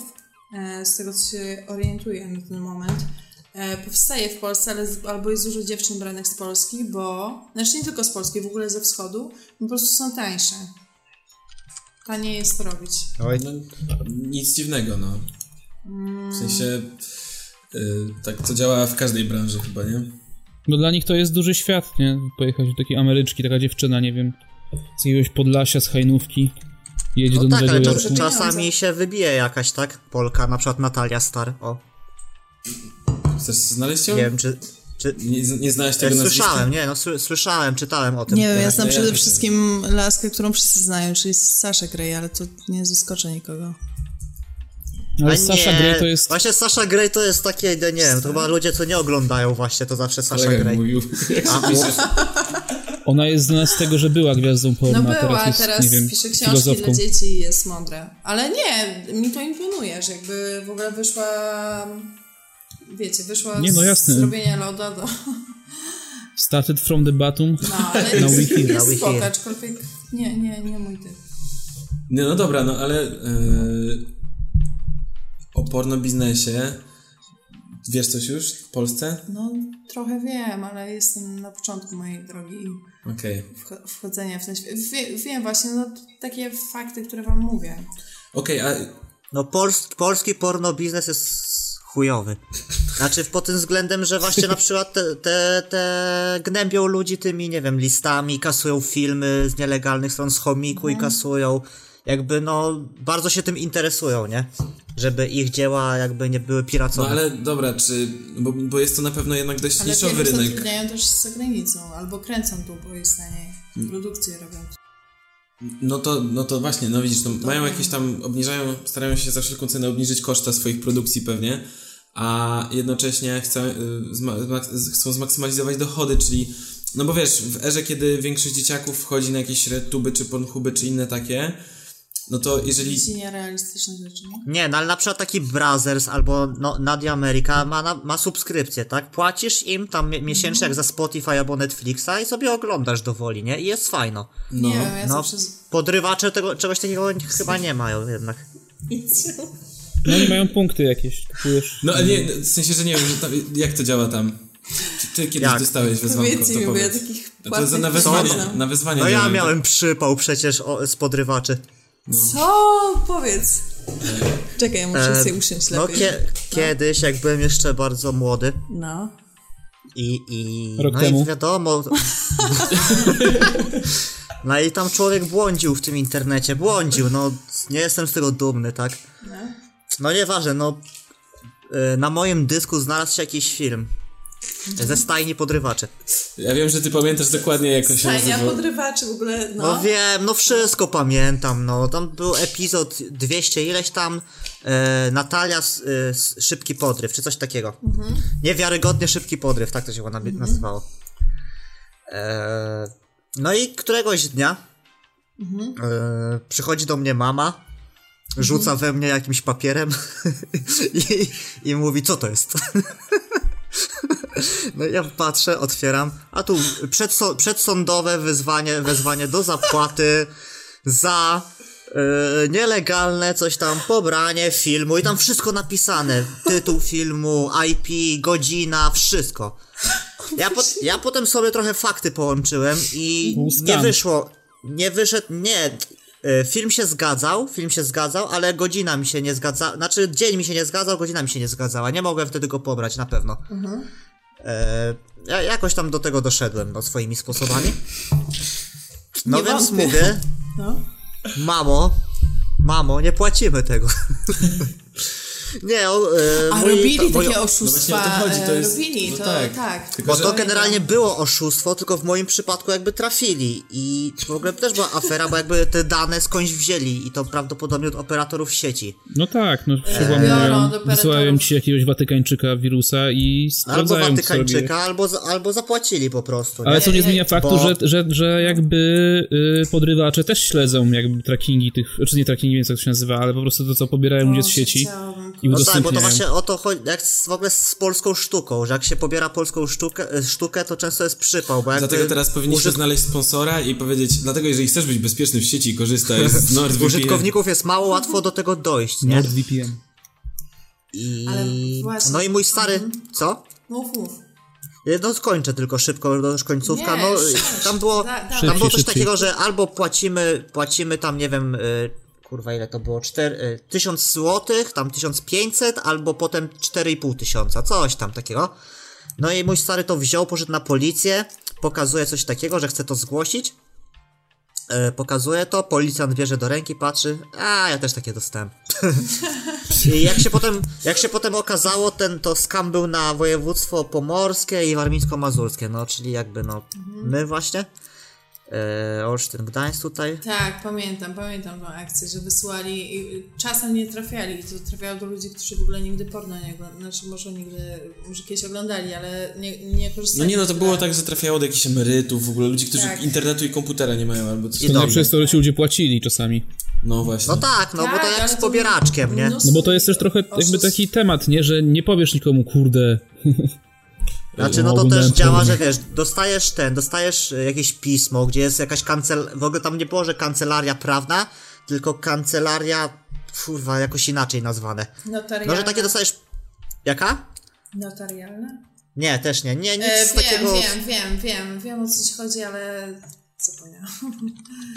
Speaker 4: e, z tego co się orientuję na ten moment. E, powstaje w Polsce, ale z, albo jest dużo dziewczyn branych z Polski, bo znaczy nie tylko z Polski, w ogóle ze wschodu, po prostu są tańsze. Taniej jest to robić.
Speaker 3: Oj,
Speaker 1: No, nic dziwnego, no. W sensie y, tak to działa w każdej branży chyba, nie?
Speaker 2: Bo dla nich to jest duży świat, nie? Pojechać do takiej Ameryczki, taka dziewczyna, nie wiem, z jakiegoś Podlasia, z Hajnówki, jedzie do
Speaker 3: No tak, ale
Speaker 2: Nowego
Speaker 3: czas,
Speaker 2: Jorku.
Speaker 3: czasami się wybije jakaś, tak? Polka, na przykład Natalia Star. O,
Speaker 1: Chcesz znaleźć ją?
Speaker 3: nie wiem, czy. czy...
Speaker 1: Nie, nie znałeś tego
Speaker 3: Ja
Speaker 1: nazwiska?
Speaker 3: słyszałem, nie, no sły- słyszałem, czytałem o tym.
Speaker 4: Nie wiem, ja
Speaker 3: Teraz-
Speaker 4: znam
Speaker 1: ja
Speaker 4: przede
Speaker 1: wiem.
Speaker 4: wszystkim laskę, którą wszyscy znają, czyli Saszę Grey, ale to nie zaskoczy nikogo.
Speaker 2: Ale
Speaker 3: A
Speaker 2: Sasha
Speaker 3: nie,
Speaker 2: Grey to jest...
Speaker 3: Właśnie Sasha Grey to jest takie, no nie wiem, to chyba ludzie, co nie oglądają właśnie, to zawsze Sasha
Speaker 1: Kolega mi
Speaker 3: Grey.
Speaker 1: Tak mówił.
Speaker 3: A, o,
Speaker 2: Ona jest znana z tego, że była gwiazdą porno,
Speaker 4: No
Speaker 2: a
Speaker 4: była,
Speaker 2: teraz jest,
Speaker 4: teraz
Speaker 2: nie wiem,
Speaker 4: pisze książki
Speaker 2: filozofką.
Speaker 4: dla dzieci i jest mądra. Ale nie, mi to imponuje, że jakby w ogóle wyszła, wiecie, wyszła
Speaker 2: Nie, no
Speaker 4: z-
Speaker 2: jasne.
Speaker 4: z robienia loda do...
Speaker 2: Started from the bottom.
Speaker 4: No, ale
Speaker 2: Na
Speaker 4: jest,
Speaker 2: Wiki.
Speaker 3: Na
Speaker 4: jest
Speaker 3: Wiki.
Speaker 4: spoko, aczkolwiek nie, nie, nie mój typ.
Speaker 1: Nie, no dobra, no ale yy, o porno biznesie wiesz coś już w Polsce?
Speaker 4: No, trochę wiem, ale jestem na początku mojej drogi
Speaker 1: Okej.
Speaker 4: wch- wchodzenia w ten świat. Wie, wiem właśnie, no, t- takie fakty, które wam mówię.
Speaker 1: Okej,
Speaker 3: no pols, polski porno biznes jest chujowy. Znaczy pod tym względem, że właśnie na przykład te, te, te gnębią ludzi tymi, nie wiem, listami, kasują filmy z nielegalnych stron z chomiku i kasują. Jakby no, bardzo się tym interesują, nie? Żeby ich dzieła jakby nie były
Speaker 1: a no
Speaker 3: piracone.
Speaker 1: ale dobra, czy, bo, bo jest to na pewno jednak dość
Speaker 4: Ale
Speaker 1: niszowy
Speaker 4: wiem, że
Speaker 1: rynek.
Speaker 4: zatrudniają też z zagranicą, albo kręcą tu, bo jest taniej. Produkcje robią.
Speaker 1: No to, no to właśnie, no widzisz, no mają jakieś tam, obniżają, starają się za wszelką cenę obniżyć koszta swoich produkcji pewnie, a jednocześnie chcą, y, zma, zmak- z- chcą zmaksymalizować dochody, czyli, no bo wiesz, w erze, kiedy większość dzieciaków wchodzi na jakieś RedTuby czy Pornhuby czy inne takie, no to jeżeli...
Speaker 4: Ci nierealistyczne rzeczy, nie?
Speaker 3: Nie, no ale na przykład taki Brazzers albo no, Nadia America ma, na, ma subskrypcję, tak? Płacisz im tam mi- miesięcznie jak za Spotify albo Netflixa i sobie oglądasz do woli, nie? I jest fajno.
Speaker 1: No,
Speaker 4: nie wiem, ja
Speaker 3: No,
Speaker 4: zawsze... z-
Speaker 3: podrywacze tego, czegoś takiego chyba nie mają jednak.
Speaker 2: No i mają punkty jakieś. Kupujesz...
Speaker 1: no ale nie, w sensie, że nie wiem, że tam, jak to działa tam? Czy ty kiedyś
Speaker 3: Jak?
Speaker 1: dostałeś wezwanko, to
Speaker 4: Powiedzcie mi, bo ja
Speaker 1: powiedz.
Speaker 4: takich
Speaker 1: No to za,
Speaker 4: płatnych
Speaker 1: na
Speaker 4: nie
Speaker 1: wezwanie,
Speaker 4: znam.
Speaker 1: na wezwanie
Speaker 3: No ja
Speaker 1: działają,
Speaker 3: miałem przypał przecież o, z podrywaczy.
Speaker 1: no.
Speaker 4: Co? Powiedz. Czekaj, ja muszę
Speaker 3: E,
Speaker 4: sobie usiąść
Speaker 3: no
Speaker 4: lepiej. tak?
Speaker 3: kie, kiedyś, jak byłem jeszcze bardzo młody
Speaker 4: No.
Speaker 3: i... i
Speaker 2: Rok
Speaker 3: no
Speaker 2: temu.
Speaker 3: i wiadomo... no i tam człowiek błądził w tym internecie, błądził, no nie jestem z tego dumny, tak?
Speaker 4: no.
Speaker 3: No nieważne, no. y, Na moim dysku znalazł się jakiś film. Ze stajni podrywaczy.
Speaker 1: Ja wiem, że ty pamiętasz dokładnie, jak on się
Speaker 4: Tania
Speaker 1: nazywał.
Speaker 4: podrywaczy w ogóle, no.
Speaker 3: No wiem, no wszystko pamiętam, no. Tam był epizod 200 ileś tam. E, Natalia s, y, s, Szybki Podryw, czy coś takiego. Niewiarygodnie Szybki Podryw, tak to się chyba mhm. nazywało. E, no i któregoś dnia e, przychodzi do mnie mama, rzuca we mnie jakimś papierem i, i mówi, co to jest? No ja patrzę, otwieram, a tu przedso- przedsądowe wyzwanie, wezwanie do zapłaty za e, nielegalne coś tam, pobranie filmu i tam wszystko napisane, tytuł filmu, IP, godzina, wszystko. Ja, po, ja potem sobie trochę fakty połączyłem i nie
Speaker 2: Stan.
Speaker 3: wyszło, nie wyszedł, nie, e, film się zgadzał, film się zgadzał, ale godzina mi się nie zgadzała, znaczy dzień mi się nie zgadzał, godzina mi się nie zgadzała, nie mogłem wtedy go pobrać, na pewno. E, ja jakoś tam do tego doszedłem, no, swoimi sposobami. No
Speaker 4: Nie
Speaker 3: więc
Speaker 4: wątpię.
Speaker 3: mówię,
Speaker 4: No.
Speaker 3: mamo, mamo, nie płacimy tego. nie, o, e,
Speaker 4: A
Speaker 3: mój-
Speaker 4: robili
Speaker 3: mój-
Speaker 4: takie
Speaker 1: No właśnie o
Speaker 4: oszustwa,
Speaker 1: to chodzi, to
Speaker 4: e,
Speaker 1: jest...
Speaker 4: robili,
Speaker 1: no
Speaker 4: to
Speaker 1: tak.
Speaker 4: tak.
Speaker 1: Tylko,
Speaker 3: Bo
Speaker 1: że-
Speaker 3: to generalnie było oszustwo, tylko w moim przypadku jakby trafili i w ogóle też była afera, bo jakby te dane skądś wzięli i to prawdopodobnie od operatorów sieci.
Speaker 2: No tak, no
Speaker 4: E, biorą
Speaker 2: przełamują,
Speaker 4: do
Speaker 2: wysyłają
Speaker 4: perytonów.
Speaker 2: ci jakiegoś Watykańczyka wirusa i
Speaker 3: Albo
Speaker 2: sprawdzają, co robiłeś.
Speaker 3: Watykańczyka, albo, za- albo zapłacili po prostu. Nie?
Speaker 2: Ale co nie
Speaker 4: Ej,
Speaker 2: zmienia
Speaker 4: ej,
Speaker 2: faktu,
Speaker 3: bo-
Speaker 2: że, że, że jakby y, podrywacze znaczy też śledzą jakby trackingi tych, czy nie trackingi, nie wiem jak to się nazywa, ale po prostu to, co pobierają ludzie z
Speaker 4: Boże,
Speaker 2: sieci
Speaker 4: chciałabym,
Speaker 2: I
Speaker 3: No tak, bo to
Speaker 2: udostępniają.
Speaker 3: właśnie o to chodzi, jak z, w ogóle z polską sztuką, że jak się pobiera polską sztukę, e, sztukę to często jest przypał, bo jakby
Speaker 1: Dlatego teraz powinniśmy znaleźć sponsora i powiedzieć, dlatego jeżeli chcesz być bezpieczny w sieci, korzystaj z NordVPN.
Speaker 3: użytkowników jest mało łatwo do tego dojść,
Speaker 2: No.
Speaker 1: No,
Speaker 3: nie?
Speaker 2: NordVPN.
Speaker 3: I...
Speaker 4: Ale właśnie- Mhm.
Speaker 3: No i mój stary, co?
Speaker 4: Mów, mów.
Speaker 3: Ja No skończę tylko szybko, no już końcówka.
Speaker 4: Nie,
Speaker 3: no,
Speaker 4: szybciej.
Speaker 3: tam było,
Speaker 4: Da- dawaj.
Speaker 3: tam było
Speaker 2: Szybciej,
Speaker 3: coś
Speaker 2: szybciej.
Speaker 3: takiego, że albo płacimy, płacimy tam, nie wiem, y, kurwa ile to było, czter, y, 1000 złotych, tam 1500, albo potem 4,5 tysiąca, coś tam takiego. No i mój stary to wziął, poszedł na policję, pokazuje coś takiego, że chce to zgłosić. Y, pokazuje to, policjant bierze do ręki, patrzy, a ja też takie dostałem. I jak się potem, jak się potem okazało, ten to skam był na województwo pomorskie i warmińsko-mazurskie, no czyli jakby no
Speaker 4: Mhm.
Speaker 3: my właśnie. E, Olsztyn, Gdańsk tutaj.
Speaker 4: Tak, pamiętam, pamiętam tą akcję, że wysyłali i i czasem nie trafiali. To trafiało do ludzi, którzy w ogóle nigdy porno nie oglądali. Znaczy może nigdy, może kiedyś oglądali, ale nie, nie korzystali.
Speaker 1: No nie, no to
Speaker 4: z
Speaker 1: było
Speaker 4: tego.
Speaker 1: tak, że trafiało do jakichś emerytów, w ogóle ludzi, którzy
Speaker 4: Tak.
Speaker 1: internetu i komputera nie mają albo coś.
Speaker 3: I
Speaker 2: To
Speaker 3: dobrze.
Speaker 2: najlepsze jest No, to, że ci ludzie płacili czasami.
Speaker 1: No właśnie.
Speaker 3: No tak, no bo to
Speaker 4: ale
Speaker 3: jak z
Speaker 4: to
Speaker 3: pobieraczkiem, nie?
Speaker 4: mnóstwo
Speaker 2: No bo to jest też trochę jakby
Speaker 4: oszustw.
Speaker 2: taki temat, nie? Że nie powiesz nikomu, kurde,
Speaker 3: Znaczy, no
Speaker 2: Ja
Speaker 3: to też
Speaker 2: oglądałem
Speaker 3: działa,
Speaker 2: porno.
Speaker 3: że wiesz, dostajesz ten, dostajesz e, jakieś pismo, gdzie jest jakaś kancel... W ogóle tam nie było, że kancelaria prawna, tylko kancelaria, kurwa, jakoś inaczej nazwane.
Speaker 4: Notarialne.
Speaker 3: No, że takie dostajesz... Jaka?
Speaker 4: Notarialne?
Speaker 3: Nie, też nie, nie, nic
Speaker 4: E, wiem,
Speaker 3: takiego...
Speaker 4: wiem, wiem, wiem, wiem o co ci chodzi, ale zapomniałam.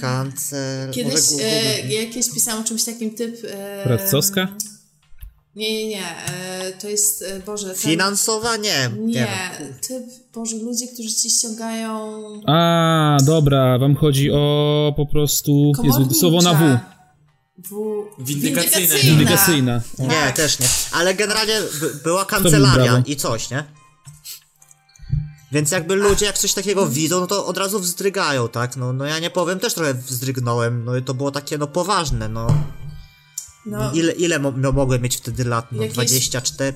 Speaker 3: Kancel...
Speaker 4: Kiedyś
Speaker 3: może Google.
Speaker 4: e, jakieś pisałam o czymś takim typ... E,
Speaker 2: radcowska?
Speaker 4: Nie, nie, nie. E, to jest, e, Boże... ten-
Speaker 3: Finansowa? Nie, nie.
Speaker 4: Nie,
Speaker 3: wiem.
Speaker 4: typ, Boże, ludzie, którzy ci ściągają...
Speaker 2: A, dobra, wam chodzi o po prostu... Jezu, słowo na W.
Speaker 4: W. w...
Speaker 1: Windykacyjna.
Speaker 2: Indykacyjna. O,
Speaker 3: Nie,
Speaker 4: Tak.
Speaker 3: też nie. Ale generalnie b- była
Speaker 2: mi
Speaker 3: kancelaria
Speaker 2: brawo.
Speaker 3: i coś, nie? Więc jakby ludzie jak coś takiego
Speaker 4: Mm.
Speaker 3: widzą, no to od razu wzdrygają, tak? No, no ja nie powiem, też trochę wzdrygnąłem, no i to było takie no poważne, no.
Speaker 4: No,
Speaker 3: Ile, ile mo- no, mogłem mieć wtedy lat? No
Speaker 4: Jakieś-
Speaker 3: 24?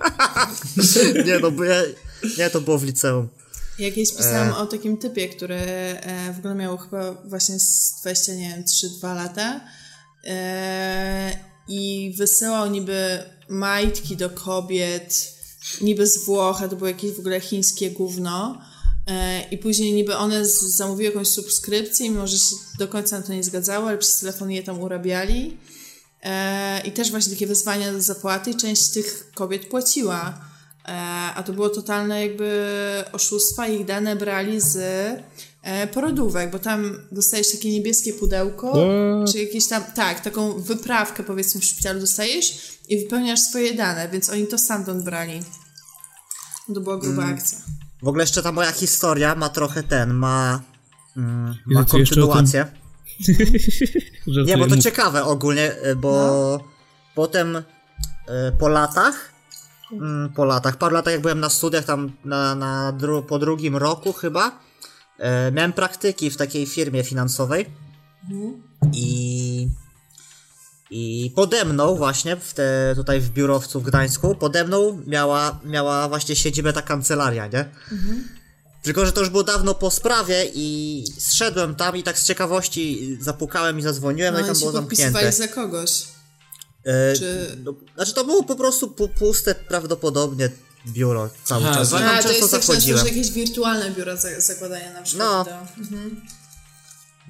Speaker 3: nie, no bo ja, nie, to było w liceum.
Speaker 4: jakieś pisałam o takim typie, który e, w ogóle miał chyba właśnie z 20, nie wiem, 3-2 lata e, i wysyłał niby majtki do kobiet, niby z Włoch, a to było jakieś w ogóle chińskie gówno. E, I później niby one z- zamówiły jakąś subskrypcję, mimo że się do końca na to nie zgadzały, ale przez telefon je tam urabiali. E, I też właśnie takie wezwania do zapłaty i część tych kobiet płaciła. E, a to było totalne jakby oszustwa ich dane brali z e, porodówek, bo tam dostajesz takie niebieskie pudełko,
Speaker 2: What?
Speaker 4: czy jakieś tam, tak, taką wyprawkę powiedzmy w szpitalu dostajesz i wypełniasz swoje dane, więc oni to stamtąd brali. To była gruba
Speaker 3: Mm.
Speaker 4: akcja.
Speaker 3: W ogóle jeszcze ta moja historia ma trochę ten, ma, mm, ma
Speaker 2: Jezu, co jeszcze o tym?
Speaker 3: kontynuację.
Speaker 2: żartuję,
Speaker 3: Nie, bo to
Speaker 2: mów.
Speaker 3: ciekawe ogólnie, y, bo potem y, po latach, mm, po latach, paru latach jak byłem na studiach tam na, na dru, po drugim roku chyba, y, miałem praktyki w takiej firmie finansowej i i pode mną właśnie, w te, tutaj w biurowcu w Gdańsku, pode mną miała, miała właśnie siedzibę ta kancelaria, nie? Tylko, że to już było dawno po sprawie i zszedłem tam i tak z ciekawości zapukałem i zadzwoniłem, no, i
Speaker 4: No
Speaker 3: tam
Speaker 4: i się
Speaker 3: było zamknięte.
Speaker 4: podpisywali za kogoś.
Speaker 3: E,
Speaker 4: Czy-
Speaker 3: no, znaczy to było po prostu pu- puste prawdopodobnie biuro cały
Speaker 1: Aha,
Speaker 3: czas. Ja
Speaker 1: że-
Speaker 3: tam
Speaker 4: A, to
Speaker 3: często
Speaker 4: jest tak często,
Speaker 3: zachodziłem.
Speaker 4: że jakieś wirtualne biuro za- zakładania na przykład.
Speaker 3: No.
Speaker 4: No. To.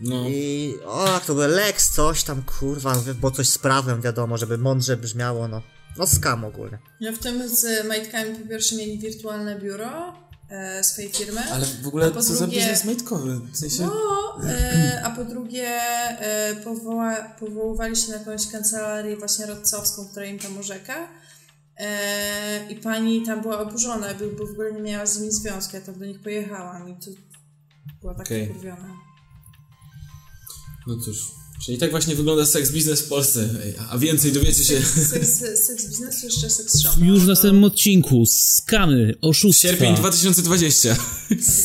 Speaker 1: No.
Speaker 3: I o, jak to był Lex, coś tam, kurwa, bo coś z prawem wiadomo, żeby mądrze brzmiało, no. No skam ogólnie.
Speaker 4: No w tym z majtkami po pierwsze mieli wirtualne biuro e, swojej firmy.
Speaker 1: Ale w ogóle
Speaker 4: A po
Speaker 1: co za
Speaker 4: No drugie-
Speaker 1: biznes majtkowy? W sensie...
Speaker 4: No, e, a po drugie e, powoła, powoływali się na jakąś kancelarię właśnie radcowską, która im tam orzeka. E, I pani tam była oburzona, bo, bo w ogóle nie miała z nimi związku. Ja tam do nich pojechałam i to była tak
Speaker 1: Okej.
Speaker 4: okay. wkurwiona.
Speaker 1: No cóż. Czyli tak właśnie wygląda seks biznes w Polsce. Ej, a więcej dowiecie się
Speaker 4: Seks, seks biznesu, jeszcze seks No shop.
Speaker 2: Już w następnym odcinku skamy,
Speaker 1: w
Speaker 2: oszustwa.
Speaker 1: sierpień
Speaker 3: Tak.
Speaker 1: 2020.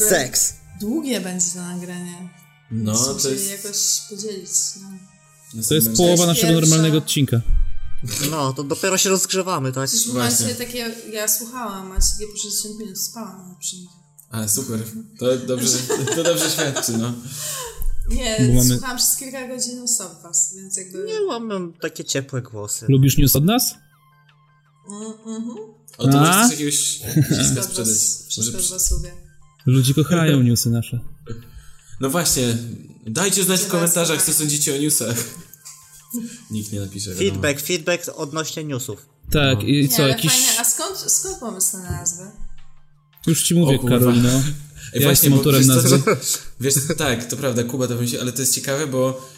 Speaker 3: Seks.
Speaker 4: Długie będzie to nagranie.
Speaker 1: No, to
Speaker 4: Musieli
Speaker 1: jest...
Speaker 4: jakoś podzielić. No.
Speaker 2: To jest
Speaker 1: następne-
Speaker 2: połowa naszego
Speaker 4: pierwsza.
Speaker 2: normalnego odcinka.
Speaker 3: No, to dopiero się rozgrzewamy, tak?
Speaker 4: Przecież
Speaker 1: Właśnie.
Speaker 4: macie takie, ja słuchałam, macie takie po 60 minut, spałam na przykład.
Speaker 1: A, super. To dobrze, to dobrze świadczy, no.
Speaker 4: Nie,
Speaker 2: Bo mamy-
Speaker 4: słuchałam przez kilka godzin u Sob was, więc jakby...
Speaker 3: Nie mam, No, mam takie ciepłe głosy.
Speaker 1: No.
Speaker 2: Lubisz news od nas?
Speaker 4: Mm, mhm.
Speaker 1: O, to
Speaker 2: A?
Speaker 1: możesz coś jakiegoś
Speaker 4: Wszystko
Speaker 1: dziecka
Speaker 4: od
Speaker 1: sprzedać.
Speaker 4: was,
Speaker 1: Może
Speaker 4: wszystko od
Speaker 1: przy-
Speaker 4: was lubię.
Speaker 2: Ludzie kochają newsy nasze.
Speaker 1: No właśnie, dajcie znać w komentarzach, co sądzicie o newsach. Nikt nie napisze. wiadomo.
Speaker 3: Feedback, feedback odnośnie newsów.
Speaker 2: Tak, i
Speaker 4: Nie,
Speaker 2: co,
Speaker 4: ale
Speaker 2: jakiś...
Speaker 4: fajne, a skąd, skąd pomysł na nazwę?
Speaker 2: Już ci mówię,
Speaker 1: O kurwa.
Speaker 2: Karolino.
Speaker 1: Ej,
Speaker 2: Ja jestem
Speaker 1: bo
Speaker 2: autorem
Speaker 1: wiesz co,
Speaker 2: nazwy.
Speaker 1: Wiesz, tak, to prawda, Kuba to myśli, ale to jest ciekawe, bo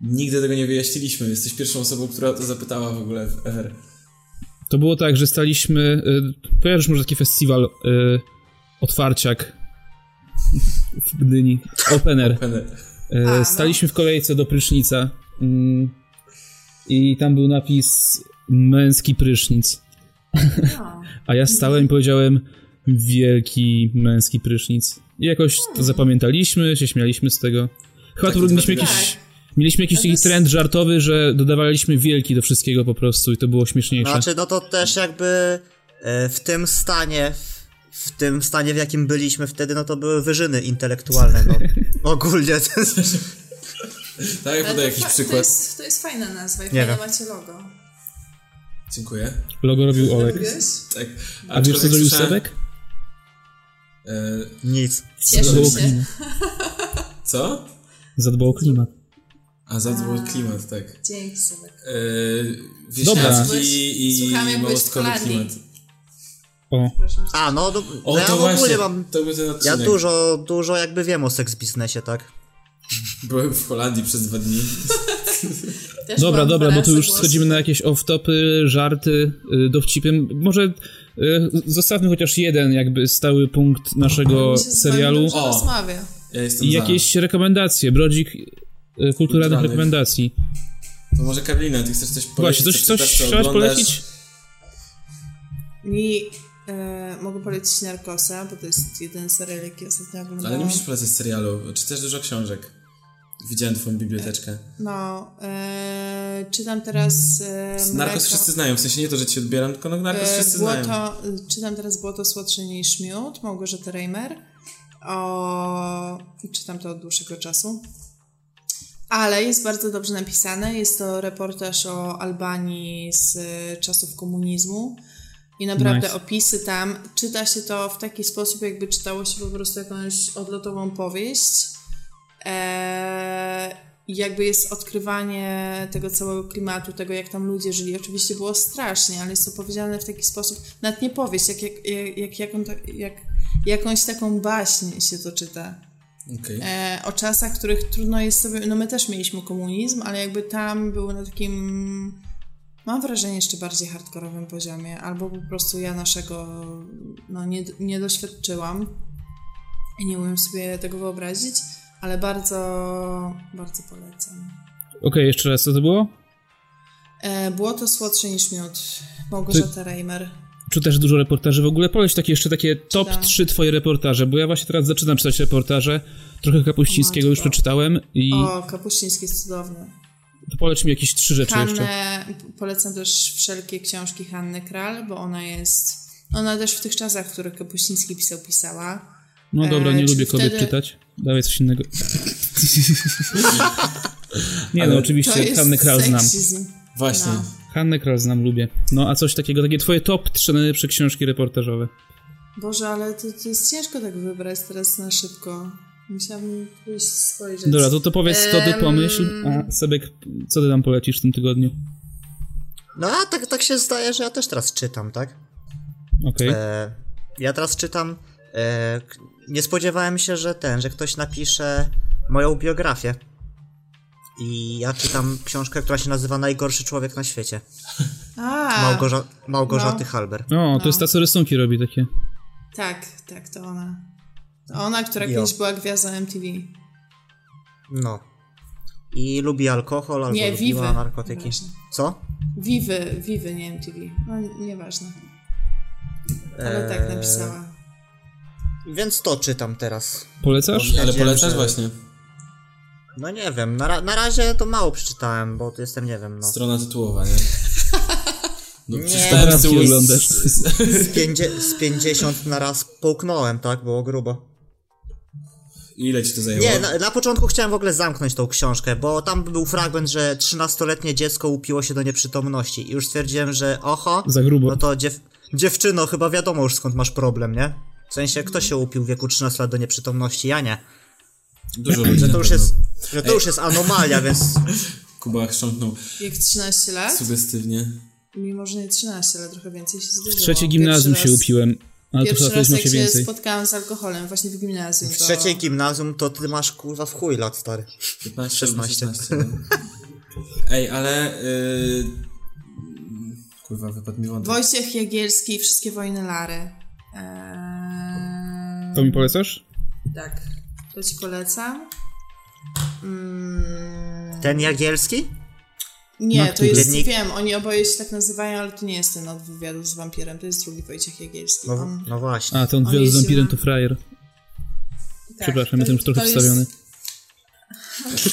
Speaker 1: nigdy tego nie wyjaśniliśmy. Jesteś pierwszą osobą, która o to zapytała w ogóle w ever.
Speaker 2: To było tak, że staliśmy. Y, kojarzysz może taki festiwal y, otwarciak w Gdyni. Open Air.
Speaker 1: Pene-
Speaker 2: Y,
Speaker 4: A, no.
Speaker 2: Staliśmy w kolejce do prysznica. Mm, I tam był napis męski prysznic.
Speaker 4: No.
Speaker 2: A ja stałem i powiedziałem wielki męski prysznic. I jakoś
Speaker 4: Hmm.
Speaker 2: to zapamiętaliśmy, się śmialiśmy z tego. Chyba
Speaker 1: Taki
Speaker 2: tu mieliśmy
Speaker 1: dwa-
Speaker 2: jakiś.
Speaker 4: Tak.
Speaker 2: Mieliśmy jakiś
Speaker 4: To
Speaker 2: taki
Speaker 4: jest-
Speaker 2: trend żartowy, że dodawaliśmy wielki do wszystkiego po prostu i to było śmieszniejsze.
Speaker 3: Znaczy, no to też jakby e, w tym stanie, w tym stanie, w jakim byliśmy wtedy, no to były wyżyny intelektualne, no. Ogólnie to jest...
Speaker 1: Tak,
Speaker 4: Ale
Speaker 1: podaj
Speaker 4: to
Speaker 1: jakiś
Speaker 4: fa-
Speaker 1: przykład.
Speaker 4: To jest, to jest fajna nazwa i
Speaker 3: Nie
Speaker 4: fajne
Speaker 3: wiem.
Speaker 4: macie logo.
Speaker 1: Dziękuję.
Speaker 2: Logo robił Olek.
Speaker 4: Wiesz?
Speaker 1: Tak.
Speaker 2: A wiesz co
Speaker 1: Aczkolwiek
Speaker 2: zrobił
Speaker 1: słyszałem-
Speaker 2: Sebek?
Speaker 1: E,
Speaker 3: Nic.
Speaker 4: Cieszę
Speaker 2: Zadbał o
Speaker 4: się.
Speaker 2: klimat.
Speaker 1: co?
Speaker 2: Zadbał o klimat.
Speaker 1: A zadbał klimat, tak.
Speaker 4: Dzięki sobie.
Speaker 1: E, wieśniacki
Speaker 4: Byłeś-
Speaker 1: i
Speaker 4: słucham, jak byłeś
Speaker 1: małostkowy
Speaker 4: w Holandii.
Speaker 1: klimat.
Speaker 2: O,
Speaker 4: Proszę.
Speaker 3: A, no, no
Speaker 1: O,
Speaker 3: ja
Speaker 1: to
Speaker 3: w ogóle
Speaker 1: właśnie,
Speaker 3: mam...
Speaker 1: to był ten
Speaker 3: Ja
Speaker 1: odcinek.
Speaker 3: dużo, dużo jakby wiem o seks biznesie, tak?
Speaker 1: Byłem w Holandii przez dwa dni.
Speaker 4: Też
Speaker 2: dobra,
Speaker 4: mam
Speaker 2: dobra, bo tu
Speaker 4: parasy
Speaker 2: już
Speaker 4: głos.
Speaker 2: schodzimy na jakieś off-topy, żarty, y, dowcipy. Może y, zostawmy chociaż jeden jakby stały punkt naszego
Speaker 4: Mi się z wami
Speaker 2: serialu
Speaker 4: dużo
Speaker 1: O.
Speaker 4: rozmawia.
Speaker 1: Ja jestem
Speaker 2: i
Speaker 1: za.
Speaker 2: jakieś rekomendacje, brodzik y, kulturalnych
Speaker 1: Kulturalnych.
Speaker 2: rekomendacji.
Speaker 1: To może Karolina, ty chcesz coś polecić?
Speaker 2: Właśnie, coś,
Speaker 1: co
Speaker 2: coś
Speaker 1: czytasz, co
Speaker 2: chciałaś
Speaker 1: oglądasz?
Speaker 2: polecić?
Speaker 4: Mi e, mogę polecić Narkosa, bo to jest jeden serial, jaki ostatnio oglądałam.
Speaker 1: Ale nie musisz polecać serialu, czytasz dużo książek. Widziałem twoją biblioteczkę.
Speaker 4: No, e, czytam teraz... E,
Speaker 1: Narkos wszyscy znają, w sensie nie to, że ci odbieram, tylko no Narkos
Speaker 4: E,
Speaker 1: wszyscy
Speaker 4: Błoto,
Speaker 1: znają.
Speaker 4: e, Czytam teraz Błoto słodsze niż miód, Małgorzata Reimer. O, czytam to od dłuższego czasu. Ale jest bardzo dobrze napisane. Jest to reportaż o Albanii z e, czasów komunizmu. I naprawdę
Speaker 2: Nice.
Speaker 4: opisy tam. Czyta się to w taki sposób, jakby czytało się po prostu jakąś odlotową powieść. Eee, i jakby jest odkrywanie tego całego klimatu, tego jak tam ludzie żyli. Oczywiście było strasznie, ale jest to powiedziane w taki sposób, nawet nie powieść, jak, jak, jak, jak, jaką ta- jak jakąś taką baśń się to czyta.
Speaker 1: Okej.
Speaker 4: E, o czasach, których trudno jest sobie, no my też mieliśmy komunizm, ale jakby tam był na takim, mam wrażenie, jeszcze bardziej hardkorowym poziomie, albo po prostu ja naszego no, nie, nie doświadczyłam i nie umiem sobie tego wyobrazić, ale bardzo, bardzo polecam.
Speaker 2: Okej, jeszcze raz, co to było?
Speaker 4: E, było to słodsze niż miód. Małgorzata Reimer.
Speaker 2: Czy też dużo reportaży w ogóle? Poleć takie jeszcze takie top
Speaker 4: Czytałam.
Speaker 2: 3 twoje reportaże, bo ja właśnie teraz zaczynam czytać reportaże. Trochę Kapuścińskiego już
Speaker 4: Matko.
Speaker 2: przeczytałem i
Speaker 4: No, O, Kapuściński jest cudowny.
Speaker 2: to poleć mi jakieś trzy rzeczy jeszcze.
Speaker 4: Hannę, polecam też wszelkie książki Hanny Kral, bo ona jest, ona też w tych czasach, w których Kapuściński pisał, pisała.
Speaker 2: No dobra, nie
Speaker 4: Eee, czy
Speaker 2: lubię kobiet
Speaker 4: wtedy-
Speaker 2: czytać. Dawaj coś innego. nie no,
Speaker 4: To
Speaker 2: oczywiście
Speaker 4: jest
Speaker 2: Hannę Kral znam.
Speaker 4: seksizm.
Speaker 1: Właśnie.
Speaker 4: No.
Speaker 2: Hannę Kral znam, lubię. No a coś takiego, takie twoje top trzy najlepsze książki reportażowe.
Speaker 4: Boże, ale to, to jest ciężko tak wybrać teraz na szybko. Musiałabym pójść spojrzeć.
Speaker 2: Dobra, to, to powiedz, co ty
Speaker 4: Em.
Speaker 2: pomyśl, a Sebek, co ty nam polecisz w tym tygodniu?
Speaker 3: No a tak, tak się zdaje, że ja też teraz czytam, tak?
Speaker 2: Okej.
Speaker 3: E, ja teraz czytam. E, k- nie spodziewałem się, że ten, że ktoś napisze moją biografię. I ja czytam książkę, która się nazywa Najgorszy człowiek na świecie.
Speaker 4: A,
Speaker 3: Małgorza- Małgorzaty
Speaker 4: No.
Speaker 3: Halber.
Speaker 2: O, to jest ta, co rysunki robi takie.
Speaker 4: tak, tak, to ona. To ona, która
Speaker 3: Jo.
Speaker 4: kiedyś była gwiazdą MTV.
Speaker 3: No. I lubi alkohol, albo
Speaker 4: Nie,
Speaker 3: lubiła
Speaker 4: Vivi.
Speaker 3: narkotyki.
Speaker 4: Właśnie.
Speaker 3: Co?
Speaker 4: Wiwy, Wiwy, nie MTV. No, nieważne. Ale tak
Speaker 3: Eee,
Speaker 4: napisała.
Speaker 3: Więc to czytam teraz.
Speaker 4: No
Speaker 2: Polecasz?
Speaker 1: Ale polecasz
Speaker 3: że-
Speaker 1: właśnie.
Speaker 3: No nie wiem, na, ra- na razie to mało przeczytałem, bo to jestem, nie wiem, no.
Speaker 1: Strona tytułowa, nie? No,
Speaker 3: Nie.
Speaker 1: przeczytałem z tyłu
Speaker 2: Fotografki
Speaker 1: z-
Speaker 2: oglądasz.
Speaker 1: z-
Speaker 3: Z, pięćdzie- z 50 na raz połknąłem, tak? Było grubo.
Speaker 1: Ile ci to zajęło?
Speaker 3: Nie, na, na początku chciałem w ogóle zamknąć tą książkę, bo tam był fragment, że 13-letnie dziecko upiło się do nieprzytomności i już stwierdziłem, że oho,
Speaker 2: Za grubo.
Speaker 3: no to dziew, dziewczyno, chyba wiadomo już skąd masz problem, nie? W sensie, kto się upił w wieku 13 lat do nieprzytomności, ja nie.
Speaker 1: Dużo ludzi
Speaker 3: Że
Speaker 1: na
Speaker 3: to już
Speaker 1: pewno.
Speaker 3: jest, że to już jest anomalia, więc
Speaker 1: No, Kuba chrząknął
Speaker 4: Jak 13 lat?
Speaker 1: sugestywnie.
Speaker 4: Mimo, że nie 13, ale trochę więcej się zdarzyło.
Speaker 2: W trzecie gimnazjum
Speaker 4: Pierwszy
Speaker 2: się
Speaker 4: raz-
Speaker 2: upiłem, ale to
Speaker 4: Pierwszy
Speaker 2: chyba
Speaker 4: raz,
Speaker 2: ktoś ma
Speaker 4: jak
Speaker 2: się
Speaker 4: się
Speaker 2: więcej.
Speaker 4: spotkałam z alkoholem, właśnie w gimnazjum.
Speaker 3: w
Speaker 4: to-
Speaker 3: trzeciej gimnazjum to ty masz kurwa w chuj lat, stary.
Speaker 1: 15,
Speaker 3: 16.
Speaker 1: 16 no. Ej, ale... Yy... Kurwa, wypadł mi wątek.
Speaker 4: Wojciech Jagielski i wszystkie wojny Lary. Eee,
Speaker 2: To mi polecasz?
Speaker 4: Tak, to ci polecam. Mm,
Speaker 3: Ten Jagielski?
Speaker 4: nie,
Speaker 2: No,
Speaker 4: to jest,
Speaker 3: dziennik-
Speaker 4: wiem, oni oboje się tak nazywają, ale to nie jest ten od wywiadu z wampirem, to jest drugi Wojciech Jagielski. Mm,
Speaker 3: No,
Speaker 4: On,
Speaker 3: no właśnie.
Speaker 2: A, to on
Speaker 4: On
Speaker 2: wywiad z
Speaker 4: jest
Speaker 2: wampirem
Speaker 4: zielony.
Speaker 2: to frajer.
Speaker 4: tak,
Speaker 2: Przepraszam, jestem już trochę
Speaker 4: to
Speaker 2: wstawiony.
Speaker 4: Jest,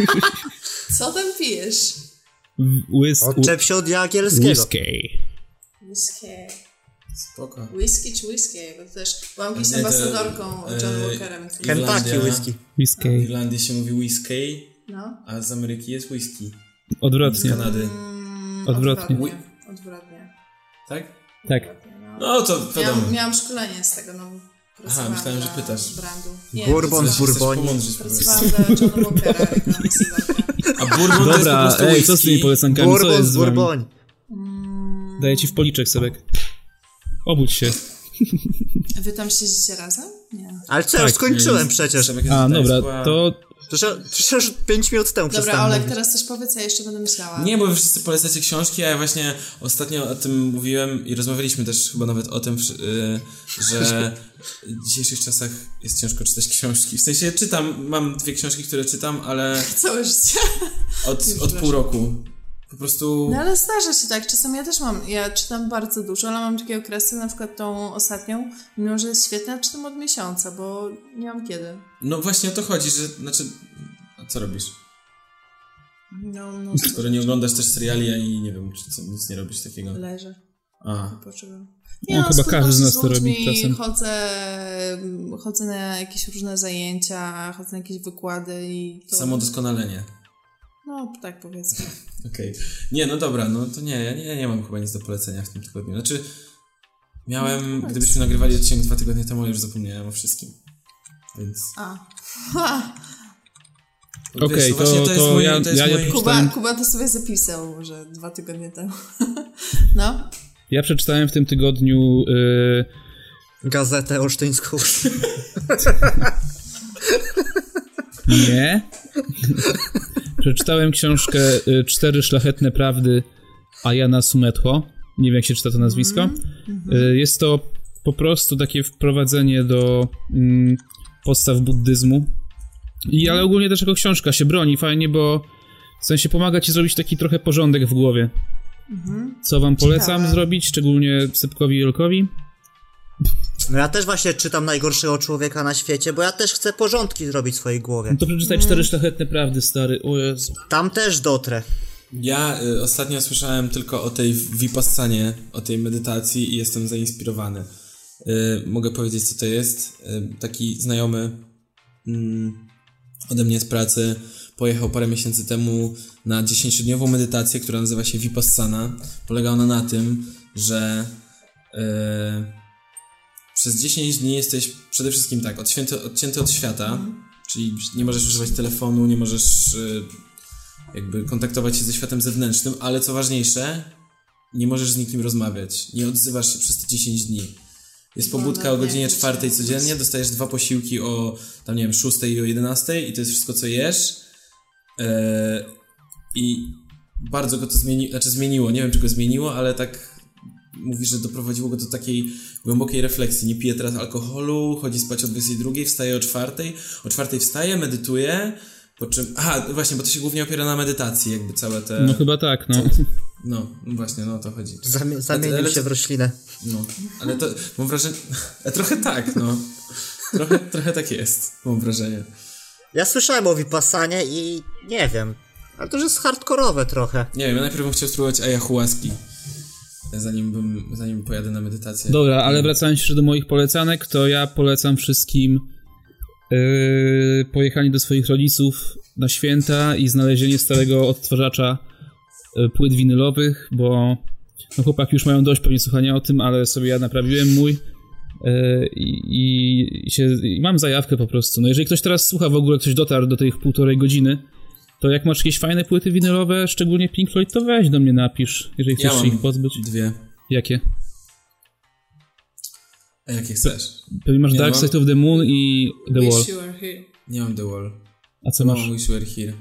Speaker 4: co tam pijesz?
Speaker 2: Whisk...
Speaker 3: Odczep się od Jagielskiego.
Speaker 2: Whisky.
Speaker 4: Whisky.
Speaker 1: Spoko.
Speaker 4: Whisky czy whisky? Bo też byłam jakąś
Speaker 1: Nie, to-
Speaker 4: ambasadorką John
Speaker 1: e,
Speaker 4: Walkera, więc
Speaker 1: Ken-
Speaker 3: Kentucky
Speaker 1: Irlandia.
Speaker 3: whisky.
Speaker 1: W
Speaker 2: Whisky.
Speaker 1: Irlandii się mówi whisky,
Speaker 4: no.
Speaker 1: a z Ameryki jest whisky. Z
Speaker 2: Odwrotnie.
Speaker 1: Kanady.
Speaker 4: Mm,
Speaker 2: Odwrotnie.
Speaker 4: Odwrotnie. odwrotnie.
Speaker 1: Tak?
Speaker 2: Tak.
Speaker 4: No.
Speaker 1: No to wiadomo.
Speaker 4: Miałam, miałam szkolenie z tego, no. pracowałam
Speaker 1: myślałem, że
Speaker 4: dla
Speaker 1: pytasz.
Speaker 4: Brandu.
Speaker 3: Bourbon z
Speaker 1: Chcesz- chcesz
Speaker 3: Bourbonii.
Speaker 1: pomądrzyć po prostu.
Speaker 4: Pracowałam dla Johna Walkera, jako ambasadorka.
Speaker 1: A bourbon to jest po
Speaker 2: Dobra,
Speaker 1: prostu
Speaker 2: ej,
Speaker 1: whisky.
Speaker 2: co z tymi polecankami? Co
Speaker 3: Bourbon
Speaker 2: jest
Speaker 3: z
Speaker 2: z wami?
Speaker 3: Bourbonii.
Speaker 2: Daję ci w policzek, Sebek. Obudź się.
Speaker 4: Wy tam siedzicie razem? Nie.
Speaker 3: Ale co, ja już skończyłem przecież.
Speaker 1: Przemek Tak, jest
Speaker 2: A,
Speaker 1: tutaj,
Speaker 2: dobra,
Speaker 1: skła-
Speaker 2: to...
Speaker 3: Przecież przecież 5 minut temu
Speaker 4: Dobra, Olek,
Speaker 3: przestałem.
Speaker 4: teraz coś powiedz, ja jeszcze będę myślała.
Speaker 1: Nie, bo wy wszyscy polecacie książki, a ja właśnie ostatnio o tym mówiłem i rozmawialiśmy też chyba nawet o tym, wsz- y, że w dzisiejszych czasach jest ciężko czytać książki. W sensie czytam, mam dwie książki, które czytam, ale
Speaker 4: Całe życie.
Speaker 1: od,
Speaker 4: Już
Speaker 1: od
Speaker 4: wiesz.
Speaker 1: pół roku. Po prostu...
Speaker 4: No ale zdarza się tak, czasem ja też mam, ja czytam bardzo dużo, ale mam takie okresy, na przykład tą ostatnią, mimo że jest świetna, czytam od miesiąca, bo nie mam kiedy.
Speaker 1: No właśnie o to chodzi, że... Znaczy... A co robisz?
Speaker 4: No, no,
Speaker 1: Skoro nie oglądasz też seriali ani nie wiem, czy co, nic nie robisz takiego.
Speaker 4: leżę,
Speaker 1: A,
Speaker 4: poczekam.
Speaker 2: No, chyba
Speaker 4: spotykam
Speaker 2: każdy z
Speaker 4: się
Speaker 2: nas to robi
Speaker 4: ludźmi,
Speaker 2: czasem.
Speaker 4: Chodzę, mm, chodzę na jakieś różne zajęcia, chodzę na jakieś wykłady i to...
Speaker 1: samodoskonalenie.
Speaker 4: No, tak powiedzmy.
Speaker 1: Okej. Nie, no dobra, no to nie, ja nie, nie mam chyba nic do polecenia w tym tygodniu. Znaczy, miałem, gdybyśmy nagrywali odcinek dwa tygodnie temu, już zapomniałem o wszystkim. Więc.
Speaker 4: A.
Speaker 2: Okej, to-
Speaker 1: właśnie
Speaker 2: to ja- ja- ja-
Speaker 4: Kuba,
Speaker 2: Czytałem-
Speaker 4: Kuba to sobie zapisał może dwa tygodnie temu. No,
Speaker 2: Ja przeczytałem w tym tygodniu... y,
Speaker 3: Gazetę olsztyńską.
Speaker 2: Nie. Przeczytałem książkę y, Cztery szlachetne prawdy Ayana Sumetho. Nie wiem, jak się czyta to nazwisko. Y, Jest to po prostu takie wprowadzenie do mm, podstaw buddyzmu. I, ale ogólnie też jako książka się broni fajnie, bo w sensie pomaga ci zrobić taki trochę porządek w głowie. Co wam polecam
Speaker 4: Ciekawe.
Speaker 2: zrobić, szczególnie Sypkowi i Jolkowi.
Speaker 3: No ja też właśnie czytam najgorszego człowieka na świecie, bo ja też chcę porządki zrobić w swojej głowie.
Speaker 2: No to przeczytaj Cztery szlachetne prawdy, stary. O Jezu.
Speaker 3: Tam też dotrę.
Speaker 1: Ja y, ostatnio słyszałem tylko o tej vipassanie, o tej medytacji i jestem zainspirowany. Y, mogę powiedzieć, co to jest. Y, taki znajomy mm, ode mnie z pracy pojechał parę miesięcy temu na 10-dniową medytację, która nazywa się vipassana. Polega ona na tym, że y, przez 10 dni jesteś przede wszystkim tak, odcięty, odcięty od świata, czyli nie możesz używać telefonu, nie możesz... Y, jakby kontaktować się ze światem zewnętrznym, ale co ważniejsze, nie możesz z nikim rozmawiać. Nie odzywasz się przez te 10 dni. Jest pobudka o
Speaker 4: nawet nie
Speaker 1: godzinie
Speaker 4: wiem, czy-
Speaker 1: czwartej codziennie, dostajesz dwa posiłki o tam nie wiem, 6 i o 11 i to jest wszystko co jesz. Eee, I bardzo go to zmieni, znaczy zmieniło, nie wiem czy go zmieniło, ale tak mówi, że doprowadziło go do takiej głębokiej refleksji. Nie pije teraz alkoholu, chodzi spać o 22, wstaje o 4, o 4 wstaje, medytuje, po czym... Aha, właśnie, bo to się głównie opiera na medytacji, jakby całe te...
Speaker 2: No
Speaker 1: No,
Speaker 2: chyba tak, no.
Speaker 1: no właśnie, no o to chodzi.
Speaker 3: Zamie- zamienił
Speaker 1: Ale-
Speaker 3: się w roślinę.
Speaker 1: No, ale to mam wrażenie... Trochę tak, no. Trochę, trochę tak jest, mam wrażenie.
Speaker 3: Ja słyszałem o Vipassanie i nie wiem. Ale to już jest hardkorowe trochę.
Speaker 1: Nie wiem, ja najpierw bym chciał spróbować ayahuaski, zanim, bym, zanim pojadę na medytację.
Speaker 2: Dobra, ale wracając jeszcze do moich polecanek, to ja polecam wszystkim yy, pojechanie do swoich rodziców na święta i znalezienie starego odtwarzacza yy, płyt winylowych, bo no chłopaki już mają dość pewnie słuchania o tym, ale sobie ja naprawiłem mój yy, i, i, się, i mam zajawkę po prostu. No jeżeli ktoś teraz słucha w ogóle, ktoś dotarł do tych półtorej godziny, to jak masz jakieś fajne płyty winylowe, szczególnie Pink Floyd, to weź do mnie napisz, jeżeli
Speaker 1: Ja
Speaker 2: chcesz się
Speaker 1: mam
Speaker 2: ich pozbyć.
Speaker 1: dwie.
Speaker 2: Jakie?
Speaker 1: A jakie chcesz?
Speaker 2: Pewnie masz
Speaker 1: Ja
Speaker 2: Dark
Speaker 1: mam-
Speaker 2: Side of the Moon i The Wall.
Speaker 4: Wish you were here.
Speaker 1: Nie mam The Wall.
Speaker 2: A co masz?
Speaker 1: Mam Wish You Were Here.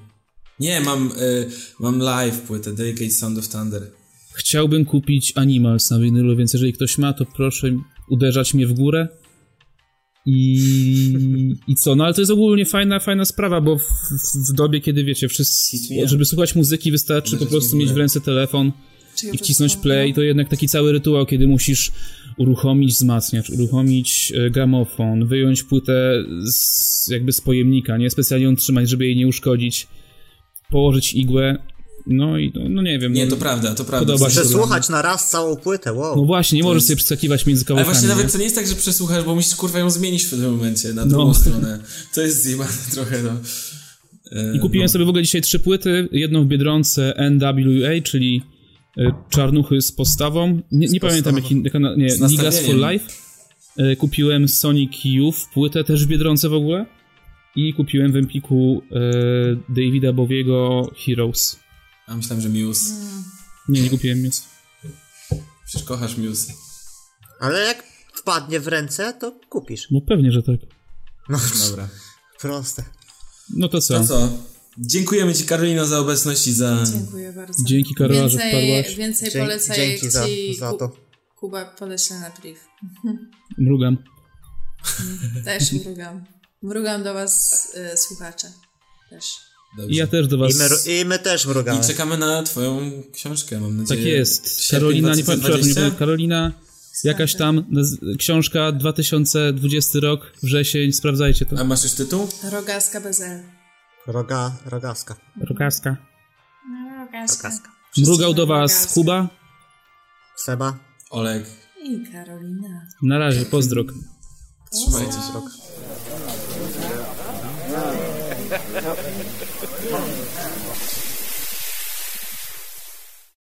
Speaker 1: Nie, mam, y, mam live płytę Delicate Sound of Thunder.
Speaker 2: Chciałbym kupić Animals na winylu, więc jeżeli ktoś ma, to proszę uderzać mnie w górę. I, I co? No ale to jest ogólnie fajna, fajna sprawa, bo w, w- w dobie, kiedy wiecie, wszyscy,
Speaker 1: Hitujemy.
Speaker 2: żeby słuchać muzyki wystarczy po
Speaker 1: Uderzać
Speaker 2: prostu
Speaker 1: mnie w
Speaker 2: mieć w
Speaker 1: górę.
Speaker 2: ręce telefon
Speaker 4: Czy ja no.
Speaker 2: i wcisnąć
Speaker 4: przeczytam to?
Speaker 2: play, to jednak taki cały rytuał, kiedy musisz uruchomić wzmacniacz, uruchomić e, gramofon, wyjąć płytę z, jakby z pojemnika, nie specjalnie ją trzymać, żeby jej nie uszkodzić, położyć igłę, no i no, no nie wiem.
Speaker 1: Nie,
Speaker 2: no,
Speaker 1: to prawda, to prawda.
Speaker 2: Podoba się.
Speaker 3: Przesłuchać na raz całą płytę, wow.
Speaker 2: No właśnie, nie możesz sobie przeskakiwać między
Speaker 1: Ale
Speaker 2: kawałkami.
Speaker 1: właśnie
Speaker 2: nie?
Speaker 1: nawet to nie jest tak, że przesłuchasz, bo musisz kurwa ją zmienić w pewnym momencie na
Speaker 2: No.
Speaker 1: drugą stronę. To jest zjebane trochę, no. E,
Speaker 2: I kupiłem sobie w ogóle dzisiaj trzy płyty, jedną w Biedronce NWA, czyli e, czarnuchy z postawą. Nie, nie pamiętam jaki, jaka, na- nie,
Speaker 1: Z
Speaker 2: Niggas for
Speaker 1: nastawieniem.
Speaker 2: Life. E, Kupiłem Sonic Youth, płytę też w Biedronce w ogóle. I kupiłem w Empiku e, Davida Bowiego Heroes.
Speaker 1: A myślałem, że Muse.
Speaker 2: Nie, nie kupiłem więc.
Speaker 1: Przecież kochasz Muse.
Speaker 3: Ale jak wpadnie w ręce, to kupisz.
Speaker 2: No pewnie, że tak.
Speaker 3: No,
Speaker 1: Dobra.
Speaker 3: proste.
Speaker 2: No to co?
Speaker 1: To co? Dziękujemy ci Karolino za obecność i za...
Speaker 4: No, Dziękuję bardzo.
Speaker 2: Dzięki Karola, że
Speaker 4: Więcej,
Speaker 2: wpadłaś.
Speaker 4: więcej
Speaker 3: Dzięki-
Speaker 4: polecaj
Speaker 3: dzięki
Speaker 4: ci
Speaker 3: za- za to.
Speaker 4: Ku- Kuba poleca na priv.
Speaker 2: Mrugam.
Speaker 4: Też mrugam. Mrugam do was y, słuchacze. Też.
Speaker 1: Dobrze.
Speaker 2: I ja też do
Speaker 3: I my,
Speaker 2: was...
Speaker 3: I my też mrugamy.
Speaker 1: I czekamy na twoją książkę, mam nadzieję.
Speaker 2: Tak jest.
Speaker 1: Sierpień
Speaker 2: Karolina, nie pamiętam, przepraszam, nie
Speaker 1: 2020?
Speaker 2: pamiętam, Karolina, jakaś tam naz- książka 2020 rok, wrzesień, sprawdzajcie to.
Speaker 1: A masz już tytuł?
Speaker 4: Rogaska bez L.
Speaker 3: Roga, rogaska.
Speaker 2: Rogaska.
Speaker 4: Rogaska.
Speaker 2: Mrugał do was Kuba.
Speaker 3: Seba.
Speaker 1: Oleg.
Speaker 4: I Karolina.
Speaker 2: Na razie, pozdrok.
Speaker 1: Trzymajcie się.